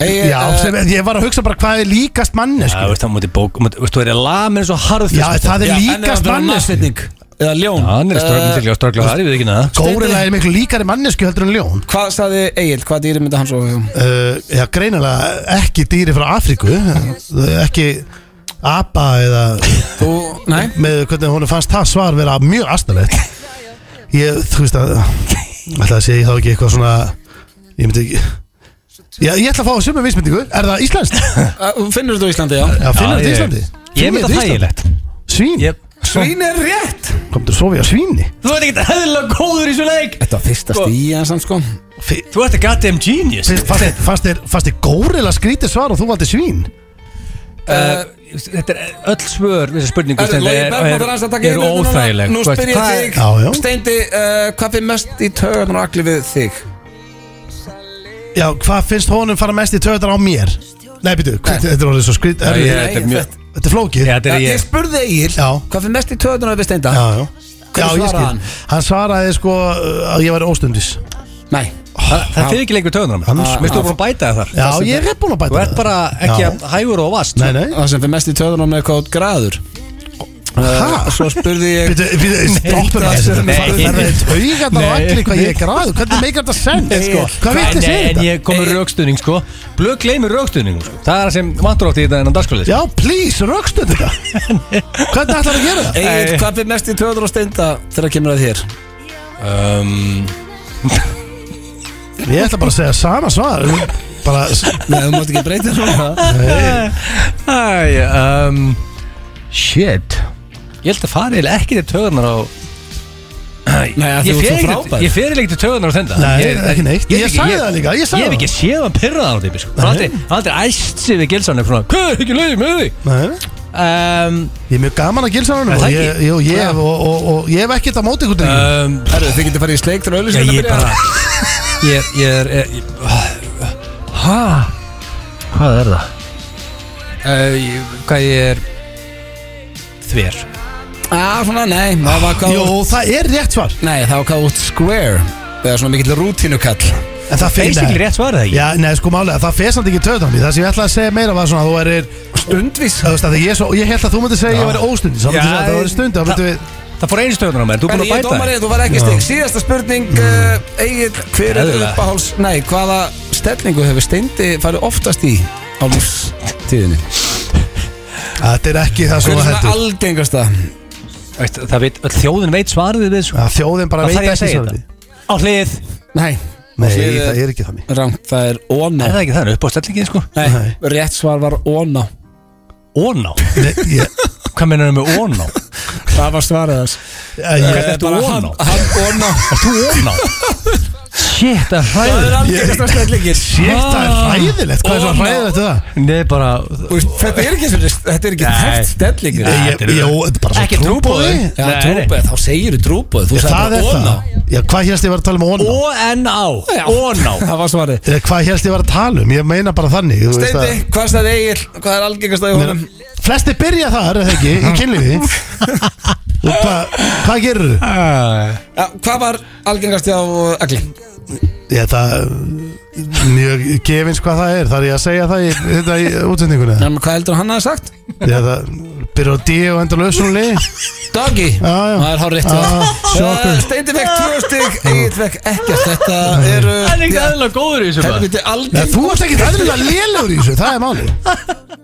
Speaker 1: Egil,
Speaker 3: Já,
Speaker 1: eh,
Speaker 3: sem, ég var að hugsa bara hvað er líkast mannesku
Speaker 2: Já, veist, það múti bók múti- Veist, þú er að lamin svo
Speaker 3: Já,
Speaker 2: harðfisk
Speaker 3: það er
Speaker 1: já, en ef
Speaker 3: líkast
Speaker 1: þetta var
Speaker 3: mannesku
Speaker 1: nashyrning Eða ljón
Speaker 2: Já, hann er strögglega til, já, strögglega það, ég veit ekki neða
Speaker 3: Górila er miklu líkari mannesku heldur en ljón
Speaker 1: Hvað sagði Egil, hvað dýri myndi hann svo hjá?
Speaker 3: uh, Já, greinilega ekki dýri frá Afríku uh, Ekki apa eða
Speaker 1: Þú, nei
Speaker 3: með hvernig hún fannst það svar vera mjög astalegt Ég, þú veist að Ætla að segja þá ekki eitthvað svona Ég myndi ekki Já, ég ætla að fá sömu vísmyndingu Er það íslenskt?
Speaker 1: Uh, Finnur þetta á Íslandi, já
Speaker 3: Já, finnur
Speaker 2: Já,
Speaker 3: þetta
Speaker 2: ég-
Speaker 3: Íslandi?
Speaker 2: Ég
Speaker 3: Finnur
Speaker 2: myndi
Speaker 3: þetta
Speaker 2: það
Speaker 3: Íslandi?
Speaker 2: þægilegt
Speaker 3: Svín,
Speaker 2: Ég-
Speaker 1: Svín er rétt
Speaker 3: komður að sofa hjá svíni
Speaker 2: Þú ert ekkert heðilega góður í svo leik
Speaker 1: Þetta var fyrsta stíðan samt sko
Speaker 3: Fi-
Speaker 2: Þú ert að goddamn genius
Speaker 3: Fyrst- Fannst þér- fannst þér- fannst þér górila skrítið svar og þú valdi svín?
Speaker 2: Uh, Þetta er öll svör við þessu spurningu
Speaker 1: Er
Speaker 2: sem
Speaker 1: Logi
Speaker 2: er,
Speaker 1: Bergman
Speaker 2: er,
Speaker 1: þarf aðeins að taka
Speaker 2: er
Speaker 1: yfir þetta núna.
Speaker 2: óþægileg
Speaker 1: Nú
Speaker 2: Þú veist,
Speaker 1: spyr ég
Speaker 2: hvað-
Speaker 1: þig
Speaker 3: Já, já.
Speaker 1: Steindi, uh, hvað fyrir mest í töðan og agli við þig?
Speaker 3: Já, hvað finnst honum fara mest í töðar á mér? Nei, byrju, hvað- þetta er orðið svo skrýt
Speaker 2: Nei,
Speaker 3: erfitt.
Speaker 2: þetta er mjög-
Speaker 1: þetta-
Speaker 3: Þetta er flókið
Speaker 2: Já, þetta
Speaker 1: Já,
Speaker 2: er
Speaker 1: Eh, Ég
Speaker 2: ég
Speaker 1: spurði Egil
Speaker 3: Já.
Speaker 1: Hvað fyrir mest í töðan og við Steinda?
Speaker 3: Já, já Já,
Speaker 1: Hvernig
Speaker 3: ég
Speaker 1: svaraði
Speaker 3: skil
Speaker 1: hann?
Speaker 3: Hann svaraði sko uh, að ég væri óstundis
Speaker 1: Nei
Speaker 2: Það það þýðir ekki lengur töðunar mér
Speaker 3: Annars-
Speaker 2: Mistu þú búin að bæta það þar
Speaker 3: Já, ég er búin að bæta
Speaker 2: Þú ert bara ekki að hægur og vast
Speaker 3: Nei, nei
Speaker 1: Það sem fyrir mest í töðan og með hvað þú ert graður Eh,
Speaker 3: Hæ?
Speaker 1: Svo spurði ég
Speaker 3: Byrju, byrju, stoppum
Speaker 2: það-
Speaker 3: þessu
Speaker 2: nei.
Speaker 3: Það er taugat á
Speaker 2: Nei.
Speaker 3: allir hvað ég er gráð Hvernig meikar þetta send? Sko? Hvað
Speaker 2: En-
Speaker 3: vilt þið segja
Speaker 2: En
Speaker 3: þetta?
Speaker 2: ég kom með raukstuðning sko Blöð gleymir raukstuðningu sko Það er það sem vantur átt í þetta enn á dagskólið
Speaker 3: Já, please, rögstu þetta Hvernig ætlar að gera það?
Speaker 1: Egil,
Speaker 2: Nei.
Speaker 1: hvað fyrir mest í töðan og Steinda þegar kemur að þér?
Speaker 2: um,
Speaker 3: Ég ætla bara að segja sama svar Bara,
Speaker 1: Nei, þú mátt ekki breyta það
Speaker 2: Æ, um, Shit Ég held að fara eða ekki til töðunar á
Speaker 1: Nei, að
Speaker 2: Ég
Speaker 1: þú
Speaker 2: fer
Speaker 1: ert svo
Speaker 2: ekkert-
Speaker 1: frábær
Speaker 2: ég fer eiginlega ekki til töðunar á þenda
Speaker 3: Nei,
Speaker 2: Ég-
Speaker 3: ekki neitt. Ég
Speaker 2: hef
Speaker 3: sagði það líka, ég sagði
Speaker 2: Ég hef
Speaker 3: það.
Speaker 2: ekki séð hann pyrraða á því sko. Hann aldrei, hann aldrei æst sig við gilsanum Hvað er ekki leiðið með því
Speaker 3: nei
Speaker 2: um,
Speaker 3: Ég er mjög gaman að gilsa hann
Speaker 2: Er
Speaker 3: og
Speaker 2: það
Speaker 3: ég,
Speaker 2: ekki?
Speaker 3: jú, ég, hef- og, og, og ég hef ekkert á móti ykkur drengur
Speaker 2: um,
Speaker 1: Herru, þið getur farið í sleik þegar
Speaker 2: Já,
Speaker 1: auðvitað
Speaker 2: ég er bara Ég er, ég er ég, ég, Hæ? Hvað er það? Uh, ég, hvað ég er Þver
Speaker 1: Já, Ah, svona, nei, það var hvað
Speaker 3: Jú, það er rétt svar
Speaker 1: Nei, það var hvað út square Eða svona mikill rútinukall
Speaker 3: En það fer-
Speaker 2: Basically
Speaker 3: nei.
Speaker 2: rétt svarið, eða ekki?
Speaker 3: Já, nei, sko málega, það fer samt ekki töðan Það sem ég ætlaði að segja meira var svona að Þú erir,
Speaker 1: Stundvís
Speaker 3: þú veist að ég, er svo, ég held að þú myndir segja að ég væri óstundi Svo
Speaker 1: Já,
Speaker 3: myndir segja að það væri stundi Þá myndir við,
Speaker 2: Það fór einu stöðunar á mér, þú er
Speaker 1: En
Speaker 2: búin
Speaker 1: ég er
Speaker 2: að bæta
Speaker 1: dómarið,
Speaker 2: þig.
Speaker 1: þú var ekki stig Síðasta spurning, uh, Egil, hver er
Speaker 2: Eðlilega.
Speaker 1: uppáháls Nei, hvaða stellingu hefur steindi farið oftast í á lífstíðinni
Speaker 3: þetta er ekki það
Speaker 1: Hver
Speaker 3: sem
Speaker 1: er
Speaker 3: það
Speaker 1: svona
Speaker 3: heldur
Speaker 1: algengasta
Speaker 2: Veist, Það veit, öll þjóðin veit svarið við þessu
Speaker 3: Já, Þjóðin bara
Speaker 2: Það
Speaker 3: veit
Speaker 2: þarf ég að
Speaker 3: ekki
Speaker 2: segja
Speaker 3: svarið.
Speaker 2: þetta Á hlið
Speaker 1: Nei,
Speaker 3: Nei,
Speaker 1: Þið-
Speaker 3: það er ekki þannig
Speaker 1: rangt, það er óná
Speaker 2: Er það ekki það, upp á stellingið sko
Speaker 1: Nei,
Speaker 3: Nei.
Speaker 1: rétt svar var óná
Speaker 2: Óná
Speaker 3: Nei, ég-
Speaker 2: Hvað meina þau með óná?
Speaker 1: Það var svarið þess
Speaker 3: ég-
Speaker 2: Ertu óná?
Speaker 1: Hann óná
Speaker 2: Ert þú óná? Shit, það er
Speaker 1: Það er
Speaker 2: hræður
Speaker 1: algengasta stellingin
Speaker 3: Shit, það er hræðilegt, hvað er svo
Speaker 1: Ó, ná.
Speaker 3: hræðilegt við það?
Speaker 2: Nei, bara
Speaker 1: Þú veist, Þetta er ekki svona- þetta er ekki
Speaker 2: Nei.
Speaker 1: þekkt stellingur
Speaker 3: Ég- ég- Jó, þetta er bara svo
Speaker 2: Ekki
Speaker 3: trúboði.
Speaker 2: trúboði.
Speaker 1: Já,
Speaker 2: Nei,
Speaker 1: trúbóð, þá segir þú trúbóð Þú
Speaker 3: Já,
Speaker 1: sagði
Speaker 3: Það
Speaker 1: bara
Speaker 3: er
Speaker 1: óná
Speaker 3: það Já, hvað hérst ég var að tala um óná?
Speaker 2: Ó-N-Á
Speaker 1: Já.
Speaker 2: Óná
Speaker 1: Það var svarið
Speaker 3: Eða Hvað hérst ég var að tala um? Ég meina bara þannig þú veist að-
Speaker 1: Steindi, hvað sagði Egil, hvað er algengast að honum?
Speaker 3: Flesti byrja þar, eða ekki, í kynlífi Og hvað, hvað gerir þú?
Speaker 1: Ja, hvað var algengast á Agli?
Speaker 3: Ég það Mjög gefins hvað það er Þar ég að segja það í, þetta í útsendinguna
Speaker 1: En hvað heldur hann hafi sagt?
Speaker 3: Ég það byrja á D og endur lausunli
Speaker 1: Doggy
Speaker 3: Já, já.
Speaker 1: Það er hár rétt
Speaker 3: Já, sjokkur.
Speaker 1: Steindi fekk tvö stygg Egil fekk ekkert Þetta eru
Speaker 2: er ekkert
Speaker 1: Já,
Speaker 2: aðeinslega góður í þessu bara
Speaker 1: Helviti
Speaker 3: Nei,
Speaker 1: algeng
Speaker 3: þú ert ekki eðlilega lélegur í þessu, það er máli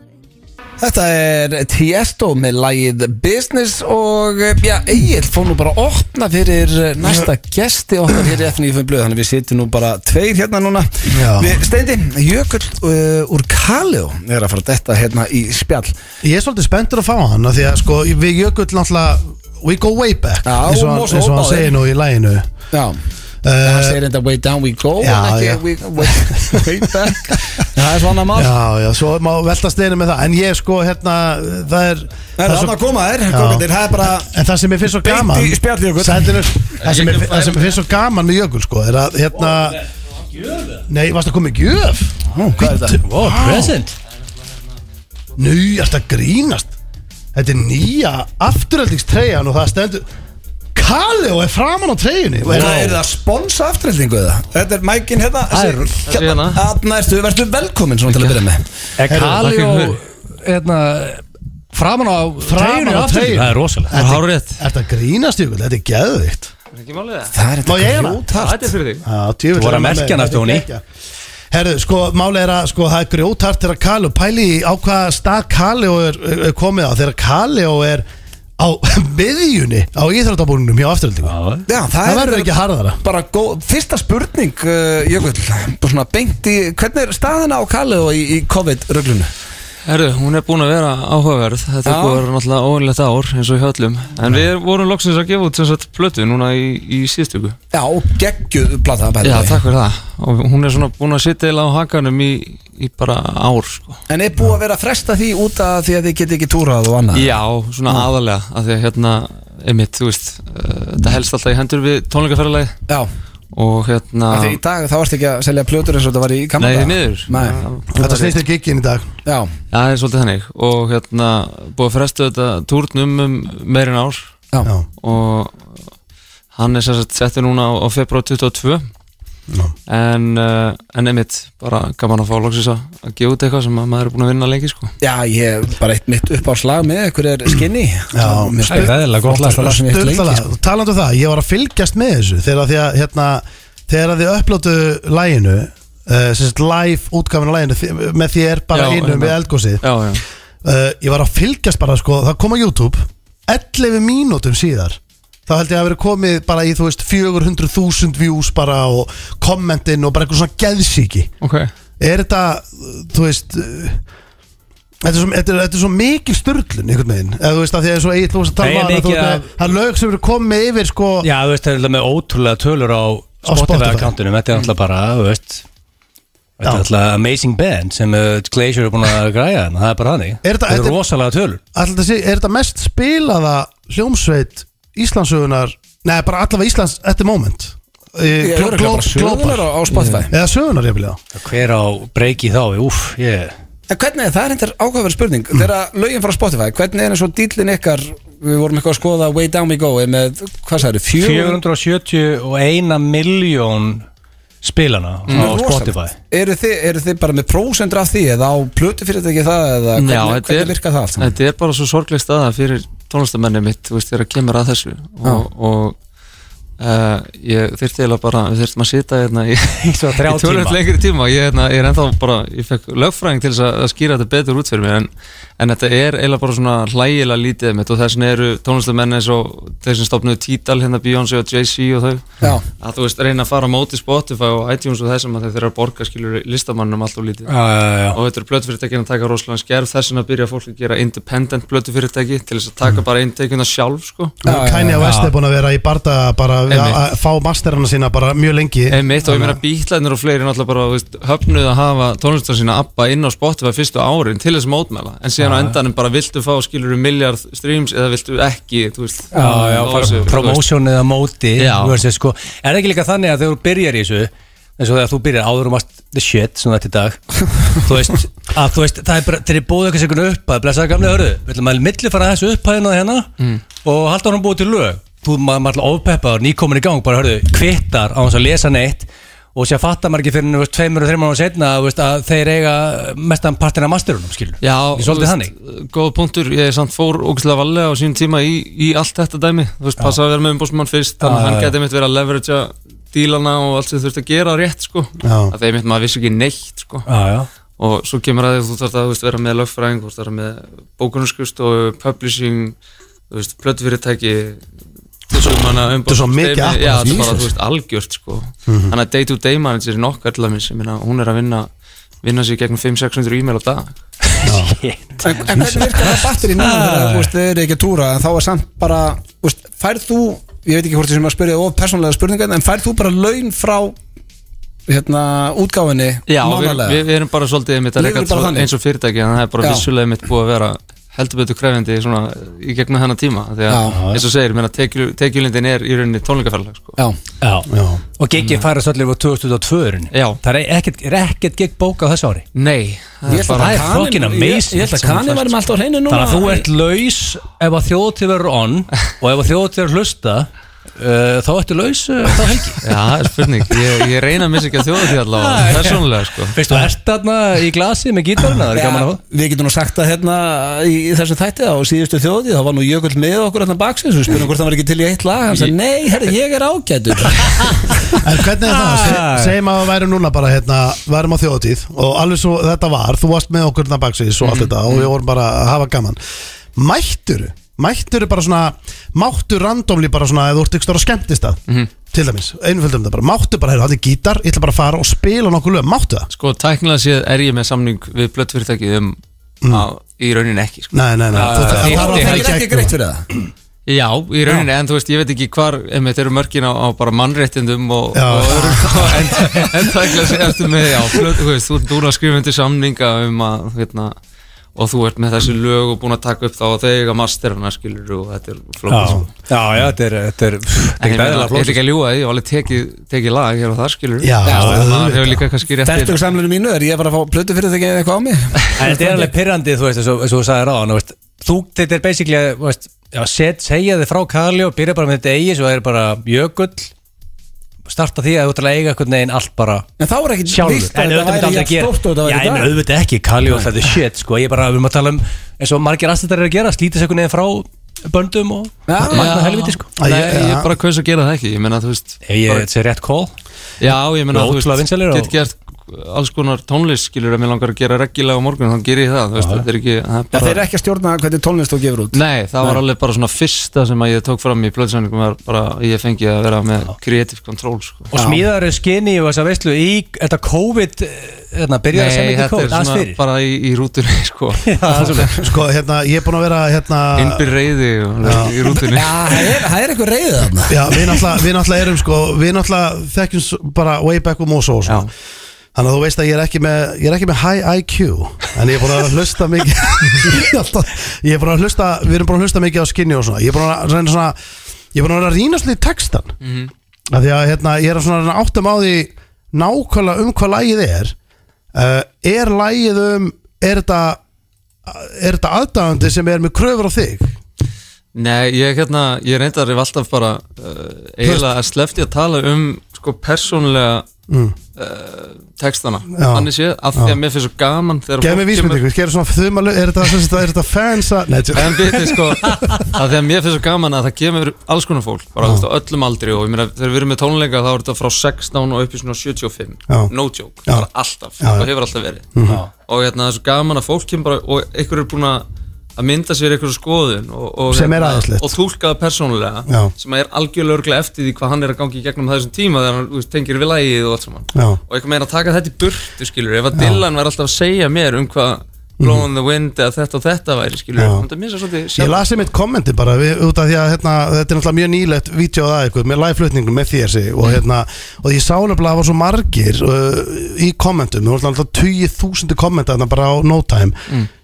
Speaker 1: Þetta er Tiesto með lagið Business og eh, já, Egil fór nú bara að opna fyrir eh, næsta gesti okkar hér í FNF blöð þannig við sitjum nú bara tveir hérna núna
Speaker 3: Já.
Speaker 1: Við Steindi, Jökull uh, úr Kaleo er að fara að detta hérna í spjall
Speaker 3: Ég er svolítið spenntur að fá hann af Því að sko, við jökull náttúrulega We go way back
Speaker 1: Já,
Speaker 3: eins og hann,
Speaker 1: og svo
Speaker 3: eins og hann
Speaker 1: báðir.
Speaker 3: segir nú í læginu
Speaker 1: Já, það
Speaker 3: uh,
Speaker 1: segir enda way down we go
Speaker 3: Já,
Speaker 1: en ekki
Speaker 3: já.
Speaker 1: We, way, way back En Það er svona mál
Speaker 3: Já, já, svo má veltast einu með það En ég sko, hérna, það er
Speaker 1: Það er þarna að koma þér, kókandir, það er bara
Speaker 3: En það sem ég finnst svo
Speaker 1: Beint
Speaker 3: gaman
Speaker 1: í spjallið, Jökull.
Speaker 3: Sætinu- Það sem ég það sem ég finnst svo gaman með Jökul sko Er að hérna Nei, varst að koma í gjöf
Speaker 1: Hvað er þetta?
Speaker 3: Ó,
Speaker 2: Present
Speaker 3: Nú, ertu að grínast Þetta er nýja afturöldingstreyjan Og það stendur Kaleo er framan á treyjunni Og er-
Speaker 1: Það er það sponsa afturhildingu eða? Þetta er mækin hérna
Speaker 2: Það er-
Speaker 1: þessi- hérna Þarna ertu, verður velkominn svona til að byrja með
Speaker 2: Er Kali
Speaker 4: þakka ykkur
Speaker 2: og Hérna Framan á
Speaker 3: Framan á
Speaker 2: treyjunni aftur?
Speaker 3: treyjunni.
Speaker 2: Það er rosalega
Speaker 3: Þetta-
Speaker 2: Það er hárrétt
Speaker 3: Ertu að grínast Jökul, þetta er geðvikt
Speaker 1: Það er
Speaker 3: Má ég eiga hana?
Speaker 1: grjótart
Speaker 4: er fyrir þig
Speaker 3: Þú
Speaker 2: Þú voru að merkja hana, Stóni.
Speaker 3: Herðu, sko, máli er að sko, það er grjótart þegar Kaleo pæli í á hvaða stað Kaleo er, er komið á þegar Kaleo er á miðjunni á íþróttabúrunum hjá afturöldingu
Speaker 1: Já, það,
Speaker 3: Það verður ekki harðara
Speaker 1: Bara góð, fyrsta spurning uh, Jökull, bara svona beint í Hvernig er staðina á Kalle og í, í COVID-röglunu?
Speaker 6: Herru, hún er búin að vera áhugaverð Þetta
Speaker 1: Já.
Speaker 6: er búin náttúrulega óinlegt ár eins og hjá öllum En við vorum loksins að gefa út sem sagt plötu núna í, í síðustu viku.
Speaker 1: Já, geggjuð plata by the
Speaker 6: Já,
Speaker 1: way.
Speaker 6: takk fyrir það Og hún er svona búin að sitja eða á hakanum í, í bara ár sko.
Speaker 1: En er búið að vera að fresta því út af því að þið geti ekki túrað og annað?
Speaker 6: Já, svona aðalega að Því að hérna, einmitt, þú veist uh, Þetta helst alltaf í hendur við tónleikaferðalagi
Speaker 1: Já,
Speaker 6: Og hérna
Speaker 1: af því í dag þá ertu ekki að selja plötur eins og þetta var í
Speaker 6: Nei,
Speaker 1: kamera
Speaker 6: því miður
Speaker 1: Nei,
Speaker 3: Þetta snýst ekki ekki inn í dag
Speaker 1: já,
Speaker 6: Já, það er svolítið þannig Og hérna, búið að frestu þetta túrnum um meirin ár
Speaker 1: já,
Speaker 3: Já,
Speaker 6: og hann er sem sagt settur núna á, á februar 22
Speaker 3: Já.
Speaker 6: en, uh, en einmitt bara gaman að fá loksins að að gefa út eitthvað sem að maður er búin að vinna lengi sko.
Speaker 1: já, ég hef bara eitt mitt upp á slag með ykkur er skinni
Speaker 3: Já,
Speaker 1: mér
Speaker 2: Það er eðlilega gott lag.
Speaker 1: það sem ég hef lengi
Speaker 3: Sturlala,
Speaker 1: sko.
Speaker 3: talandu um það, ég var að fylgjast með þessu þegar því að hérna, þegar að þið upplótu læginu uh, sérst live útgafinu læginu þi- með þér bara
Speaker 6: Já,
Speaker 3: innum
Speaker 6: hérna.
Speaker 3: við eldgósið
Speaker 6: já, já,
Speaker 3: uh, ég var að fylgjast bara sko, það kom á YouTube 11 mínútum síðar þá held ég að vera komið bara í þú veist 400.000 views bara og kommentin og bara eitthvað svona geðsíki
Speaker 6: ok
Speaker 3: er þetta, uh, þú veist uh, Þetta er, svo, þetta, er, þetta er svo mikil störlun einhvern veginn, eða þú veist að því að það er svo eitt þú veist að
Speaker 2: Nei,
Speaker 3: tala
Speaker 2: en
Speaker 3: um hana, þú
Speaker 2: ekki
Speaker 3: veist að
Speaker 2: að-
Speaker 3: það er lög sem eru komið yfir sko
Speaker 2: Já, þú veist, það er alltaf með ótrúlega tölur á
Speaker 3: Á Spotify.
Speaker 2: Spotify-akkantinum Þetta er alltaf bara, þú veist Þetta
Speaker 3: Já.
Speaker 2: er alltaf amazing band sem uh, Glacier er búin að græja þannig, það er bara hannig
Speaker 3: Er þetta-
Speaker 2: Þetta er
Speaker 3: þetta-
Speaker 2: rosalega tölur
Speaker 3: Alltaf þessi, er þetta mest spilaða hljómsveit Íslandsugunar Nei, bara allavega Íslands at the moment
Speaker 1: Ég
Speaker 3: Eh,
Speaker 1: er
Speaker 3: glo-
Speaker 1: örugglega bara
Speaker 3: glo-
Speaker 1: sögunar
Speaker 3: Global
Speaker 1: á- á Spotify
Speaker 3: Eða sögunar ég vilja
Speaker 2: Hver á breyki þá, úf, ég
Speaker 1: En hvernig er það er endur ákveðverð spurning Þegar lögin frá Spotify, hvernig er eins og dýllin ykkar Við vorum eitthvað að skoða Way Down We Go er með, hvað sagði, 400
Speaker 2: 471 miljón spilana á
Speaker 3: Mm.
Speaker 2: Spotify
Speaker 1: Eru þið, eru þið bara með prósendur af því eða á plötu fyrir þetta ekki það eða hvernig,
Speaker 6: Já, þetta
Speaker 1: hvernig
Speaker 6: er-
Speaker 1: virka það allt saman?
Speaker 6: Þetta er bara svo sorgleg staða fyrir tónlistamenni mitt, þú veist, þegar kemur að þessu og, og uh, ég þyrfti eiginlega bara, við þyrftum að sita hérna í, í
Speaker 2: Svo þrjá
Speaker 6: tölvöld
Speaker 2: tíma.
Speaker 6: lengri tíma, ég, hérna, ég er ennþá bara, ég fekk lögfræðing til þess að, að skýra þetta betur út fyrir mér en, en þetta er eiginlega bara svona hlægilega lítið mitt og þess vegna eru tónlistamenni eins og þeir sem stopnuðu Títal hérna Beyoncé og Jay-Z og þau
Speaker 1: Já,
Speaker 6: að þú veist, reyna að fara á móti Spotify og iTunes og þessum að þeir þeirra borga skilur listamannum allt og lítið
Speaker 2: Já, já, já.
Speaker 6: og þetta eru blötufyrirtækin að taka rosalega skerf þess vegna byrja fólk að gera independent blötufyrirtæki til þess að taka bara inntekjuna sjálf sko.
Speaker 3: Kanye West er búin að vera í barda bara við að að
Speaker 6: Einmitt.
Speaker 3: fá masterana sína bara mjög lengi
Speaker 6: einmitt og ég meina bítlarnir og fleiri náttúrulega bara þú veist, höfnuð að hafa tónlistar sína appa inn á Spotify fyrstu árin til þess að mótmæla en síðan á endanum bara viltu fá skilur um miljard streams eða viltu ekki þú veist,
Speaker 2: Já, já,
Speaker 6: Á
Speaker 2: bara
Speaker 6: þessu, þú veist.
Speaker 2: promotion eða móti
Speaker 6: Já.
Speaker 2: þú veist, þið sko, Er það ekki líka þannig að þegar þú byrjar í þessu eins og þegar þú byrjar áður um allt the shit sem þetta í dag þú veist, að þú veist, það er bara þeir eru búið eitthvað segun upp að blessa gamlega hörðu við ætlum að milli fara þessu upphæðina hérna og halda honum búið til lög þú maður ma alltaf ofpeppaður, nýkomin í gang bara hörðu, kvittar á hans að lesa neitt og sér fattar maður ekki fyrir henni tveimur og þreimur ára setna að, þú veist, að þeir eiga mestan partina masterunum skilur
Speaker 6: Já,
Speaker 2: Ég er svolítið þannig
Speaker 6: góð punktur, ég er samt fór ógæslega valega á sín tíma í, í allt þetta dæmi þú veist, passa að vera með umbúsmann fyrst þannig að hann geti mitt verið að leveragea dílana og allt sem þurft að gera rétt sko
Speaker 3: Já.
Speaker 6: að þeim mitt maður vissi ekki neitt sko
Speaker 2: Já, já,
Speaker 6: og svo kemur að því að þú þarf að þú veist, vera með lögfræðing, þú þarf að vera með bókunarskust og publishing þú veist, plötufyrirtæki þú veist, manna
Speaker 3: Þetta er svo mikið apparat,
Speaker 6: já, þetta er
Speaker 3: Jesus.
Speaker 6: bara, þú veist, algjört sko þannig að day-to-day managerin okkar til dæmis, ég meina, hún er að vinna vinna sér gegnum 500-600 e-mail á dag
Speaker 1: En, en hvernig virkar það batteri núna þegar þú veist, þið eru ekki að túra en þá er samt bara, þú veist, færð þú ég veit ekki hvort þið sem að spyrja of persónlega spurningar en færð þú bara laun frá hérna útgáfinni
Speaker 6: Já, við,
Speaker 1: mánalega?
Speaker 6: við, við erum bara svolítið einmitt að
Speaker 1: Lifir
Speaker 6: reyka
Speaker 1: bara þannig?
Speaker 6: eins og fyrirtæki þannig að það er bara
Speaker 1: Já.
Speaker 6: vissulega einmitt búið að vera heldur betur krefjandi svona, í gegnum þennan tíma því að
Speaker 1: Já.
Speaker 6: eins og segir, ég meina, tekju- tekjulindin er í rauninni tónleikaferðlag sko.
Speaker 1: Já,
Speaker 2: já.
Speaker 3: Já.
Speaker 2: Og
Speaker 7: Mm.
Speaker 2: giggið færast allir á 2002 -urinn.
Speaker 6: Já.
Speaker 2: Það er ekkert, er ekkert gigg bókað á þessu ári
Speaker 6: Nei,
Speaker 1: Ég ætla
Speaker 2: Það er
Speaker 1: Kaninn-
Speaker 2: fucking amazing
Speaker 7: Ég held að kanni væri með allt á hreinu núna
Speaker 2: Þannig að þú ert laus ef að þjóðtíð verður on og ef að þjóðtíð verður hlusta uh, þá ertu laus uh, þá helgi
Speaker 6: Já, það er spurning, ég, ég reyna að missa ekki að þjóða því allavega, persónulega sko
Speaker 2: Veist þú, ert þarna í glasi með gítarina það er gaman að hóða
Speaker 7: Við getum nú sagt að hérna í í þessum þætti á síðustu þjóði þá var nú Jökull með okkur hérna baksins við spyrum hvort það var ekki til í eitt lag hann sagði nei, herri, ég er ágætur
Speaker 3: En hvernig er það? Se- Segjum að við værum núna bara hérna, værum á þjóðatíð og alveg svo þetta var, þú varst með okkur þarna baksins og allt þetta og við vorum bara að hafa gaman Mættur, mættur bara svona, máttur randomli bara svona eða þú ert ykkur stóra skemmtist að
Speaker 6: Mhm.
Speaker 3: til dæmis, einföldum það bara, máttu bara, heyrðu, hann er gítar ég ætla bara að fara og spila nokkuð lög, máttu það?
Speaker 6: Sko, tæknilega séð er ég með samning við blöttfyrirtæki um að, í rauninni ekki sko.
Speaker 3: Nei, nei, nei, þú
Speaker 6: já,
Speaker 3: það
Speaker 6: já.
Speaker 3: þarf að
Speaker 6: Hitti,
Speaker 3: fara í
Speaker 1: það er ekki
Speaker 3: gegn
Speaker 1: greitt fyrir það
Speaker 6: Já, í rauninni, en þú veist, ég veit ekki hvar einmitt eru mörkin á, á bara mannréttindum og,
Speaker 3: Já.
Speaker 6: og öðru, en, en það ekki að segja eftir með, já, flöt, þú veist, þú ert búin að skrifa undir samninga um að, hérna, og þú ert með þessi lög og búin að taka upp þá og þegar masterina skilur og þetta er flókið sko.
Speaker 2: Já, já, þetta er, þetta er, þetta er
Speaker 6: En ég meina,
Speaker 2: gæðilega
Speaker 6: ég er
Speaker 2: flóð
Speaker 6: ekki að ljúga því, ég var alveg tekið, tekið lag hér og það skilur
Speaker 3: Já,
Speaker 6: það
Speaker 3: auðvitað.
Speaker 6: hefur líka kannski rétt
Speaker 1: Þetta er samlunum mínu, er ég bara að fá plötu fyrir þetta ekki eða eitthvað á mig?
Speaker 2: En þetta er alveg pyrrandi, þú veist, eins og- eins og þú sagði ráðan þú veist, Þú, þetta er basically að, þú veist, já, set, segja þið frá Kali og byrja bara með þetta eigi svo það er bara jökull starta því að þú ætlar að eiga einhvern veginn allt bara
Speaker 1: En þá er ekki
Speaker 2: sjálfur
Speaker 1: víst að þetta væri ekki stórt og þetta
Speaker 2: Já,
Speaker 1: væri í
Speaker 2: en
Speaker 1: dag
Speaker 2: auðvitað ekki, Kali og þetta er shit sko. Ég bara, við erum að tala um eins og margir aðstættar eru að gera, slítið sekunni frá böndum og
Speaker 1: Já.
Speaker 2: magna helviti sko
Speaker 3: Æ,
Speaker 6: Nei, ég
Speaker 3: já.
Speaker 6: bara kaus að gera það ekki, ég meina, þú veist
Speaker 2: Ef ég
Speaker 6: bara-
Speaker 2: þetta er rétt call
Speaker 6: Já, ég meina,
Speaker 2: Og
Speaker 6: þú
Speaker 2: ótrúlega
Speaker 6: veist,
Speaker 2: vinsælir og-
Speaker 6: get gert alls konar tónlist, skilur, ef mér langar að gera reggilega á morgun, þá gerir ég það, þú veist, þetta er ekki það er
Speaker 1: Það
Speaker 6: bara,
Speaker 1: þeir eru ekki að stjórna hvernig tónlist þú gefur út
Speaker 6: Nei, það var alveg bara svona fyrsta sem að ég tók fram í plöðsæningum var bara, að ég fengi að vera með creative control, sko
Speaker 2: Og smíðar eru skinni og þess að veistlu í þetta COVID Þetta byrjaði að
Speaker 6: Nei,
Speaker 2: semja ekki
Speaker 6: þetta er
Speaker 2: COVID, aðeins
Speaker 6: svona
Speaker 2: fyrir
Speaker 6: bara í, í rútunni, sko
Speaker 3: Sko, hérna, ég er búin að vera, hérna
Speaker 6: Innbyr reyði og- í rútunni
Speaker 1: Já, það er, það er eitthvað reyðið þarna
Speaker 3: Já, við náttúrulega, við náttúrulega erum sko Við náttúrulega þekkjum s- bara way back um og svo
Speaker 6: Já.
Speaker 3: Þannig að þú veist að ég er ekki með Ég er ekki með high IQ En ég er búin að hlusta mikið Alltaf- Ég er búin að hlusta, við erum búin að hlusta mikið á skinni og svona Ég er búin að reyna svona Ég er búin að vera að rýna svona í textan mm Því að hérna, ég er að svona reyna áttum á því Nákvæmlega um hvað lagið er uh, Er lagið um Er þetta Er þetta aðdáðandi sem er með kröfur á þig
Speaker 6: Nei, ég, eh, hérna, ég reyndar ef alltaf bara uh, eiginlega að slefti að tala um sko persónlega textana
Speaker 3: Já.
Speaker 6: Þannig séð, af því að mér finnst svo gaman
Speaker 3: Gæði
Speaker 6: þegar fólk
Speaker 3: mig
Speaker 6: kemur-
Speaker 3: vísmyndingu, skerum svona þumalu Er þetta, sem sagt- er þetta fans að Nei, þetta
Speaker 6: En vitið sko, að því að mér finnst svo gaman að það kemur alls konar fólk, bara þú veist, á öllum aldri og ég meina þegar við erum með tónleika þá er þetta frá 16 og upp í svona 75,
Speaker 3: Já.
Speaker 6: no joke,
Speaker 3: Já.
Speaker 6: bara alltaf
Speaker 3: Já, Mhm. já.
Speaker 6: og hefur alltaf verið. Og hérna það er svo gaman að fólk kemur bara og einhver er búin að að mynda sér einhverju skoðun og, og, hérna,
Speaker 3: Sem er æðislegt.
Speaker 6: og túlka það persónulega
Speaker 3: Já.
Speaker 6: sem að er algjörlega örglega eftir því hvað hann er að gangi í gegnum á þessum tíma þegar hann þú veist, tengir við lægið og allt saman
Speaker 3: Já.
Speaker 6: og eitthvað meira að taka þetta í burtu skilur ef að Dylan var alltaf að segja mér um hvað Blow on the Wind eða þetta og þetta væri skilur
Speaker 3: Já.
Speaker 6: þannig að mér er svolítið
Speaker 3: Ég
Speaker 6: sjálf
Speaker 3: lasi mitt kommenti bara við, út af því að hérna, þetta er náttúrulega mjög nýlegt vídeo að eitthvað með live-flutningum með þér sig, og, hérna, og ég sá nefnilega að það var svo margir uh, í kommentum, það var náttúrulega tugi þúsundu kommenta þarna bara á no time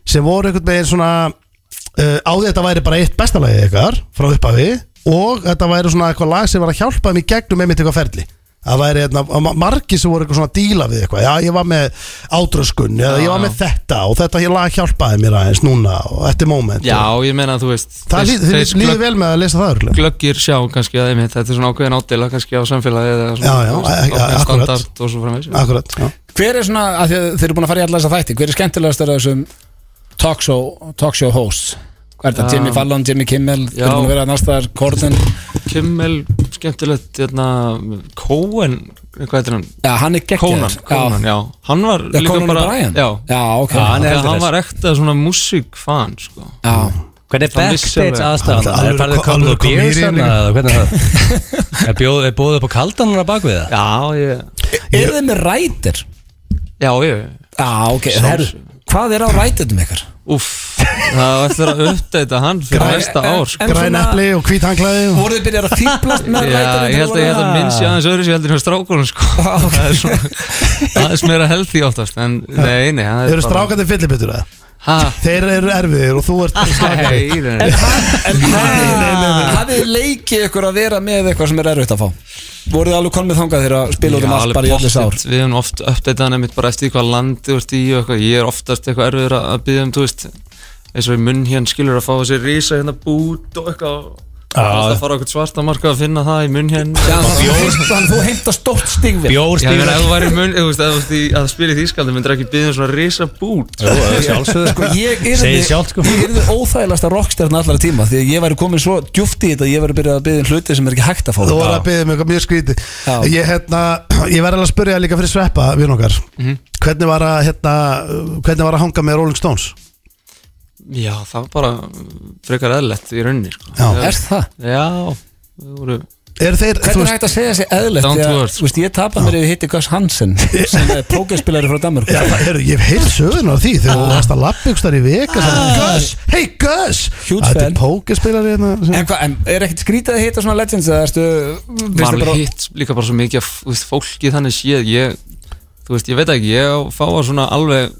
Speaker 3: sem voru einhvern veginn svona uh, á því að þetta væri bara eitt bestalagið ykkar frá upphafi og þetta væri svona eitthvað lag sem var að hjálpa þeim í gegnum einmitt eitthvað ferli Það væri hérna, ma- margir sem voru eitthvað svona að díla við eitthvað Já, ég var með átröskun eða ég var með þetta og þetta hér lag hjálpaði mér aðeins núna og þetta er moment
Speaker 6: já
Speaker 3: og,
Speaker 6: ég meina að þú veist
Speaker 3: Það
Speaker 6: þeir-
Speaker 3: líð- þið
Speaker 6: þeir
Speaker 3: líður
Speaker 6: glögg-
Speaker 3: vel með að lesa það örgulega
Speaker 6: glöggir sjá kannski að einmitt þetta er svona ákveðin ádela kannski á samfélagi eða svona
Speaker 3: Já, já,
Speaker 6: þú veist,
Speaker 3: ja,
Speaker 6: ákveðin
Speaker 3: akkurat.
Speaker 6: standard og svo framvegis
Speaker 3: Akkurat, já
Speaker 1: Hver er svona, af því að þeir eru búin að fara í alla þessa þætti Hver er skemmtilegast af þessum talkshow, talkshow hosts? Hvað er þetta? Jimmy Fallon, Jimmy Kimmel Þeir
Speaker 6: Já.
Speaker 1: eru búin að vera nástaðar, Corden
Speaker 6: Kimmel skemmtilegt hérna Cohen hvað heitir hann
Speaker 1: Já, hann er geggjör
Speaker 6: Conan, Conan, já Hann var
Speaker 1: Já,
Speaker 6: líka
Speaker 1: Conan
Speaker 6: bara
Speaker 1: O'Brien?
Speaker 6: Já,
Speaker 1: Já, ok.
Speaker 6: Af
Speaker 2: Hann
Speaker 6: því
Speaker 2: er
Speaker 6: að
Speaker 2: heldur
Speaker 6: Hann
Speaker 2: þess.
Speaker 6: var ekta svona músikfan sko
Speaker 1: Já,
Speaker 2: Hvernig er
Speaker 6: Það vissi alveg.
Speaker 2: backstage aðstæðan?
Speaker 3: Alveg-
Speaker 2: Er farið
Speaker 3: alveg-
Speaker 2: að koma
Speaker 3: alveg
Speaker 2: og beers
Speaker 3: komið í
Speaker 2: hana? eða Hvernig er það? Er bjóð- Er bóðið upp á kaldan hana bak við það?
Speaker 6: Já, ég
Speaker 1: eru þið með rætir?
Speaker 6: Já, ég
Speaker 1: Já, ok, herru, hvað er á rætitum ykkar?
Speaker 6: Úff, það var eftir að uppdata hann fyrir
Speaker 3: Græn-
Speaker 6: næsta
Speaker 1: en-
Speaker 6: ár sko.
Speaker 1: en-
Speaker 3: Græn
Speaker 1: svona-
Speaker 3: epli og hvít hanglaði og...
Speaker 1: Voruð þið byrjar að fýblast með
Speaker 6: Já,
Speaker 1: rætitum?
Speaker 6: ég held að ég held að minnst ég aðeins öðru sér heldur hjá strákunum sko Það er svona aðeins meira healthy oftast En nei, nei það
Speaker 3: Þeir
Speaker 6: er
Speaker 3: eru strákandi fyllibittur að
Speaker 6: Ha,
Speaker 3: Þeir eru erfiðir og þú ert strákandi
Speaker 6: nei, nei, nei
Speaker 1: Hafið þið leikið ykkur að vera með eitthvað sem er erfitt að fá? Voruð þið alveg komið þangað þegar að spila út um
Speaker 6: Já,
Speaker 1: allt
Speaker 6: alveg
Speaker 1: bara í öllu sár?
Speaker 6: pottet. Við höfum oft uppdatað hann einmitt bara eftir því hvað landi þú ert í og eitthvað Ég er oftast eitthvað erfiður að- að byggja um, þú veist eins og í munn hérna skilur að fá þessi rísa hérna bút og eitthvað Það fara okkur svarta marka að finna það í munn hérna
Speaker 1: Já, þannig að þú heimtar- þannig að þú heimta stórt stigvið
Speaker 2: Bjór
Speaker 6: Já, ég meina,
Speaker 2: stífur
Speaker 6: ef þú væri mun, þú veist, ef þú veist, í- að spila í Þýskaldi myndir ekki byggja um svona risa bút Já,
Speaker 1: Sko, ég
Speaker 2: Segir
Speaker 1: er
Speaker 2: sjálft, sko.
Speaker 1: því óþægilegasta rockstjarn allra tíma því að ég væri komin svo djúft í þetta að ég væri byrjað að byggja hluti sem er ekki hægt að fá
Speaker 3: Þú voru að byggja mig eitthvað mjög skríti
Speaker 1: Já.
Speaker 3: Ég, hérna, ég verði alveg að spyrja líka fyrir sveppa við nokkar
Speaker 1: Mhm.
Speaker 3: hvernig, var að, hérna, hvernig var að hanga með Rolling Stones?
Speaker 6: það var bara mm, frekar eðlert í rauninni, sko
Speaker 3: Já.
Speaker 6: Þegar-
Speaker 1: Er það?
Speaker 6: Já, það voru
Speaker 3: Eru þeir, þú
Speaker 1: Hvernig er
Speaker 3: veist
Speaker 1: hægt að segja þessi eðlert
Speaker 6: Down
Speaker 1: því
Speaker 6: to
Speaker 1: að,
Speaker 6: earth.
Speaker 1: þú veist, ég tapar mér yfir hitti Gus Hansen sem er pókerspilari frá Danmark
Speaker 3: Já, það eru, ég hef heyrt söguna á því þegar þú varst að lappa ykkur starf í veka Gus, hey Gus
Speaker 1: Ah. Huge
Speaker 3: Þetta er
Speaker 1: fan.
Speaker 3: pókerspilari hérna sem-
Speaker 1: En, hva, en er ekkert skrítið að hitta svona legends eða erstu
Speaker 6: Var
Speaker 1: bara,
Speaker 6: alveg hitt líka bara svo mikið af, þú veist, fólki þannig séð Ég, þú veist, ég veit ekki, ég fá að svona alveg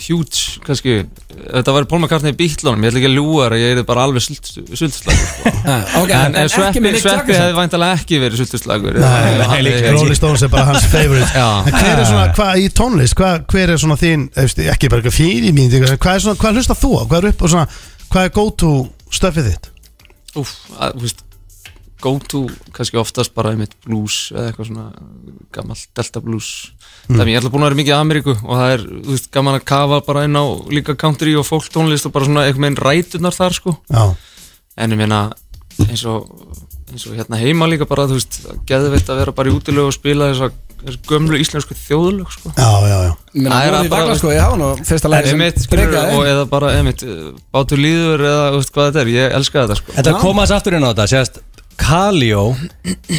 Speaker 6: huge, kannski ef Þetta væri Paul McCartney í bítlunum, ég ætla ekki að ljúga þér að ég er bara alveg sultslagur sko.
Speaker 1: okay,
Speaker 6: En, en
Speaker 1: ekki
Speaker 6: Sveppi,
Speaker 1: með Nick
Speaker 6: Sveppi
Speaker 1: Jackson.
Speaker 6: hefði væntalega ekki verið sultslagur
Speaker 3: Rolling Stones er bara hans favorite
Speaker 6: Já.
Speaker 3: En hver er svona, hvað í tónlist, hvað, hver er svona þín, eftir, ekki bara eitthvað fyrir mín, eitthvað, hvað er svona, hvað hlustar þú á, hvað er upp og svona, hvað er go to stöfið þitt?
Speaker 6: Úf, að, þú veist go to kannski oftast bara einmitt blues eða eitthvað svona gammal delta blues mm. það er mér alltaf búin að vera mikið í Ameríku og það er, þú veist, gaman að kafa bara inn á líka country og folk tónlist og bara svona einhvern veginn rætunar þar sko
Speaker 3: Já,
Speaker 6: en ég meina eins og, eins og hérna heima líka bara þú veist, geðveitt að vera bara í útilögu og spila þess að gömlu íslensku þjóðlög sko
Speaker 3: já, já, já.
Speaker 1: Ég meina,
Speaker 6: Það er
Speaker 1: voru í
Speaker 6: bara-
Speaker 1: Bagla, sko, ég hafa nú fyrsta lagi sem
Speaker 6: Einmitt, skilur,
Speaker 1: bregaði.
Speaker 6: og eða bara einmitt, eh, bátur líður eða þú veist, hvað þetta er, ég elska þetta sko
Speaker 2: Þetta komaðs aftur inn á þetta Sérst, Kalio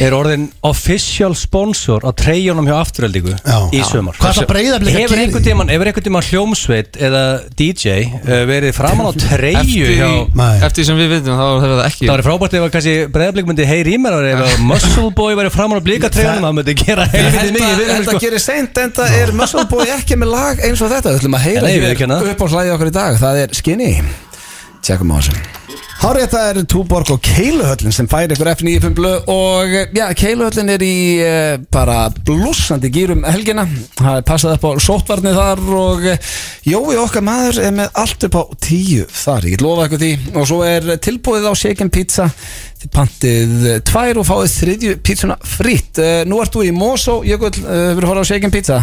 Speaker 2: er orðin official sponsor á treyjónum hjá afturöldingu
Speaker 3: Já.
Speaker 2: í
Speaker 3: Já.
Speaker 2: sömur
Speaker 3: Hvað það Breiðablik að
Speaker 2: Hefur
Speaker 3: gera í
Speaker 2: einhvern
Speaker 3: því?
Speaker 2: tímann hefur einhvern tímann hljómsveit eða DJ uh, verið framan á treyju hjá
Speaker 3: Nei.
Speaker 6: eftir, eftir því sem við veitum þá hefur það ekki
Speaker 2: Það var frábært ef að kannski breyðablík myndi heyri í mér ári ef að Muscle Boy væri framan á blíkatreyjunum það myndi gera
Speaker 1: Ég
Speaker 2: helviti
Speaker 1: held að þetta
Speaker 2: mikið fyrir mér sko
Speaker 1: gerir seint en það er Muscle Boy ekki hérna. með lag eins og þetta Þú ætlum að heyra
Speaker 2: Nei, við ekki hana.
Speaker 1: upp á slæði okkar í dag Það er Skinny Tjekkum á þessu Hárið þetta er Túborg og Keiluhöllin sem færi ykkur F95 blöð og eh, já, Keiluhöllin er í eh, bara blúsandi gýrum helgina það er passað upp á sótvarni þar og eh, Jói okkar maður er með allt upp á tíu þar, ég get lofa ykkur því og svo er tilbúið á Shaken Pizza þið pantið eh, tvær og fáið þriðju pizzuna fritt Eh, Nú ert þú í Mosó, Jökull, eh, hefur þú horfð á Shaken Pizza?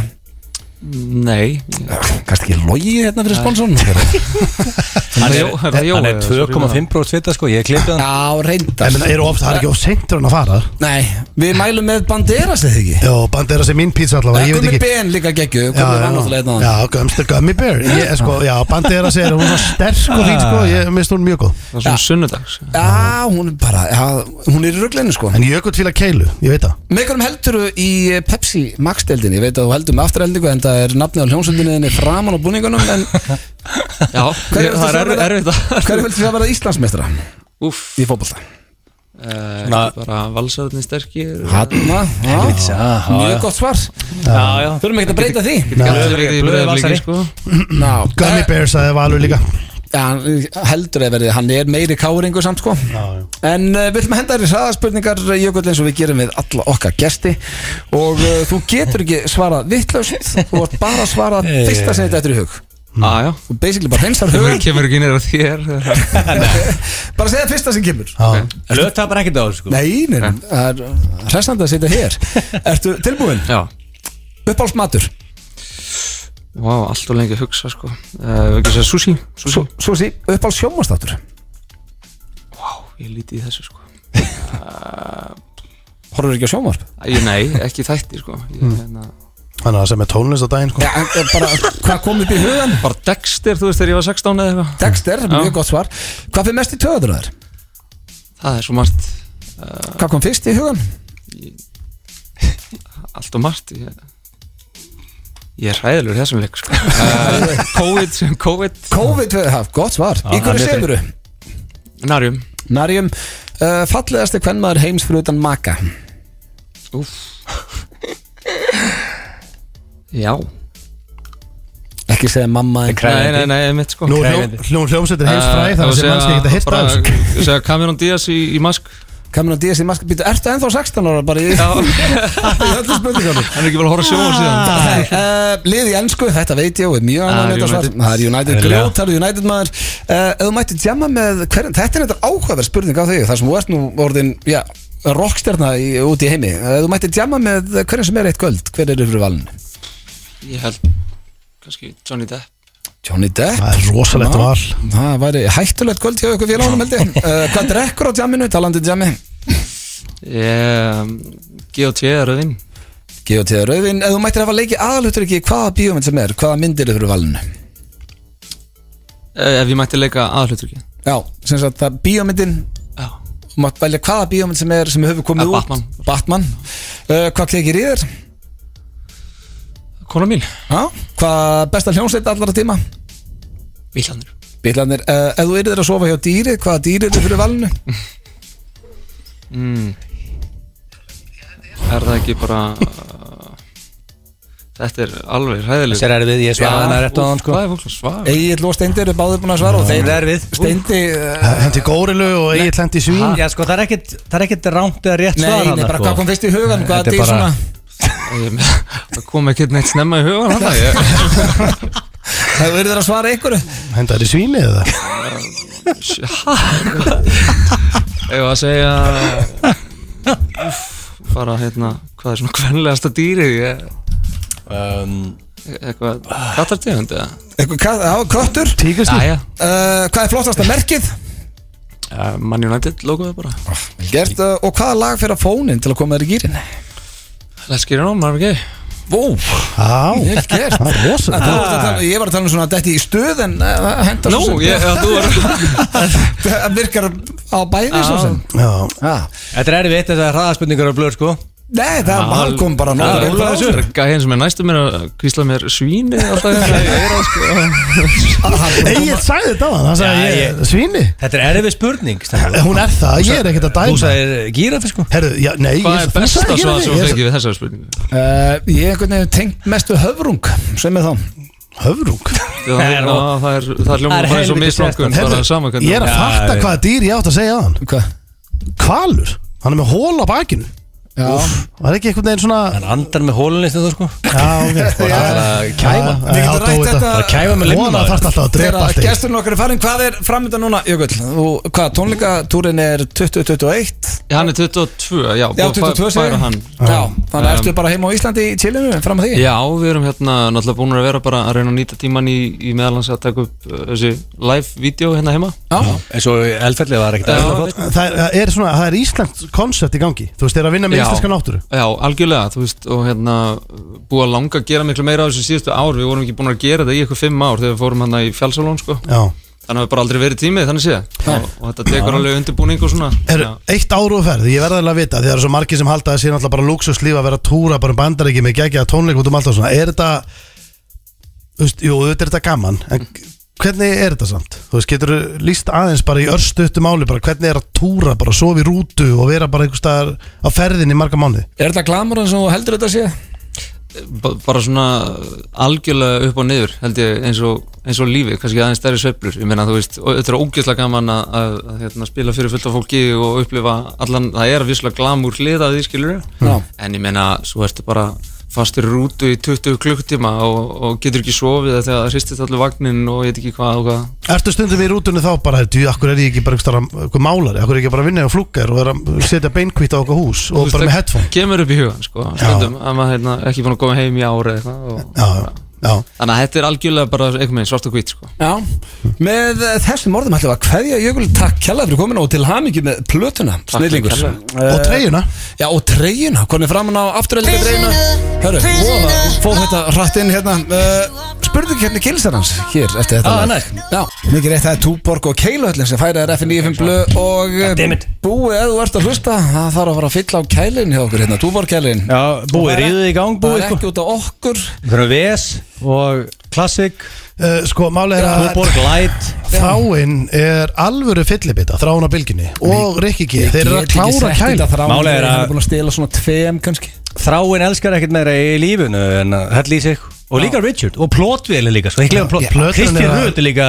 Speaker 6: Nei
Speaker 1: Kannski ekki logið hérna fyrir sponsorn
Speaker 2: Hann er,
Speaker 6: Jó-
Speaker 2: hann er,
Speaker 6: Jói,
Speaker 2: er
Speaker 6: sorry,
Speaker 2: 2,5 bróð svita sko, ég klipið hann
Speaker 1: Já, reyndar
Speaker 3: En menn, er of, það er ekki of seintur en að fara
Speaker 1: Nei, við mælum með Banderas eða ekki
Speaker 3: Jó, bandera sem minn pizza allavega, ég veit
Speaker 1: Gummi
Speaker 3: ekki
Speaker 1: Ben líka geggju
Speaker 3: Já,
Speaker 1: Gummi var náttúrulega einn
Speaker 3: já,
Speaker 1: á
Speaker 3: já, gummi, gummi bear ég, sko, hérna. Já, bandera sem er, hún er svo sterk og fín sko, ég minnst hún mjög góð
Speaker 6: Það er svona sunnudags
Speaker 1: Já, hún er bara, já, hún er í ruglinu sko
Speaker 3: En jökull fíla keilu, ég veit það
Speaker 1: Með hverjum heldur þú í Pepsi Max-deldinni? Ég veit að þú heldur með afturheldingu en það er nafnið á hljómsöndinni þinni framan á búningunum en
Speaker 6: Já,
Speaker 1: Hverju
Speaker 6: ég, það er
Speaker 1: viltu sjá
Speaker 6: erf- erfitt að
Speaker 1: hverju viltu það vera Íslandsmeistra
Speaker 6: Úff,
Speaker 1: í fótbolta?
Speaker 6: eh,
Speaker 2: Svona-
Speaker 6: bara valsarðinni sterkir
Speaker 1: Hanna,
Speaker 2: já,
Speaker 1: já,
Speaker 2: já,
Speaker 1: mjög gott svar
Speaker 6: Já, já
Speaker 1: Þurfum ekki að breyta því
Speaker 6: Gæti verið í
Speaker 2: Blöð er
Speaker 6: Breiðabliki,
Speaker 2: valsari.
Speaker 6: sko.
Speaker 1: Ná,
Speaker 3: Gummi bear sagði Valur líka
Speaker 1: Já, heldur eða verið, hann er meiri káringu samt sko
Speaker 3: já.
Speaker 1: En uh, við ætlum að henda þér í hraðaspurningar eh, Jökull eins og við gerum við alla okkar gesti Og uh, þú getur ekki svarað vittlaust Þú ert bara að svara fyrsta sem þetta eftir í hug
Speaker 6: Já, Ah, já
Speaker 1: Þú basically bara hreinsar
Speaker 6: Kemur-
Speaker 1: hug
Speaker 6: Kemur ekki neyra þér
Speaker 1: Bara segja fyrsta sem kemur
Speaker 3: Já.
Speaker 2: Löð tapar ekkert á þessu sko
Speaker 1: Nei, nei, nei, það er hressandi að setja hér Ertu tilbúin?
Speaker 6: Já
Speaker 1: Uppálsmatur
Speaker 6: Vá, allt og lengi að hugsa sko uh, Ekki að segja sushi Sushi
Speaker 1: Svo sí, uppálssjómastátur
Speaker 6: Ég líti í þessu sko
Speaker 1: Horfur ekki á sjómarp?
Speaker 6: Æ, Nei, ekki þætti sko ég, hérna,
Speaker 3: Þannig að sem er tónlist á daginn sko.
Speaker 1: Já, en, eh, bara hvað kom upp í hugan?
Speaker 6: Bara Dexter, þú veist þegar ég var 16 eða eitthvað
Speaker 1: Dexter,
Speaker 6: Já.
Speaker 1: mjög gott svar Hvað fyrir mest í töður þar?
Speaker 6: Það er svo margt
Speaker 1: Hvað kom fyrst í hugan?
Speaker 6: Allt og margt Ég, ég er hræðilur í þessum leik sko. uh, COVID sem COVID
Speaker 1: COVID, ha, gott svar Í hverju
Speaker 6: hann er
Speaker 1: semuru?
Speaker 6: Narjum
Speaker 1: Narjum, uh, fallegasti kvennmaður heims fyrir utan maka
Speaker 6: Úf Já
Speaker 1: Ekki segja mamma en
Speaker 6: Nei, nei, nei, Eh, mitt sko
Speaker 3: Nú er hljó- hljó- hljómsveitir heims fræð Þannig að sem mannski ekkert að hýrta af þessu
Speaker 6: þessu Segja Cameron Diaz í, í mask
Speaker 1: Kamerun Díaz í maskabítu, ertu ennþá 16 ára bara í,
Speaker 6: Já,
Speaker 1: í
Speaker 6: hann
Speaker 1: öllu spurningunum
Speaker 6: er ekki vel að horfa sjóður síðan
Speaker 1: Nei, uh, lið í ennsku, þetta veit ég og er mjög annað með
Speaker 6: Ah,
Speaker 1: þetta svar
Speaker 6: United.
Speaker 1: Það er United
Speaker 2: Eðlilega.
Speaker 1: Grjót, það er United maður uh, Ef þú mætti djama með hverjum, þetta er þetta áhugaverð spurning á þig Þar sem þú ert nú orðin, já, rockstjarna í, út í heimi Eh, Ef þú mætti djama með hverjum sem er eitt göld, hver er yfir valinu?
Speaker 6: Ég held kannski Johnny Depp
Speaker 1: Johnny Depp
Speaker 3: Það er rosalegt
Speaker 1: Já.
Speaker 3: val
Speaker 1: Það væri hættulegt kvöld hjá ykkur félagunum held ég uh, Hvað drekkur á djaminu, talandi um djami?
Speaker 6: Ég um, G.O.T. er röðin
Speaker 1: Geotíða Rauðin, ef þú mættir hafa leikið aðalhutur ekki hvaða bíómynd sem er, hvaða myndir eru fyrir valinu
Speaker 6: Eh, Ef ég mætti leika aðhlutur ekki
Speaker 1: Já, sem sagt að bíómyndin
Speaker 6: Já
Speaker 1: þú mátt velja hvaða bíómynd sem er sem hefur komið
Speaker 6: Eh,
Speaker 1: út
Speaker 6: Batman.
Speaker 1: Batman. Uh, hvað kekir í þér?
Speaker 6: Kona mín
Speaker 1: Já, hvað besta hljómsveit allra tíma?
Speaker 6: Villanur
Speaker 1: Bílarnir, uh, ef þú yrðir að sofa hjá dýri hvaða dýri eru fyrir valinu?
Speaker 6: Er það ekki bara uh, Þetta er alveg hræðileg
Speaker 2: Sér er við, ég svara hann að rétt á hann sko
Speaker 6: Hvað er fólk að svara?
Speaker 1: Egil og Steindi eru báðir búin að svara og þeir
Speaker 2: Það er við
Speaker 1: Steindi uh,
Speaker 3: Hendi górilu og eigið hendi svín
Speaker 2: Já sko, það er ekkert, það er ekkert rámt eða rétt
Speaker 1: Nei,
Speaker 2: svar
Speaker 1: nei,
Speaker 2: þarna,
Speaker 1: bara
Speaker 2: sko.
Speaker 1: hvað kom fyrst í hugan,
Speaker 2: Nei,
Speaker 1: hvaða
Speaker 2: þetta er
Speaker 1: dýr
Speaker 2: bara-
Speaker 1: svona
Speaker 6: Ég- Eh, Það kom ekkert neitt snemma í hugan hann það ég-
Speaker 1: Ef þú yrðir að svara einhverju
Speaker 3: Henda þér í svíni eða
Speaker 6: Ég var að segja Úff, bara hérna hvað er svona kvenlegasta dýrið ég, Um, eitthvað kattartegund eða
Speaker 1: Eitthvað, hvað- já, köttur
Speaker 3: Tíkustýr
Speaker 6: Jæja,
Speaker 1: uh, Hvað er flottasta merkið?
Speaker 6: eh, Man United logoði bara
Speaker 1: Vel Gert, uh, og hvaða lag fyrir að fónin til að koma þér í gýrin?
Speaker 6: Let's get it on, Marvin Gaye
Speaker 1: Vó,
Speaker 3: Já,
Speaker 1: vel gert
Speaker 3: það er rosalegt
Speaker 1: Þú varst að tala- Ég var að tala um svona detti í stöð en uh, henda
Speaker 6: Nú,
Speaker 1: svo
Speaker 6: ég, já, þú er
Speaker 1: sem Það virkar á bæði svo sem
Speaker 3: Já,
Speaker 1: ah.
Speaker 2: Þetta er erfitt, þetta er hraðaspurningar og blöð sko
Speaker 1: Nei, það ah, hann kom bara
Speaker 6: Það
Speaker 1: nóg
Speaker 6: er
Speaker 1: vel frá þessu.
Speaker 6: gæðin sem er næstu mér að kvísla mér svíni alltaf hérna í eyrað, sko.
Speaker 3: Egil sagði þetta á hann, hann sagði
Speaker 2: Já,
Speaker 3: ég,
Speaker 2: ég-
Speaker 3: svíni
Speaker 2: Þetta er erfið spurning Steindór.
Speaker 3: Hún er það, ég er ekkert að
Speaker 2: Þú
Speaker 3: dæma
Speaker 2: sagðir gírafi sko
Speaker 3: Herðu, já, nei ég-
Speaker 6: Hvað er
Speaker 3: þú
Speaker 6: besta
Speaker 3: sagði
Speaker 6: svar
Speaker 3: ekki
Speaker 6: sem þú
Speaker 3: við- ég-
Speaker 6: fengið við þessari spurningu?
Speaker 1: uh, Ég einhvern veginn tengt mest við höfrung sem er þá
Speaker 3: höfrung
Speaker 6: Já,
Speaker 2: Það er
Speaker 6: ná,
Speaker 2: of-
Speaker 6: það er, það er
Speaker 2: Það er
Speaker 6: hljóma bara eins og
Speaker 2: helviti
Speaker 6: misnokkun
Speaker 2: sérstakt.
Speaker 6: bara sama hvernig
Speaker 3: Ég er að
Speaker 2: Já,
Speaker 3: fatta
Speaker 2: ég-
Speaker 3: hvaða dýr ég átt að segja á hann
Speaker 1: Hvað?
Speaker 3: Kvalur, hann er með hól á bakinu
Speaker 1: Já.
Speaker 3: Var ekki einhvern veginn svona
Speaker 2: Hann andar með hólunni þetta sko
Speaker 3: Já, ok sko, það-
Speaker 8: Kæma
Speaker 3: Já,
Speaker 8: Við
Speaker 3: já,
Speaker 8: getum
Speaker 3: dói
Speaker 8: rætt
Speaker 3: þetta.
Speaker 8: þetta
Speaker 3: Bara
Speaker 8: Kæma
Speaker 3: með limma, maður. Þegar
Speaker 8: allt
Speaker 3: að
Speaker 8: Gesturinn okkar er farin Hvað er framöndan núna, Jökull? Þú, hvað, tónleikatúrin er 2021
Speaker 6: Já, Hann er 22, já,
Speaker 8: Já,
Speaker 6: búið að fæ-
Speaker 8: 22 segir
Speaker 6: færa hann
Speaker 8: Já, þannig
Speaker 6: Um,
Speaker 8: ertu bara heima á Íslandi í chillinu fram að því
Speaker 6: Já, við erum hérna náttúrulega búin að vera bara að reyna að nýta tíman í, í meðalans að taka upp uh, þessi live-vídeó hérna heima
Speaker 2: En svo eldfellið var ekkert
Speaker 6: Já.
Speaker 2: eðlilega flott.
Speaker 3: Það er- það er svona, það er Íslands koncept í gangi Þú veist, þeir eru að vinna með
Speaker 6: Já.
Speaker 3: íslenska náttúru
Speaker 6: Já, algjörlega, þú veist, og hérna búið að langa að gera miklu meira á þessu síðustu ár við vorum ekki búin að gera þetta í eitthvað fimm ár þegar við fórum hérna í fjálsálón, sko
Speaker 3: Já
Speaker 6: þannig að við bara aldrei verið tími, þannig séð og, og þetta tekur alveg undirbúning og svona
Speaker 3: Er
Speaker 6: Já.
Speaker 3: eitt ár og ferð, ég verða alveg að vita því það eru svo margir sem halda að sé náttúrulega bara luxuslíf að vera að túra bara um bandaríki með gegja tónleik út um allt og svona, er þetta þú veist, jú, þetta er þetta gaman en hvernig er þetta samt? Þú veist, getur líst aðeins bara í örstuttu máli bara hvernig er að túra, bara að sofa í rútu og vera bara einhvers staðar á ferðin í marga mánuði
Speaker 8: Er þetta glamurinn sem þú heldur þetta sé?
Speaker 6: ba- bara svona algjörlega upp og niður held ég eins og, eins og lífi kannski aðeins stærri sveiflur ég meina þú veist, og þetta er ógeðslega gaman að, að, að hérna, spila fyrir fullt af fólki og upplifa allan, það er að visslega glamur hlið að því skilur en ég meina svo ertu bara fastur í rútu í 20 klukktíma og, og getur ekki sofið af því að það hristist allir vagnin og ég veit ekki hvað og hvað
Speaker 3: Ertu stundum í rútunni þá bara, þú, akkur er ég ekki bara einhvers staðar einhver málari, akkur er ég ekki bara að vinna á flúkar og er að setja beinkvít á okkar hús og
Speaker 6: Þú veist,
Speaker 3: bara
Speaker 6: það
Speaker 3: með headphone
Speaker 6: kemur upp í hugan sko, stundum, að maður hérna, ekki búin að koma heim í ári eitthvað og,
Speaker 3: Já, já,
Speaker 6: þannig að þetta er algjörlega bara einhvern veginn svart og hvít sko.
Speaker 1: Já, með eh, þessum orðum ætlum við að kveðja Jökul takk kjallað fyrir komin og til hamingi með plötuna, snillingur
Speaker 3: og treyjuna
Speaker 1: Já, og treyjuna, hvernig framan á afturöldingar treyjuna Hörru, voða, fóð þetta rætt inn hérna uh, Spurðu ekki hérna kilsar hans hér eftir þetta
Speaker 2: Ah,
Speaker 1: lag.
Speaker 2: næs.
Speaker 1: Já, mikið rétt það er Túborg og Keiluhöllin sem færa er F95 blö og eh,
Speaker 2: damn it.
Speaker 1: búið eða þú ert að hlusta það þarf að fara að fylla á kælin hjá okkur hérna, Túborg kælin
Speaker 2: Já, búið, ríðið í gang
Speaker 1: Það
Speaker 2: búið
Speaker 1: er
Speaker 2: sko
Speaker 1: ekki út á okkur
Speaker 2: Við þurfum VS og Classic
Speaker 3: Uh, sko, málið er að
Speaker 2: Túborg Light
Speaker 3: Þráinn er alvöru fyllibita Þráinn á bylginni og Rikki G Þeir eru
Speaker 1: Get
Speaker 3: að
Speaker 1: ekki
Speaker 3: klára
Speaker 1: sagt
Speaker 3: kæla
Speaker 1: þetta þrá,
Speaker 2: Málið er
Speaker 1: hann
Speaker 2: að-
Speaker 1: er búin að stela svona tveim kannski
Speaker 2: Þráin elskar ekkert meira í lífinu en að hella í sig og líka Richard og plótveli líka sko, ég glemur plót
Speaker 3: Já, plötan er
Speaker 2: Kristi
Speaker 3: að-
Speaker 2: Röð er líka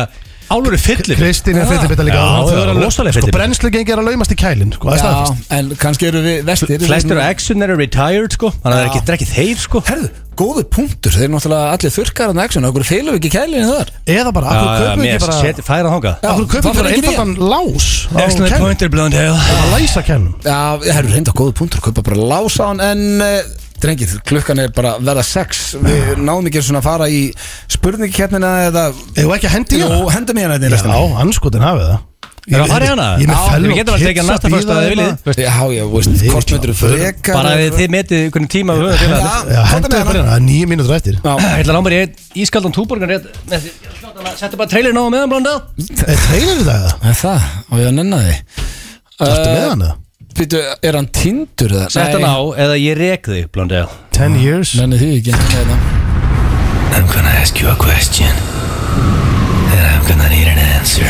Speaker 2: álur fyllir
Speaker 3: Kristín er fyllibita líka
Speaker 2: Já,
Speaker 3: og þau
Speaker 2: já,
Speaker 3: eru alveg-
Speaker 2: rosaleg
Speaker 3: Sko,
Speaker 2: fyllibita.
Speaker 3: brennslu gengi er að laumast í kælin Sko, það er
Speaker 1: Já,
Speaker 3: staðfest
Speaker 1: en kannski eru við vestir
Speaker 2: flestir á Exxon eru retired sko þannig að það er ekki, það er ekki þeir sko
Speaker 1: Herðu, góðu punktur, þeir eru náttúrulega allir þurrkar en action, okkur feilum við ekki kælinni þar
Speaker 3: Eða bara, akkur kaupum við
Speaker 2: Ah, mér
Speaker 3: ekki bara
Speaker 2: seti færa þangað
Speaker 3: Akkur
Speaker 1: Já,
Speaker 3: kaupum
Speaker 1: það
Speaker 3: við bara
Speaker 1: fer ekki
Speaker 3: einfaldan lás á
Speaker 2: Excellent
Speaker 3: kælin
Speaker 2: pointer Blondale
Speaker 3: Að læsa kælum
Speaker 1: Já, það eru reynda góðu punktur, kaupa bara lása hann en uh, drengið, klukkan er bara að verða sex, við náðum ekki svona að fara í spurningkeppnina eða
Speaker 3: Eða ekki að hendi í
Speaker 1: Jú,
Speaker 3: hana
Speaker 1: hendum ég hérna
Speaker 3: Já, anskotin hafið það
Speaker 2: Erum við að fara í hana?
Speaker 3: Ég er með
Speaker 2: Já,
Speaker 3: fell
Speaker 2: við
Speaker 3: og
Speaker 2: getum alveg tekið
Speaker 3: kids að
Speaker 2: næsta föstudag ef
Speaker 3: bíða
Speaker 2: við
Speaker 3: hérna.
Speaker 2: viljum.
Speaker 1: Já, já, þú veist,
Speaker 3: Við-
Speaker 1: kortmyndur frekar
Speaker 2: bara ef þið metið hvernig tíma við höfum til að
Speaker 3: Já, hendur við bara í hana, það er nýju mínútur eftir
Speaker 2: Ég ætla að ná mér í einn ískaldan túborgan rétt með því- ég ætla að Settu bara trailerin á á meðan Blondale
Speaker 3: Treyður Eh, það?
Speaker 1: Er Það, og ég að nenna því
Speaker 3: Ertu með hana?
Speaker 1: Býtu, er hann tindur það?
Speaker 2: Sett hann á eða ég rek þig Blondale
Speaker 3: 10 years
Speaker 1: Nenni því ekki hérna.
Speaker 9: I'm gonna ask you a question. And I'm gonna need an answer.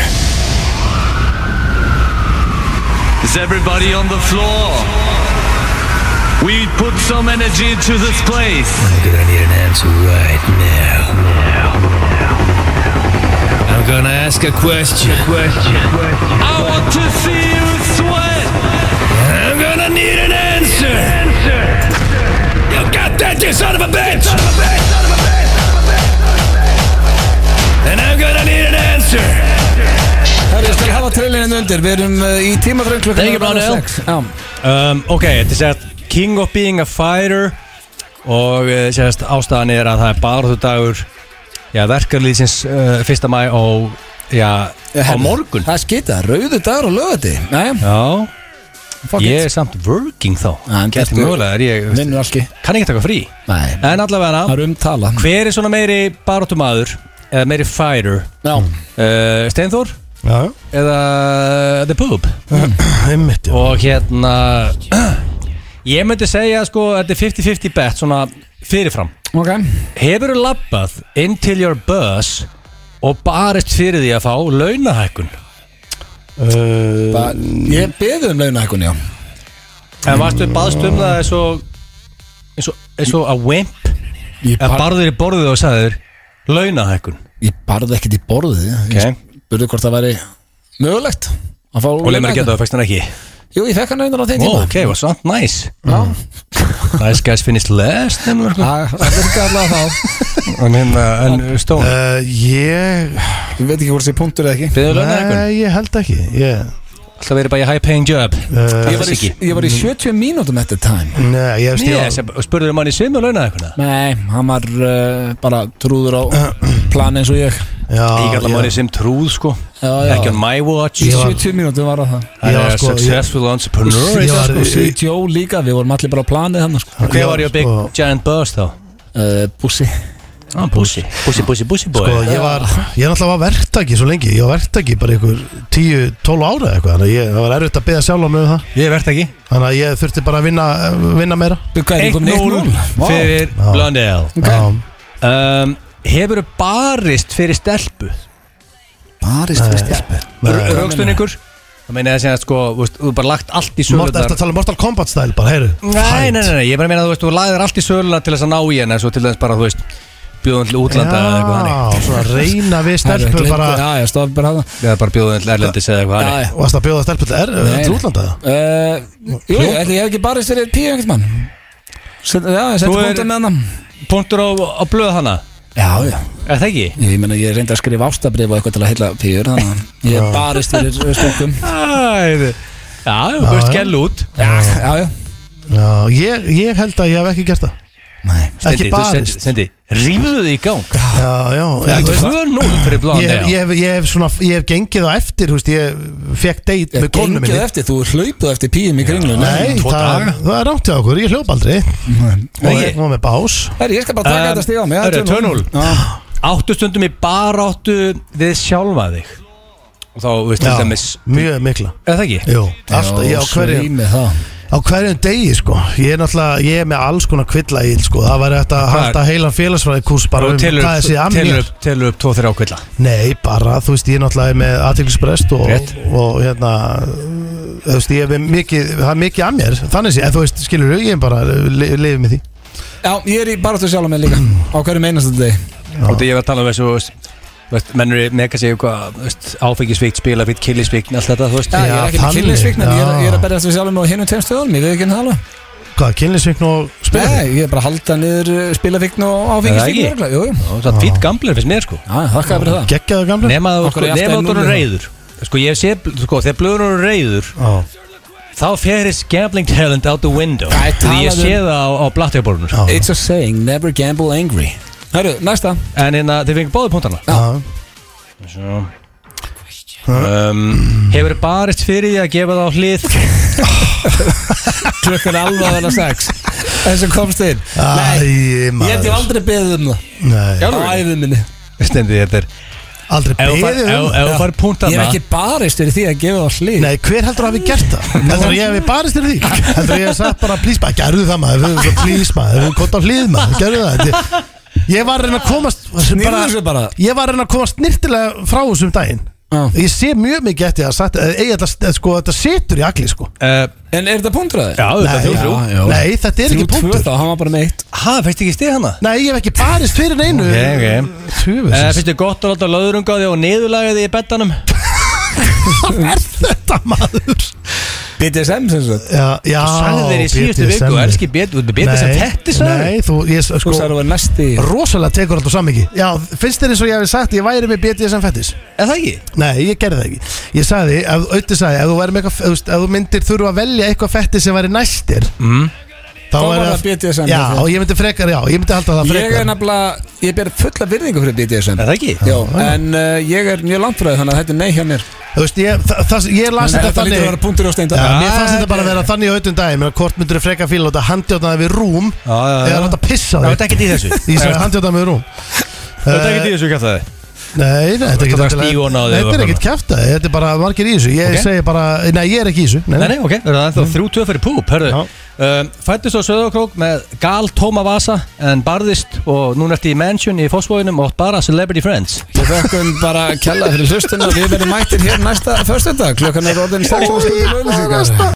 Speaker 10: Is everybody on the floor? We put some energy into this place.
Speaker 9: I'm gonna need an answer right now. I'm gonna ask a question.
Speaker 10: I want to see you sweat.
Speaker 9: I'm gonna need an answer. You got that, you son of a bitch! And I'm gonna need an answer.
Speaker 1: Herri, ég skal hafa trailerinn undir Við erum uh, í tímaþröng klukkan
Speaker 2: Thank you, Brown Ale.
Speaker 1: Já,
Speaker 2: um, Ok, þetta er sérst King of Being a Fighter og eh, sérst ástæðan er að það er baráttudagur já, verkarlýsins uh, 1. mæ á, já, á
Speaker 1: herri.
Speaker 2: morgun
Speaker 1: það er skita, rauðu dagur og lögati Nei,
Speaker 2: Já,
Speaker 1: fuck
Speaker 2: ég
Speaker 1: it
Speaker 2: er samt working þá
Speaker 1: Já, en Ah,
Speaker 2: Gæti
Speaker 1: ertu-
Speaker 2: mögulega, er ég
Speaker 1: Vinnur alki
Speaker 2: kann ekki taka frí
Speaker 1: Nei,
Speaker 2: En allavega
Speaker 1: það er umtala
Speaker 2: hver er svona meiri baráttumadur eða meiri fighter
Speaker 1: Já,
Speaker 2: uh, Steinþór
Speaker 3: Já,
Speaker 2: eða The Poob
Speaker 3: einmitt já.
Speaker 2: og hérna ég myndi segja sko þetta er 50-50 bet svona fyrirfram
Speaker 1: ok
Speaker 2: Hefur þú labbað inn til your bus og barist fyrir því að fá launahækkun?
Speaker 3: Uh,
Speaker 1: Ba Ég beði um launahækun, já
Speaker 2: En varstu baðst um það eins og eins og, eins og að wimp
Speaker 1: Ég
Speaker 2: eða
Speaker 1: bara
Speaker 2: barður í borðið og sagður launahækkun
Speaker 1: Ég barði ekkert í borðið
Speaker 2: Ok.
Speaker 1: Ég spurði hvort það væri mögulegt að fá
Speaker 2: og leið mér að geta það fækst hann ekki
Speaker 1: Jú, ég fekk hann reyndan á þeim
Speaker 2: Ó,
Speaker 1: tíma
Speaker 2: ok, var samt næs Nice guys finish last nefnilega, sko.
Speaker 1: Það það virkaði allavega þá
Speaker 2: En hérna, en Stone
Speaker 3: Uh, ég,
Speaker 1: Ég veit ekki hvort sé punktur eða ekki
Speaker 2: Beður lögna eitthvað
Speaker 3: nei, ég held ekki ég,
Speaker 2: Alltaf verið bara í high paying job
Speaker 3: uh,
Speaker 1: Ég var, í, ég var í 70 mínútum at the time
Speaker 3: Nei, ég
Speaker 2: Ég
Speaker 3: veist ég
Speaker 2: sem- og spurður um hann í svim og lögna eitthvað
Speaker 1: Nei, hann var uh, bara trúður á plan eins og ég
Speaker 3: Já,
Speaker 2: Ég kallar
Speaker 3: ég-
Speaker 2: manni sem trúð sko
Speaker 1: já, já.
Speaker 2: Ekki on my watch
Speaker 1: Í
Speaker 3: Ég var-
Speaker 1: 70 mínútum var það
Speaker 2: Hann
Speaker 3: ég var
Speaker 2: er
Speaker 3: sko-
Speaker 2: Successful entrepreneur sko.
Speaker 3: Ég var-
Speaker 1: Og Sweet Joe líka, við vorum allir bara á planið hann sko.
Speaker 2: Hver var ég
Speaker 3: sko- Eh,
Speaker 2: big giant boss þá?
Speaker 1: uh, Bussi
Speaker 2: Ah, Bussi Bussi, bussi, bussi boy
Speaker 3: Sko, ég var, ég er náttúrulega var verktaki svo lengi Ég var verktaki bara ykkur 10-12 ára eitthvað Þannig að ég, það var erfitt að beða sjálf á mig um það
Speaker 2: Ég verðt ekki
Speaker 3: Þannig að ég þurfti bara að vinna, vinna meira
Speaker 1: Hvað er ég komin í
Speaker 2: 1-0
Speaker 1: Vá.
Speaker 2: fyrir
Speaker 3: Já.
Speaker 2: Blondell
Speaker 3: Já,
Speaker 2: um, Hefur barist fyrir stelpu?
Speaker 1: Barist fyrir stelpu
Speaker 3: nei.
Speaker 2: Rögstunningur? Það meina það sé að sko, þú veist, þú bara lagt allt í
Speaker 3: Mort,
Speaker 2: sögurnar
Speaker 3: Ertu að tala um Mortal Kombat style bara, heyru
Speaker 2: Nei, nei, nei, nei, ég bara meina að þú veist, þú lagðir allt í söluna til þess að ná í henni, en svo til þess bara, þú veist, bjóðum til útlanda eða eitthvað hannig.
Speaker 3: Já, svona reyna við stelpur bara
Speaker 1: Já, já, stofi bara hann
Speaker 2: Eða bara bjóðum til erlendis eða eitthvað
Speaker 1: Já,
Speaker 2: hannig.
Speaker 1: já
Speaker 3: Varst að bjóða stelpur til er,
Speaker 1: Nei,
Speaker 3: til
Speaker 1: nei.
Speaker 3: útlanda
Speaker 1: Uh, Jú, jú, ætli ég hef ekki barist fyrir píu einhvern mann Set, Já, ég seti
Speaker 2: Þú er-
Speaker 1: punktum með hann
Speaker 2: Punktur á, á blöð hana,
Speaker 1: Já, já
Speaker 2: er það ekki?
Speaker 1: Ég meina, ég reyndi að skrifa ástabrif og eitthvað til að heilla píur Þannig að ég barist fyrir eh, stokkum
Speaker 2: Æ, já, þú veist, gæl út.
Speaker 1: Já, já
Speaker 3: Já, ég, ég held að ég hef ekki gert það
Speaker 1: Nei
Speaker 3: Ekki
Speaker 2: Stendi, þú
Speaker 3: barist
Speaker 2: sendi- Stendi, rífðu þið í gang.
Speaker 3: Já, já,
Speaker 2: Það er
Speaker 3: já
Speaker 2: ekki 2-0 fyrir blöð
Speaker 3: Ég hef, ég,
Speaker 2: hana.
Speaker 3: hef, ég, hef svona, ég hef gengið á eftir, þú veist, ég fekk deit með konu minni
Speaker 1: Gengið eftir, þú hlaupuð eftir píum í kringlun
Speaker 3: Nei,
Speaker 2: tvo
Speaker 3: það,
Speaker 2: daga.
Speaker 3: það er rámt hjá okkur, ég hljóp aldrei
Speaker 2: Nei,
Speaker 3: Og
Speaker 2: ég-
Speaker 3: og með bás
Speaker 1: Herri, ég skal bara taka
Speaker 2: Um,
Speaker 1: þetta stíð á mig
Speaker 2: herri, 2-0. Áttu stundum í baráttu við sjálfa þig. Og þá, þú veist, til
Speaker 3: Já,
Speaker 2: dæmis,
Speaker 3: mjög mikla
Speaker 2: er það ekki?
Speaker 3: Jú, alltaf, ég á hverjum
Speaker 1: Svími það
Speaker 3: Á hverjum degi, sko Ég er náttúrulega, ég er með alls konar kvilla í, sko Það væri hægt að
Speaker 2: Hvað er-
Speaker 3: halda heilan félagsfræði kurs bara
Speaker 2: Bara
Speaker 3: um
Speaker 2: telur
Speaker 3: hvað þessi
Speaker 2: upp-
Speaker 3: að
Speaker 2: telur
Speaker 3: mér
Speaker 2: upp- telur upp 2-3 ákvilla.
Speaker 3: Nei, bara, þú veist, ég er náttúrulega með aðtilsprest og,
Speaker 2: Rétt.
Speaker 3: og hérna Þú veist, ég er með mikið, það er mikið að mér Þannig sé, en þú veist, skilur ég er bara li, lifið með því
Speaker 1: Já, ég er í baráttu sjálf með líka Á hverjum einasta deg
Speaker 2: og því ég var að tala um þessu þú veist, þú veist, menn eru mega sig eitthvað áfengisvíkt, spilafíkt, killisvíkt allt þetta, þú veist
Speaker 1: Já, ég er ekki með
Speaker 3: þannig,
Speaker 1: kynlisvíkn En ég er-
Speaker 3: já.
Speaker 1: ég er að berjast við sjálf með á hinum tveim stöðum Ég veit ekki hann hala
Speaker 3: Hvað, kynlisvíkn og spilafíkn?
Speaker 1: Nei, ég er bara að halda niður eh, spilafíkn og áfengisvíkn
Speaker 2: Er það ekki?
Speaker 1: örugglega. Jú, jú
Speaker 2: það er fýtt gamblur finnst mér sko
Speaker 1: Já, þakkaði fyrir það
Speaker 3: Gekkjaðu gamlega?
Speaker 2: nema að
Speaker 1: Okkur er
Speaker 2: sko,
Speaker 1: allt
Speaker 2: nema
Speaker 1: enn
Speaker 2: að þú eru
Speaker 1: núna.
Speaker 2: reyður sko ég sé, sko þegar blöður eru reyður
Speaker 3: Já.
Speaker 2: þá ferist gambling talent out the window
Speaker 1: Æ,
Speaker 2: því
Speaker 1: talaðu-
Speaker 2: ég
Speaker 1: um-
Speaker 2: sé það á, á blattegborðunum sko.
Speaker 1: It's a saying, never gamble angry Herru, næsta
Speaker 2: en hérna, þið fengið báðu punktana
Speaker 3: Já.
Speaker 2: Svo. um, hefur barist fyrir því að gefa það á hlið
Speaker 1: Klukkan er alveg að vera sex Þessi komst inn Nei,
Speaker 3: Æ,
Speaker 1: ég hef
Speaker 3: maður
Speaker 1: ég aldrei beðið um það
Speaker 3: Nei,
Speaker 1: Á æfið minni
Speaker 2: Stendi, þetta er
Speaker 3: aldrei
Speaker 2: ef þú fær-
Speaker 3: beðið
Speaker 2: ef-
Speaker 3: um
Speaker 2: ef þú fær
Speaker 1: Ég
Speaker 2: punktana
Speaker 1: hef ekki barist fyrir því að gefa það hlýð
Speaker 3: Nei, hver heldur að hafi gert það? Heldur að ég hefði barist þér því? Heldur að ég hefði sagt bara, please maður, gerðu það maður, við- við- please maður, við kont á hlið maður, gerðu það Þetta- Ég var að reyna að komast
Speaker 1: Snýrðu
Speaker 3: bara-
Speaker 1: þessu bara.
Speaker 3: Ég var að reyna að komast nýrtilega frá þessum daginn
Speaker 1: Já.
Speaker 3: Ég sé mjög mikið eftir að sagt, eða, eða, sko, þetta situr í allir sko
Speaker 2: Eh,
Speaker 1: En er þetta punktraði?
Speaker 2: já, þetta er
Speaker 3: Nei,
Speaker 2: þjóðfrú
Speaker 1: já, já.
Speaker 3: Nei, þetta er ekki punktur
Speaker 1: þá, hann var bara meitt
Speaker 2: ha, fyrst ekki stið hana?
Speaker 3: Nei, ég hef ekki barist fyrir neinu
Speaker 2: Ok, ok.
Speaker 3: Tjöfus
Speaker 2: Uh, Fyrstu gott að láta löðrunga á því og niðurlaga því í bettanum
Speaker 3: Hvað er þetta maður?
Speaker 1: BDSM sem sagt
Speaker 3: Já, já
Speaker 2: Sagði þeir í síðustu
Speaker 3: BDSM.
Speaker 2: viku og elski betur Þú betur sem þetta sagði
Speaker 3: Nei, þú, ég, sko,
Speaker 1: Þú sagði að vera næsti
Speaker 3: rosalega tekur alltaf samingi Já, finnst þér eins og ég hef sagt ég væri með BDSM fettis?
Speaker 2: Er það ekki?
Speaker 3: Nei, ég gerði það ekki Ég sagði, ef, auðvitað sagði, ef þú, væri með eitthvað, þú veist, ef þú myndir þurfa að velja eitthvað fettis sem væri næstir mm. Þá
Speaker 1: Þá var
Speaker 3: væri
Speaker 1: það BDSM
Speaker 3: Já,
Speaker 1: fyrir.
Speaker 3: og ég myndi frekar, já, ég myndi halda það
Speaker 1: Ég
Speaker 3: frekar
Speaker 1: er nefnilega, ég ber fulla virðingu fyrir BDSM
Speaker 2: Er það ekki?
Speaker 1: Jó, en uh, ég er mjög langt frá því þannig að þetta er nei hjá mér
Speaker 3: Þú veist, ég, það, það, ég las
Speaker 1: Þetta
Speaker 3: þetta
Speaker 1: lítur að
Speaker 3: þannig
Speaker 1: vera punktur á steinda
Speaker 3: Já, mér fannst þetta bara að vera þannig á auðvitað daginn Mér að hvort myndir frekar fíla þetta handjátnaði við rúm
Speaker 2: Já, já, já.
Speaker 3: Eða þetta
Speaker 2: Það
Speaker 3: pissa á
Speaker 2: var
Speaker 3: þig
Speaker 2: ekkert í þessu
Speaker 3: Ég sagði handjátnaði við rúm
Speaker 2: Það var ekkert í þessu ekki að það
Speaker 3: Nei, nei, þetta er ekkert
Speaker 2: Þetta er stígón á þig
Speaker 3: Þetta er
Speaker 2: og
Speaker 3: ekkert kæft Þetta er bara margir í þessu Ég
Speaker 2: Ok.
Speaker 3: segi bara, nei ég er ekki í þessu
Speaker 2: Nei, nei, ok, það er ennþá þrjú tvö fyrir púp, hörðu um, Fættist á Söðokrók með gal tóma vasa en barðist og núna ertu í mansion í fósfóðinum og átt bara celebrity friends
Speaker 1: Við þökkum bara kjalla fyrir hlustuna Við verðum mættir hér næsta förstundag Klokkan er orðin 6 og stundum auðlýsingar